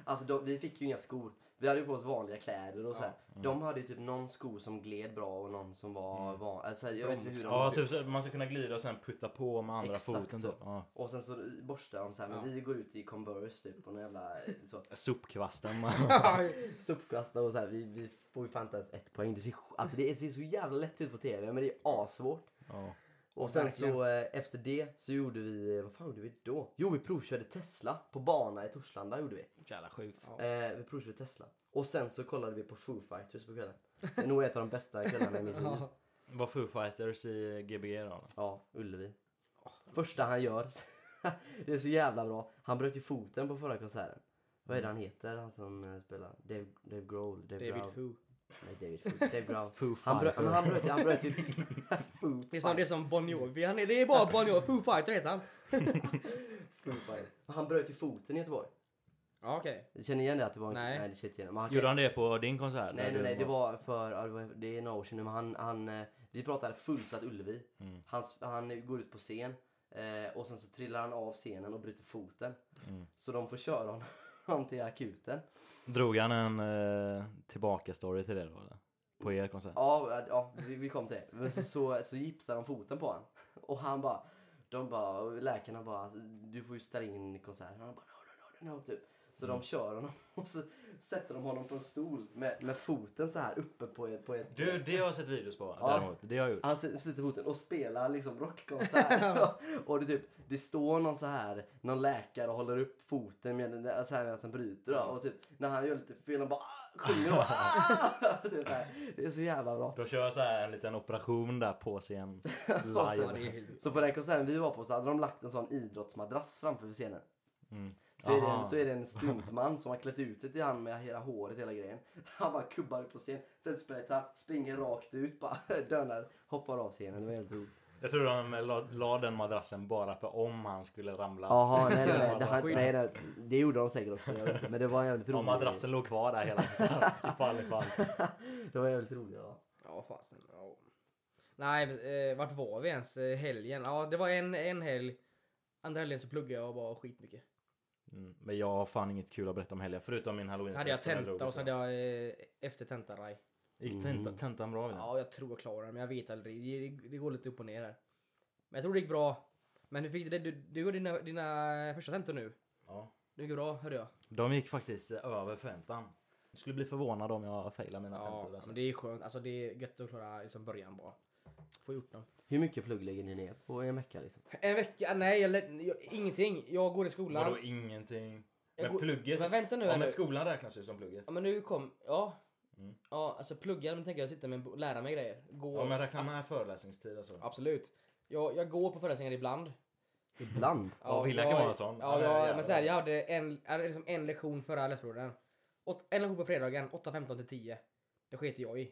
[SPEAKER 3] alltså de, vi fick ju inga skor. Vi hade ju på oss vanliga kläder och så här. De hade ju typ någon sko som gled bra och någon som var van... Alltså, jag vet inte hur de
[SPEAKER 2] Ja, typ så, man Mm. ska kunna glida och sen putta på med andra
[SPEAKER 3] Exakt
[SPEAKER 2] foten.
[SPEAKER 3] så.
[SPEAKER 2] Typ. Ja.
[SPEAKER 3] Och sen så borstade de så här, men vi går ut i Converse typ och någon jävla
[SPEAKER 2] [LAUGHS]
[SPEAKER 3] så, [LAUGHS]
[SPEAKER 2] Sopkvasten.
[SPEAKER 3] sopkvastar och så här. Vi, vi får ju fan inte ens ett poäng. Det ser, sj- alltså, det ser så jävla lätt ut på tv men det är assvårt.
[SPEAKER 2] ja.
[SPEAKER 3] Och sen
[SPEAKER 1] Verkligen.
[SPEAKER 3] så eh, efter det så gjorde vi, eh, vad fan gjorde vi då? Jo vi provkörde Tesla på bana i Torslanda gjorde vi.
[SPEAKER 2] Jävla sjukt.
[SPEAKER 1] Ja.
[SPEAKER 3] Eh, vi provkörde Tesla. Och sen så kollade vi på Foo Fighters på kvällen. Det är nog ett av de bästa kvällarna i mitt liv.
[SPEAKER 1] Ja.
[SPEAKER 2] Var Foo Fighters i Gbg då?
[SPEAKER 3] Ja, Ullevi. Första han gör, [LAUGHS] det är så jävla bra. Han bröt ju foten på förra konserten. Vad är det han heter han som eh, spelar? Dave, Dave Grohl? Dave
[SPEAKER 1] Mm. David Fu.
[SPEAKER 3] Grohl. nej, David, Foo- Dave
[SPEAKER 1] [LAUGHS]
[SPEAKER 3] Grohl.
[SPEAKER 2] Foo
[SPEAKER 3] Han, brö,
[SPEAKER 2] Fighter.
[SPEAKER 3] men han bröt ju... Han bröt ju Foo
[SPEAKER 1] Det är som, det är som Bon Jovi. Han är, det är bara Bon Jovi. Foo Fighter heter han.
[SPEAKER 3] Foo Fighters. Han bröt ju foten i Göteborg.
[SPEAKER 1] Ja, okej.
[SPEAKER 3] Du känner igen det? Att det var en,
[SPEAKER 1] Nej.
[SPEAKER 3] nej. det känner jag inte igen. Men
[SPEAKER 2] [LAUGHS]
[SPEAKER 3] han,
[SPEAKER 2] Gjorde han det på din konsert?
[SPEAKER 3] nej,
[SPEAKER 2] Där
[SPEAKER 3] nej,
[SPEAKER 2] du
[SPEAKER 3] nej. Det var för... Ja, det, var, det är några år sedan nu. Men han, han, eh, vi pratade fullsatt Ullevi.
[SPEAKER 2] Mm.
[SPEAKER 3] Han, sp- han går ut på scen. Eh, och sen så trillar han av scenen och bryter foten.
[SPEAKER 2] Mm.
[SPEAKER 3] Så de får köra honom- [LAUGHS] honom till akuten.
[SPEAKER 2] Drog han en eh, tillbaka-story till det då eller? På er konsert?
[SPEAKER 3] Ja, eh, ja vi, vi kom till det. Men så, så, så gipsade de foten på han. [LAUGHS] Och han bara, de bara, och läkarna bara, du får ju ställa in konserten. Han bara, no, no, no, no, no, typ. Så de kör honom [LAUGHS] och så sätter de honom på en stol med, med foten så här uppe på ett... På ett
[SPEAKER 2] Du, det har jag sett videos på
[SPEAKER 3] Ja.
[SPEAKER 2] däremot. Det har jag gjort.
[SPEAKER 3] Han sit- sitter på foten och spelar liksom rockkonsert. och det, typ, det står någon så här, någon läkare och håller upp foten med den, så här medan den bryter. Då. Och typ, när han gör lite fel, han bara "Ah!" sjunger då. "Ah!" [LAUGHS] det, är så här, det är så jävla bra.
[SPEAKER 2] De kör så här en liten operation där på
[SPEAKER 3] [LAUGHS]
[SPEAKER 2] scen
[SPEAKER 1] Ja, det
[SPEAKER 2] live.
[SPEAKER 1] är helt...
[SPEAKER 3] Så på den konserten vi var på så hade de lagt en sån idrottsmadrass framför scenen.
[SPEAKER 2] Mm.
[SPEAKER 3] Så är, det
[SPEAKER 2] Aha.
[SPEAKER 3] en, så är det en stuntman som har klätt ut sig till han med hela håret hela grejen. Han bara kubbar upp på scen, sen spelar gitarr, springer rakt ut, bara [LAUGHS] dönar, hoppar av scenen. Det var helt roligt.
[SPEAKER 2] Jag tror de la, la den madrassen bara för om han skulle ramla.
[SPEAKER 3] Jaha,
[SPEAKER 2] Så- [LAUGHS]
[SPEAKER 3] nej, nej, nej, det,
[SPEAKER 2] madrassen-
[SPEAKER 3] han, nej, nej, det gjorde de säkert också. Jag vet inte, men det var en
[SPEAKER 2] [LAUGHS]
[SPEAKER 3] jävligt
[SPEAKER 2] Om
[SPEAKER 3] roligt.
[SPEAKER 2] madrassen låg kvar där hela tiden. [LAUGHS] Ifall, ifall.
[SPEAKER 3] Det var jävligt roligt. Ja.
[SPEAKER 1] Ja, fasen. Ja. Nej, men, eh, vart var vi ens eh, helgen? Ja, det var en, en helg. Andra helgen så pluggade jag bara skitmycket.
[SPEAKER 2] Mm. Men jag har fan inget kul att berätta om helgen förutom min halloween.
[SPEAKER 1] Så hade jag tenta och så hade jag eh, efter tenta raj.
[SPEAKER 2] Gick
[SPEAKER 3] Mm.
[SPEAKER 2] tenta, tentan bra? Ja.
[SPEAKER 1] Ja, jag tror jag klarar det, men jag vet aldrig. Det, det, det går lite upp och ner här. Men jag tror det gick bra. Men hur fick det? Du, du och dina, dina första tentor nu.
[SPEAKER 2] Ja.
[SPEAKER 1] Det gick bra, hörde jag.
[SPEAKER 2] De gick faktiskt över förväntan. Jag skulle bli förvånad om jag failar mina tentor.
[SPEAKER 1] Ja,
[SPEAKER 2] Alltså.
[SPEAKER 1] men det är skönt. Alltså det är gött att klara liksom början bara. Få gjort dem.
[SPEAKER 3] Hur mycket plugg lägger ni ner på en vecka? Liksom?
[SPEAKER 1] En vecka? Nej, jag, lä- jag, ingenting. Jag går i skolan.
[SPEAKER 2] Vadå ingenting?
[SPEAKER 1] Jag
[SPEAKER 2] Men
[SPEAKER 1] går-
[SPEAKER 2] plugget?
[SPEAKER 1] Men vänta nu
[SPEAKER 2] ja,
[SPEAKER 1] här
[SPEAKER 2] men
[SPEAKER 1] nu.
[SPEAKER 2] skolan räknas ju som plugget.
[SPEAKER 1] Ja men nu kom, ja.
[SPEAKER 2] Mm.
[SPEAKER 1] Ja alltså plugga, men tänker jag sitta med en bo- lära mig grejer. Gå.
[SPEAKER 2] Ja, men räkna med föreläsningstid och så.
[SPEAKER 1] Absolut. Jag, jag går på föreläsningar ibland.
[SPEAKER 3] Ibland.
[SPEAKER 2] Ja, Villa kan
[SPEAKER 1] jag-
[SPEAKER 2] vara sån.
[SPEAKER 1] Ja,
[SPEAKER 2] Han är
[SPEAKER 1] jag-
[SPEAKER 2] jävla
[SPEAKER 1] men såhär
[SPEAKER 2] bra.
[SPEAKER 1] jag hade en, jag hade liksom en lektion förra läsperioden. Åt- En lektion på fredagen, 8.15 till 10. Det sket jag i.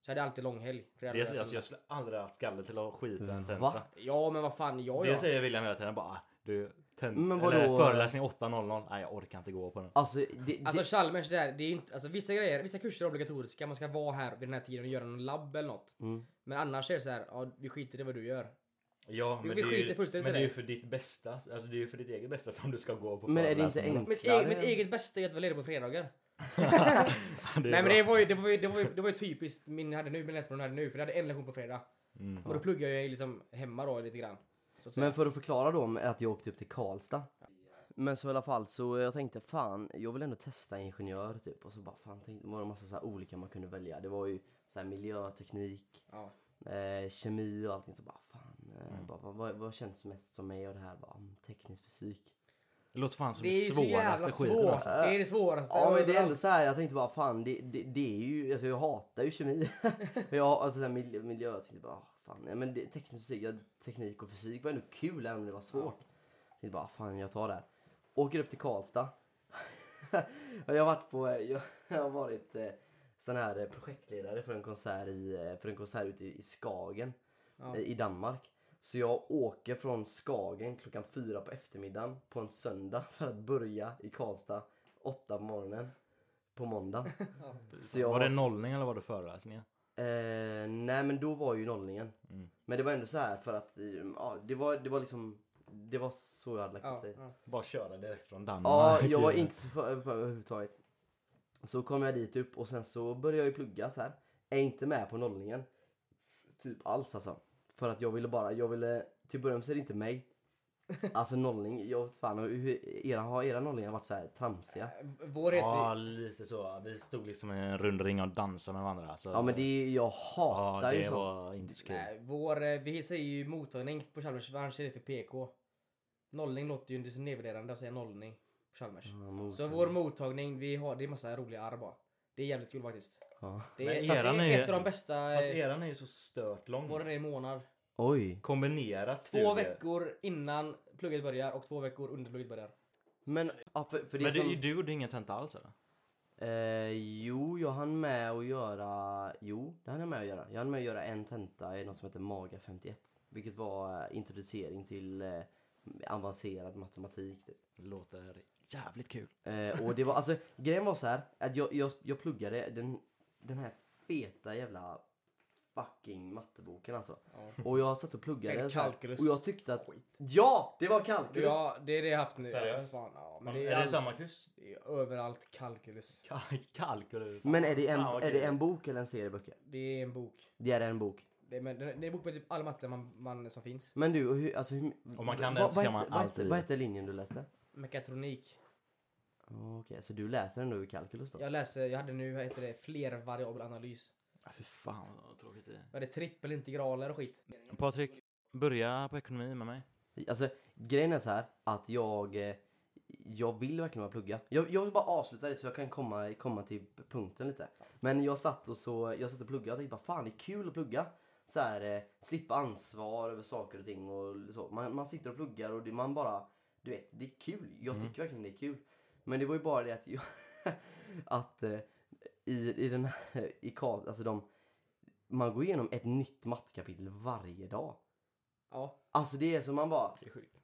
[SPEAKER 1] Så jag hade alltid långhelg. fredag,
[SPEAKER 2] Det är,
[SPEAKER 1] lördag,
[SPEAKER 2] alltså,
[SPEAKER 1] söndag.
[SPEAKER 2] jag skulle aldrig haft galle till att skita i en tenta.
[SPEAKER 3] Va?
[SPEAKER 1] Ja men vad fan, jag
[SPEAKER 2] Det
[SPEAKER 1] ja.
[SPEAKER 2] säger William hela tiden bara. "Ah, Du,
[SPEAKER 3] Men
[SPEAKER 2] tent-
[SPEAKER 3] vadå?
[SPEAKER 2] eller, föreläsning 8.00. Nej, jag orkar inte gå på den.
[SPEAKER 3] Alltså, det,
[SPEAKER 1] Alltså
[SPEAKER 3] det,
[SPEAKER 1] Chalmers där, det är inte, alltså vissa grejer, vissa kurser är obligatoriska, man ska vara här vid den här tiden och göra någon labb eller något.
[SPEAKER 3] Mm.
[SPEAKER 1] Men annars är det så här, ja vi skiter i vad du gör.
[SPEAKER 2] Ja,
[SPEAKER 1] Vi-
[SPEAKER 2] men,
[SPEAKER 1] vi
[SPEAKER 2] det, är
[SPEAKER 1] skiter
[SPEAKER 2] ju,
[SPEAKER 1] fullständigt
[SPEAKER 2] men
[SPEAKER 1] i
[SPEAKER 2] det
[SPEAKER 1] det.
[SPEAKER 2] är ju för ditt bästa. Alltså det är ju för ditt eget bästa som du ska gå på
[SPEAKER 3] Men är det inte
[SPEAKER 2] föreläsningarna.
[SPEAKER 1] Mitt,
[SPEAKER 3] enklare?
[SPEAKER 1] e- mitt eget bästa är att vara ledig på fredagar.
[SPEAKER 2] [LAUGHS] Det är
[SPEAKER 1] Nej men
[SPEAKER 2] bra.
[SPEAKER 1] det var ju, det var ju, det var ju, det var ju typiskt min hade nu, min läsmål hade nu, för jag hade en lektion på fredag.
[SPEAKER 2] Mm.
[SPEAKER 1] Och då pluggade jag ju liksom hemma då lite grann. Så att säga.
[SPEAKER 3] Men för att förklara då med att jag åkte upp till Karlstad. Men så i alla fall så jag tänkte fan, jag vill ändå testa ingenjör typ. Och så bara fan, tänkte, var det en massa så här olika man kunde välja. Det var ju så här miljöteknik,
[SPEAKER 1] ja.
[SPEAKER 3] eh, kemi och allting. Så bara fan, eh, bara, vad, vad, vad känns mest som mig och det här? Bara, mm, teknisk fysik.
[SPEAKER 2] Det låter fan som
[SPEAKER 1] Det
[SPEAKER 2] det,
[SPEAKER 1] är ju så jävla
[SPEAKER 2] svåraste skiten.
[SPEAKER 1] svårt.
[SPEAKER 2] Alltså.
[SPEAKER 1] Det är det svåraste.
[SPEAKER 3] Ja men det är ändå
[SPEAKER 1] överallt.
[SPEAKER 3] så här, jag tänkte bara fan, det, det, det är ju, alltså jag hatar ju kemi. [LAUGHS] Och jag, alltså så här, miljö, miljö, jag tänkte bara ah, fan, nej, men det, teknisk fysik, jag, teknik och fysik var ändå kul även om det var svårt. Jag tänkte bara "Ah, fan jag tar det här. Åker upp till Karlstad. [LAUGHS] Och jag har varit på, jag, jag har varit eh, sån här eh, projektledare för en konsert, i, eh, för en konsert ute i, i Skagen
[SPEAKER 1] Ja.
[SPEAKER 3] eh, i Danmark. Så jag åker från Skagen klockan fyra på eftermiddagen på en söndag [LAUGHS] för att börja i Karlstad åtta på morgonen
[SPEAKER 1] [LAUGHS]
[SPEAKER 3] på måndag. Så jag
[SPEAKER 2] var det
[SPEAKER 3] måste-
[SPEAKER 2] nollning eller var det föreläsningar?
[SPEAKER 3] Eh, nej men då var ju nollningen.
[SPEAKER 2] Mm.
[SPEAKER 3] Men det var ändå så här för att eh, ja, det, var, det var liksom det var så jag hade lagt upp
[SPEAKER 1] Ja, Mm.
[SPEAKER 3] det.
[SPEAKER 1] ja.
[SPEAKER 2] Bara köra direkt från
[SPEAKER 3] Ja,
[SPEAKER 2] Danmark.
[SPEAKER 3] jag var inte så för, för, överhuvudtaget. Så kom jag dit upp och sen så började jag ju plugga så här. Är inte med på nollningen. Typ alls alltså. För att jag ville bara, jag ville, till början så är det inte mig. Alltså nollning, jag vet fan hur, era, har era nollningar varit så här tramsiga?
[SPEAKER 1] [LAUGHS] Vår heter...
[SPEAKER 2] Ja, lite så. Vi stod liksom i en rund ring och dansade med varandra. Så
[SPEAKER 3] Ja men det är ju, jag
[SPEAKER 2] ja,
[SPEAKER 3] hatar ju
[SPEAKER 2] det
[SPEAKER 3] sånt.
[SPEAKER 2] var inte så kul.
[SPEAKER 1] Nej, vår, eh, vi säger ju mottagning på Chalmers, vad anser det för PK? Nollning låter ju inte så nedvärderande att säga nollning på Chalmers.
[SPEAKER 2] Mm,
[SPEAKER 3] Ja, mot-
[SPEAKER 1] Så vår mottagning, vi har, det är massa roliga arr bara. Det är jävligt kul faktiskt.
[SPEAKER 3] ja.
[SPEAKER 1] Det
[SPEAKER 2] Men
[SPEAKER 1] är, det
[SPEAKER 2] eran är
[SPEAKER 1] är
[SPEAKER 2] ju-
[SPEAKER 1] ett av de bästa...
[SPEAKER 2] Fast
[SPEAKER 1] eh,
[SPEAKER 2] eran är ju så stört
[SPEAKER 1] Våran
[SPEAKER 2] lång.
[SPEAKER 1] är en månad.
[SPEAKER 3] Oj.
[SPEAKER 2] Kombinerat
[SPEAKER 1] Två
[SPEAKER 2] studier.
[SPEAKER 1] veckor innan plugget börjar och två veckor under plugget börjar.
[SPEAKER 3] Men, ja, för, för det är
[SPEAKER 2] Men
[SPEAKER 3] som,
[SPEAKER 2] du, du gjorde ingen tenta alls eller?
[SPEAKER 3] Eh, jo, jag hann med att göra... Jo, det hann jag med att göra. Jag hann med att göra en tenta i något som heter MAGA 51. Vilket var eh, introducering till eh, avancerad matematik. Typ.
[SPEAKER 2] Låter jävligt kul.
[SPEAKER 3] Eh, och det var, alltså, grejen var så här att jag, jag, jag pluggade den, den här feta jävla fucking matteboken alltså.
[SPEAKER 1] Ja.
[SPEAKER 3] Och jag satt och pluggade
[SPEAKER 1] Säkert
[SPEAKER 3] så här,
[SPEAKER 1] kalkylus.
[SPEAKER 3] och jag tyckte att... Ja! Det var kalkylus!
[SPEAKER 1] Ja, det är det jag haft nu.
[SPEAKER 2] Seriöst?
[SPEAKER 1] Fan, ja, men
[SPEAKER 2] Men
[SPEAKER 1] det är,
[SPEAKER 2] är, det
[SPEAKER 1] all...
[SPEAKER 2] samma [LAUGHS] kurs?
[SPEAKER 1] det är överallt kalkylus.
[SPEAKER 2] Kalkylus.
[SPEAKER 3] Men är det, en,
[SPEAKER 2] Ja, okej.
[SPEAKER 3] är det en bok eller en serie böcker?
[SPEAKER 1] Det är en bok.
[SPEAKER 3] Det är en bok.
[SPEAKER 1] Det är, men, det är en bok med typ alla matte man, man, som finns.
[SPEAKER 3] Men du, hur, alltså hur...
[SPEAKER 2] Om man kan
[SPEAKER 3] vad-
[SPEAKER 2] den så
[SPEAKER 3] vad
[SPEAKER 2] kan man
[SPEAKER 3] hette- vad
[SPEAKER 2] allt i
[SPEAKER 3] hette- Vad
[SPEAKER 2] livet.
[SPEAKER 3] hette linjen du läste?
[SPEAKER 1] Mekatronik.
[SPEAKER 3] Okej, så du läser ändå i kalkylus då?
[SPEAKER 1] Jag läser, jag hade nu, vad heter det, flervariabel analys.
[SPEAKER 2] Ja, för fan vad tråkigt det är.
[SPEAKER 1] Jag hade trippelintegraler och skit.
[SPEAKER 2] Patrik, börja på ekonomi med mig.
[SPEAKER 3] Alltså grejen är så här att jag eh, jag vill verkligen bara plugga. Jag, jag vill bara avsluta det så jag kan komma, komma till punkten lite. Men jag satt och så, jag satt och pluggade och tänkte bara fan det är kul att plugga. Så här, eh, slippa ansvar över saker och ting och så. Man, man sitter och pluggar och det, man bara, du vet, det är kul. Jag tycker verkligen det är kul. Men det var ju bara det att jag, [LAUGHS] att eh, i, i den här, i Karl- alltså de, man går igenom ett nytt mattkapitel varje dag.
[SPEAKER 1] Ja.
[SPEAKER 3] Alltså det är som man bara,
[SPEAKER 2] Det är sjukt.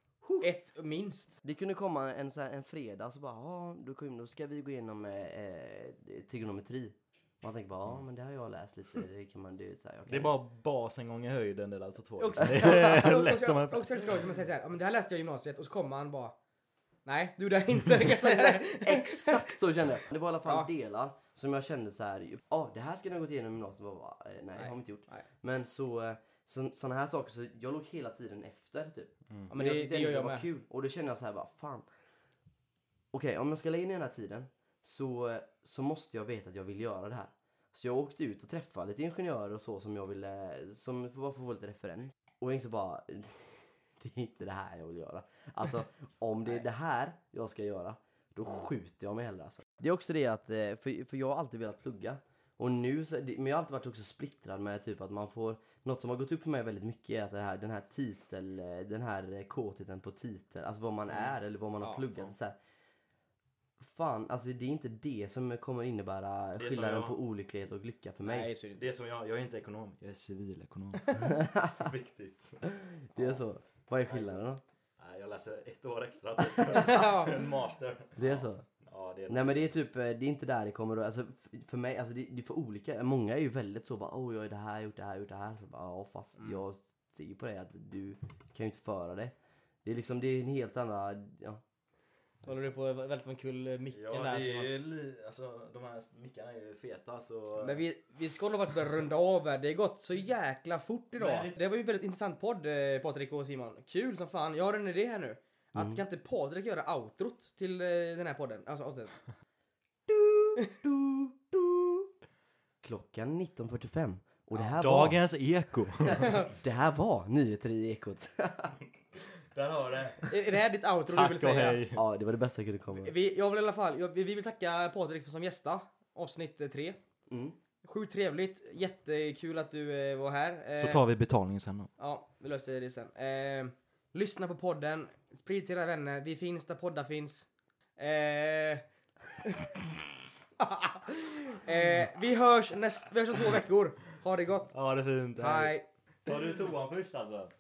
[SPEAKER 1] Ett minst.
[SPEAKER 3] det kunde komma en, så här, en fredag så bara, ja, då, kom, då ska vi gå igenom eh, eh, trigonometri. Man tänker bara, ja men det har jag läst lite, det kan man, det är så här, jag kan...
[SPEAKER 2] Det är
[SPEAKER 3] [LAUGHS]
[SPEAKER 2] bara basen gånger höjden delat på två.
[SPEAKER 1] Också-
[SPEAKER 2] Liksom.
[SPEAKER 1] [LAUGHS]
[SPEAKER 2] Det är
[SPEAKER 1] Och- och-
[SPEAKER 2] lätt som en...
[SPEAKER 1] och- Också förstår man säger såhär, ja men det här läste jag i gymnasiet och så kommer han bara Nej, du gjorde jag inte. kan jag säga.
[SPEAKER 3] Exakt så kände jag! Det var i alla fall
[SPEAKER 1] Ja.
[SPEAKER 3] delar som jag kände så här, ja det här ska jag gått igenom i gymnasiet. Jag Bara, eh, nej, det har vi inte gjort.
[SPEAKER 1] Nej.
[SPEAKER 3] Men så, eh, så, såna här saker, så jag låg hela tiden efter typ.
[SPEAKER 1] Ja, men Mm. det,
[SPEAKER 3] tyckte
[SPEAKER 1] det
[SPEAKER 3] ändå
[SPEAKER 1] gör jag
[SPEAKER 3] var
[SPEAKER 1] med.
[SPEAKER 3] kul. Och då kände jag så här bara, fan. Okej, om jag ska lägga in den här tiden så, så måste jag veta att jag vill göra det här. Så jag åkte ut och träffade lite ingenjörer och så som jag ville, som bara för att få lite referens. Och jag insåg bara, [LAUGHS] det är inte det här jag vill göra. Alltså om det är det här jag ska göra, då skjuter jag mig hellre alltså. Det är också det att, eh, för, för jag har alltid velat plugga. Och nu, så, det- men jag har alltid varit också splittrad med typ att man får, något som har gått upp för mig väldigt mycket är att det här, den här titel, eh, den här eh, kåtheten på titel, alltså vad
[SPEAKER 2] Mm.
[SPEAKER 3] man är eller vad man har
[SPEAKER 1] Ja,
[SPEAKER 3] pluggat.
[SPEAKER 1] ja.
[SPEAKER 3] Så här, fan, alltså det är inte det som kommer innebära
[SPEAKER 2] Det som
[SPEAKER 3] skillnaden
[SPEAKER 2] jag-
[SPEAKER 3] på olycklighet och lycka för mig.
[SPEAKER 1] Nej, så är det inte.
[SPEAKER 2] Det är som jag, jag är inte ekonom. Jag är civilekonom. [LAUGHS] Viktigt.
[SPEAKER 3] Det är så. Vad är skillnaden då?
[SPEAKER 2] Nej, jag läser ett år
[SPEAKER 1] [LAUGHS]
[SPEAKER 2] extra. typ.
[SPEAKER 1] Ja.
[SPEAKER 2] en master.
[SPEAKER 3] Det är så.
[SPEAKER 2] Ja, det är
[SPEAKER 3] Nej men det är typ, eh, det är inte där det kommer att, alltså f- för mig, alltså det, det är för olika. Många är ju väldigt så bara, oh jag är det här, gjort det här, gjort det här. Så bara, ja fast jag ser ju på dig att du kan ju inte föra det. Det är liksom, det är en helt annan, ja.
[SPEAKER 1] Då håller du på att välta en kul micken
[SPEAKER 2] Ja,
[SPEAKER 1] där.
[SPEAKER 2] det
[SPEAKER 1] som
[SPEAKER 2] är
[SPEAKER 1] man-
[SPEAKER 2] ju li... Alltså, de här mickarna är ju feta så...
[SPEAKER 1] Men vi, vi ska nog faktiskt börja runda av här. Det har gått så jäkla fort idag.
[SPEAKER 2] Nej,
[SPEAKER 1] Det var ju en väldigt intressant podd eh, Patrik och Simon. Kul som fan. Jag har en idé här nu. Att
[SPEAKER 2] Mm.
[SPEAKER 1] kan inte Patrik göra outrot till eh, den här podden? Alltså avsnittet.
[SPEAKER 3] Du, du. Klockan 19.45 och det här var,
[SPEAKER 2] Dagens Eko!
[SPEAKER 3] [LAUGHS] det här var nyheter i Ekot. [LAUGHS]
[SPEAKER 2] Där har det!
[SPEAKER 1] Är, är det här ditt outro du
[SPEAKER 2] Tack
[SPEAKER 1] vill
[SPEAKER 2] och
[SPEAKER 1] säga?
[SPEAKER 2] hej!
[SPEAKER 3] ja det var det bästa jag kunde komma
[SPEAKER 1] [LAUGHS]
[SPEAKER 3] med.
[SPEAKER 1] Vi, jag vill i alla fall, jag, vi vi vill tacka Patrik för som gästa. Avsnitt eh, tre.
[SPEAKER 3] Mm.
[SPEAKER 1] Sjukt trevligt. Jättekul att du eh, var här. Eh,
[SPEAKER 2] Så tar vi betalning sen då.
[SPEAKER 1] Ja, vi löser det sen. Eh, lyssna på podden. Sprid till era vänner. Vi finns där poddar finns. Eh, [LAUGHS] eh, vi, hörs näst, vi hörs om två veckor. Ha det gott.
[SPEAKER 2] Ja, det är fint.
[SPEAKER 1] Hej.
[SPEAKER 2] Tar du toan först alltså?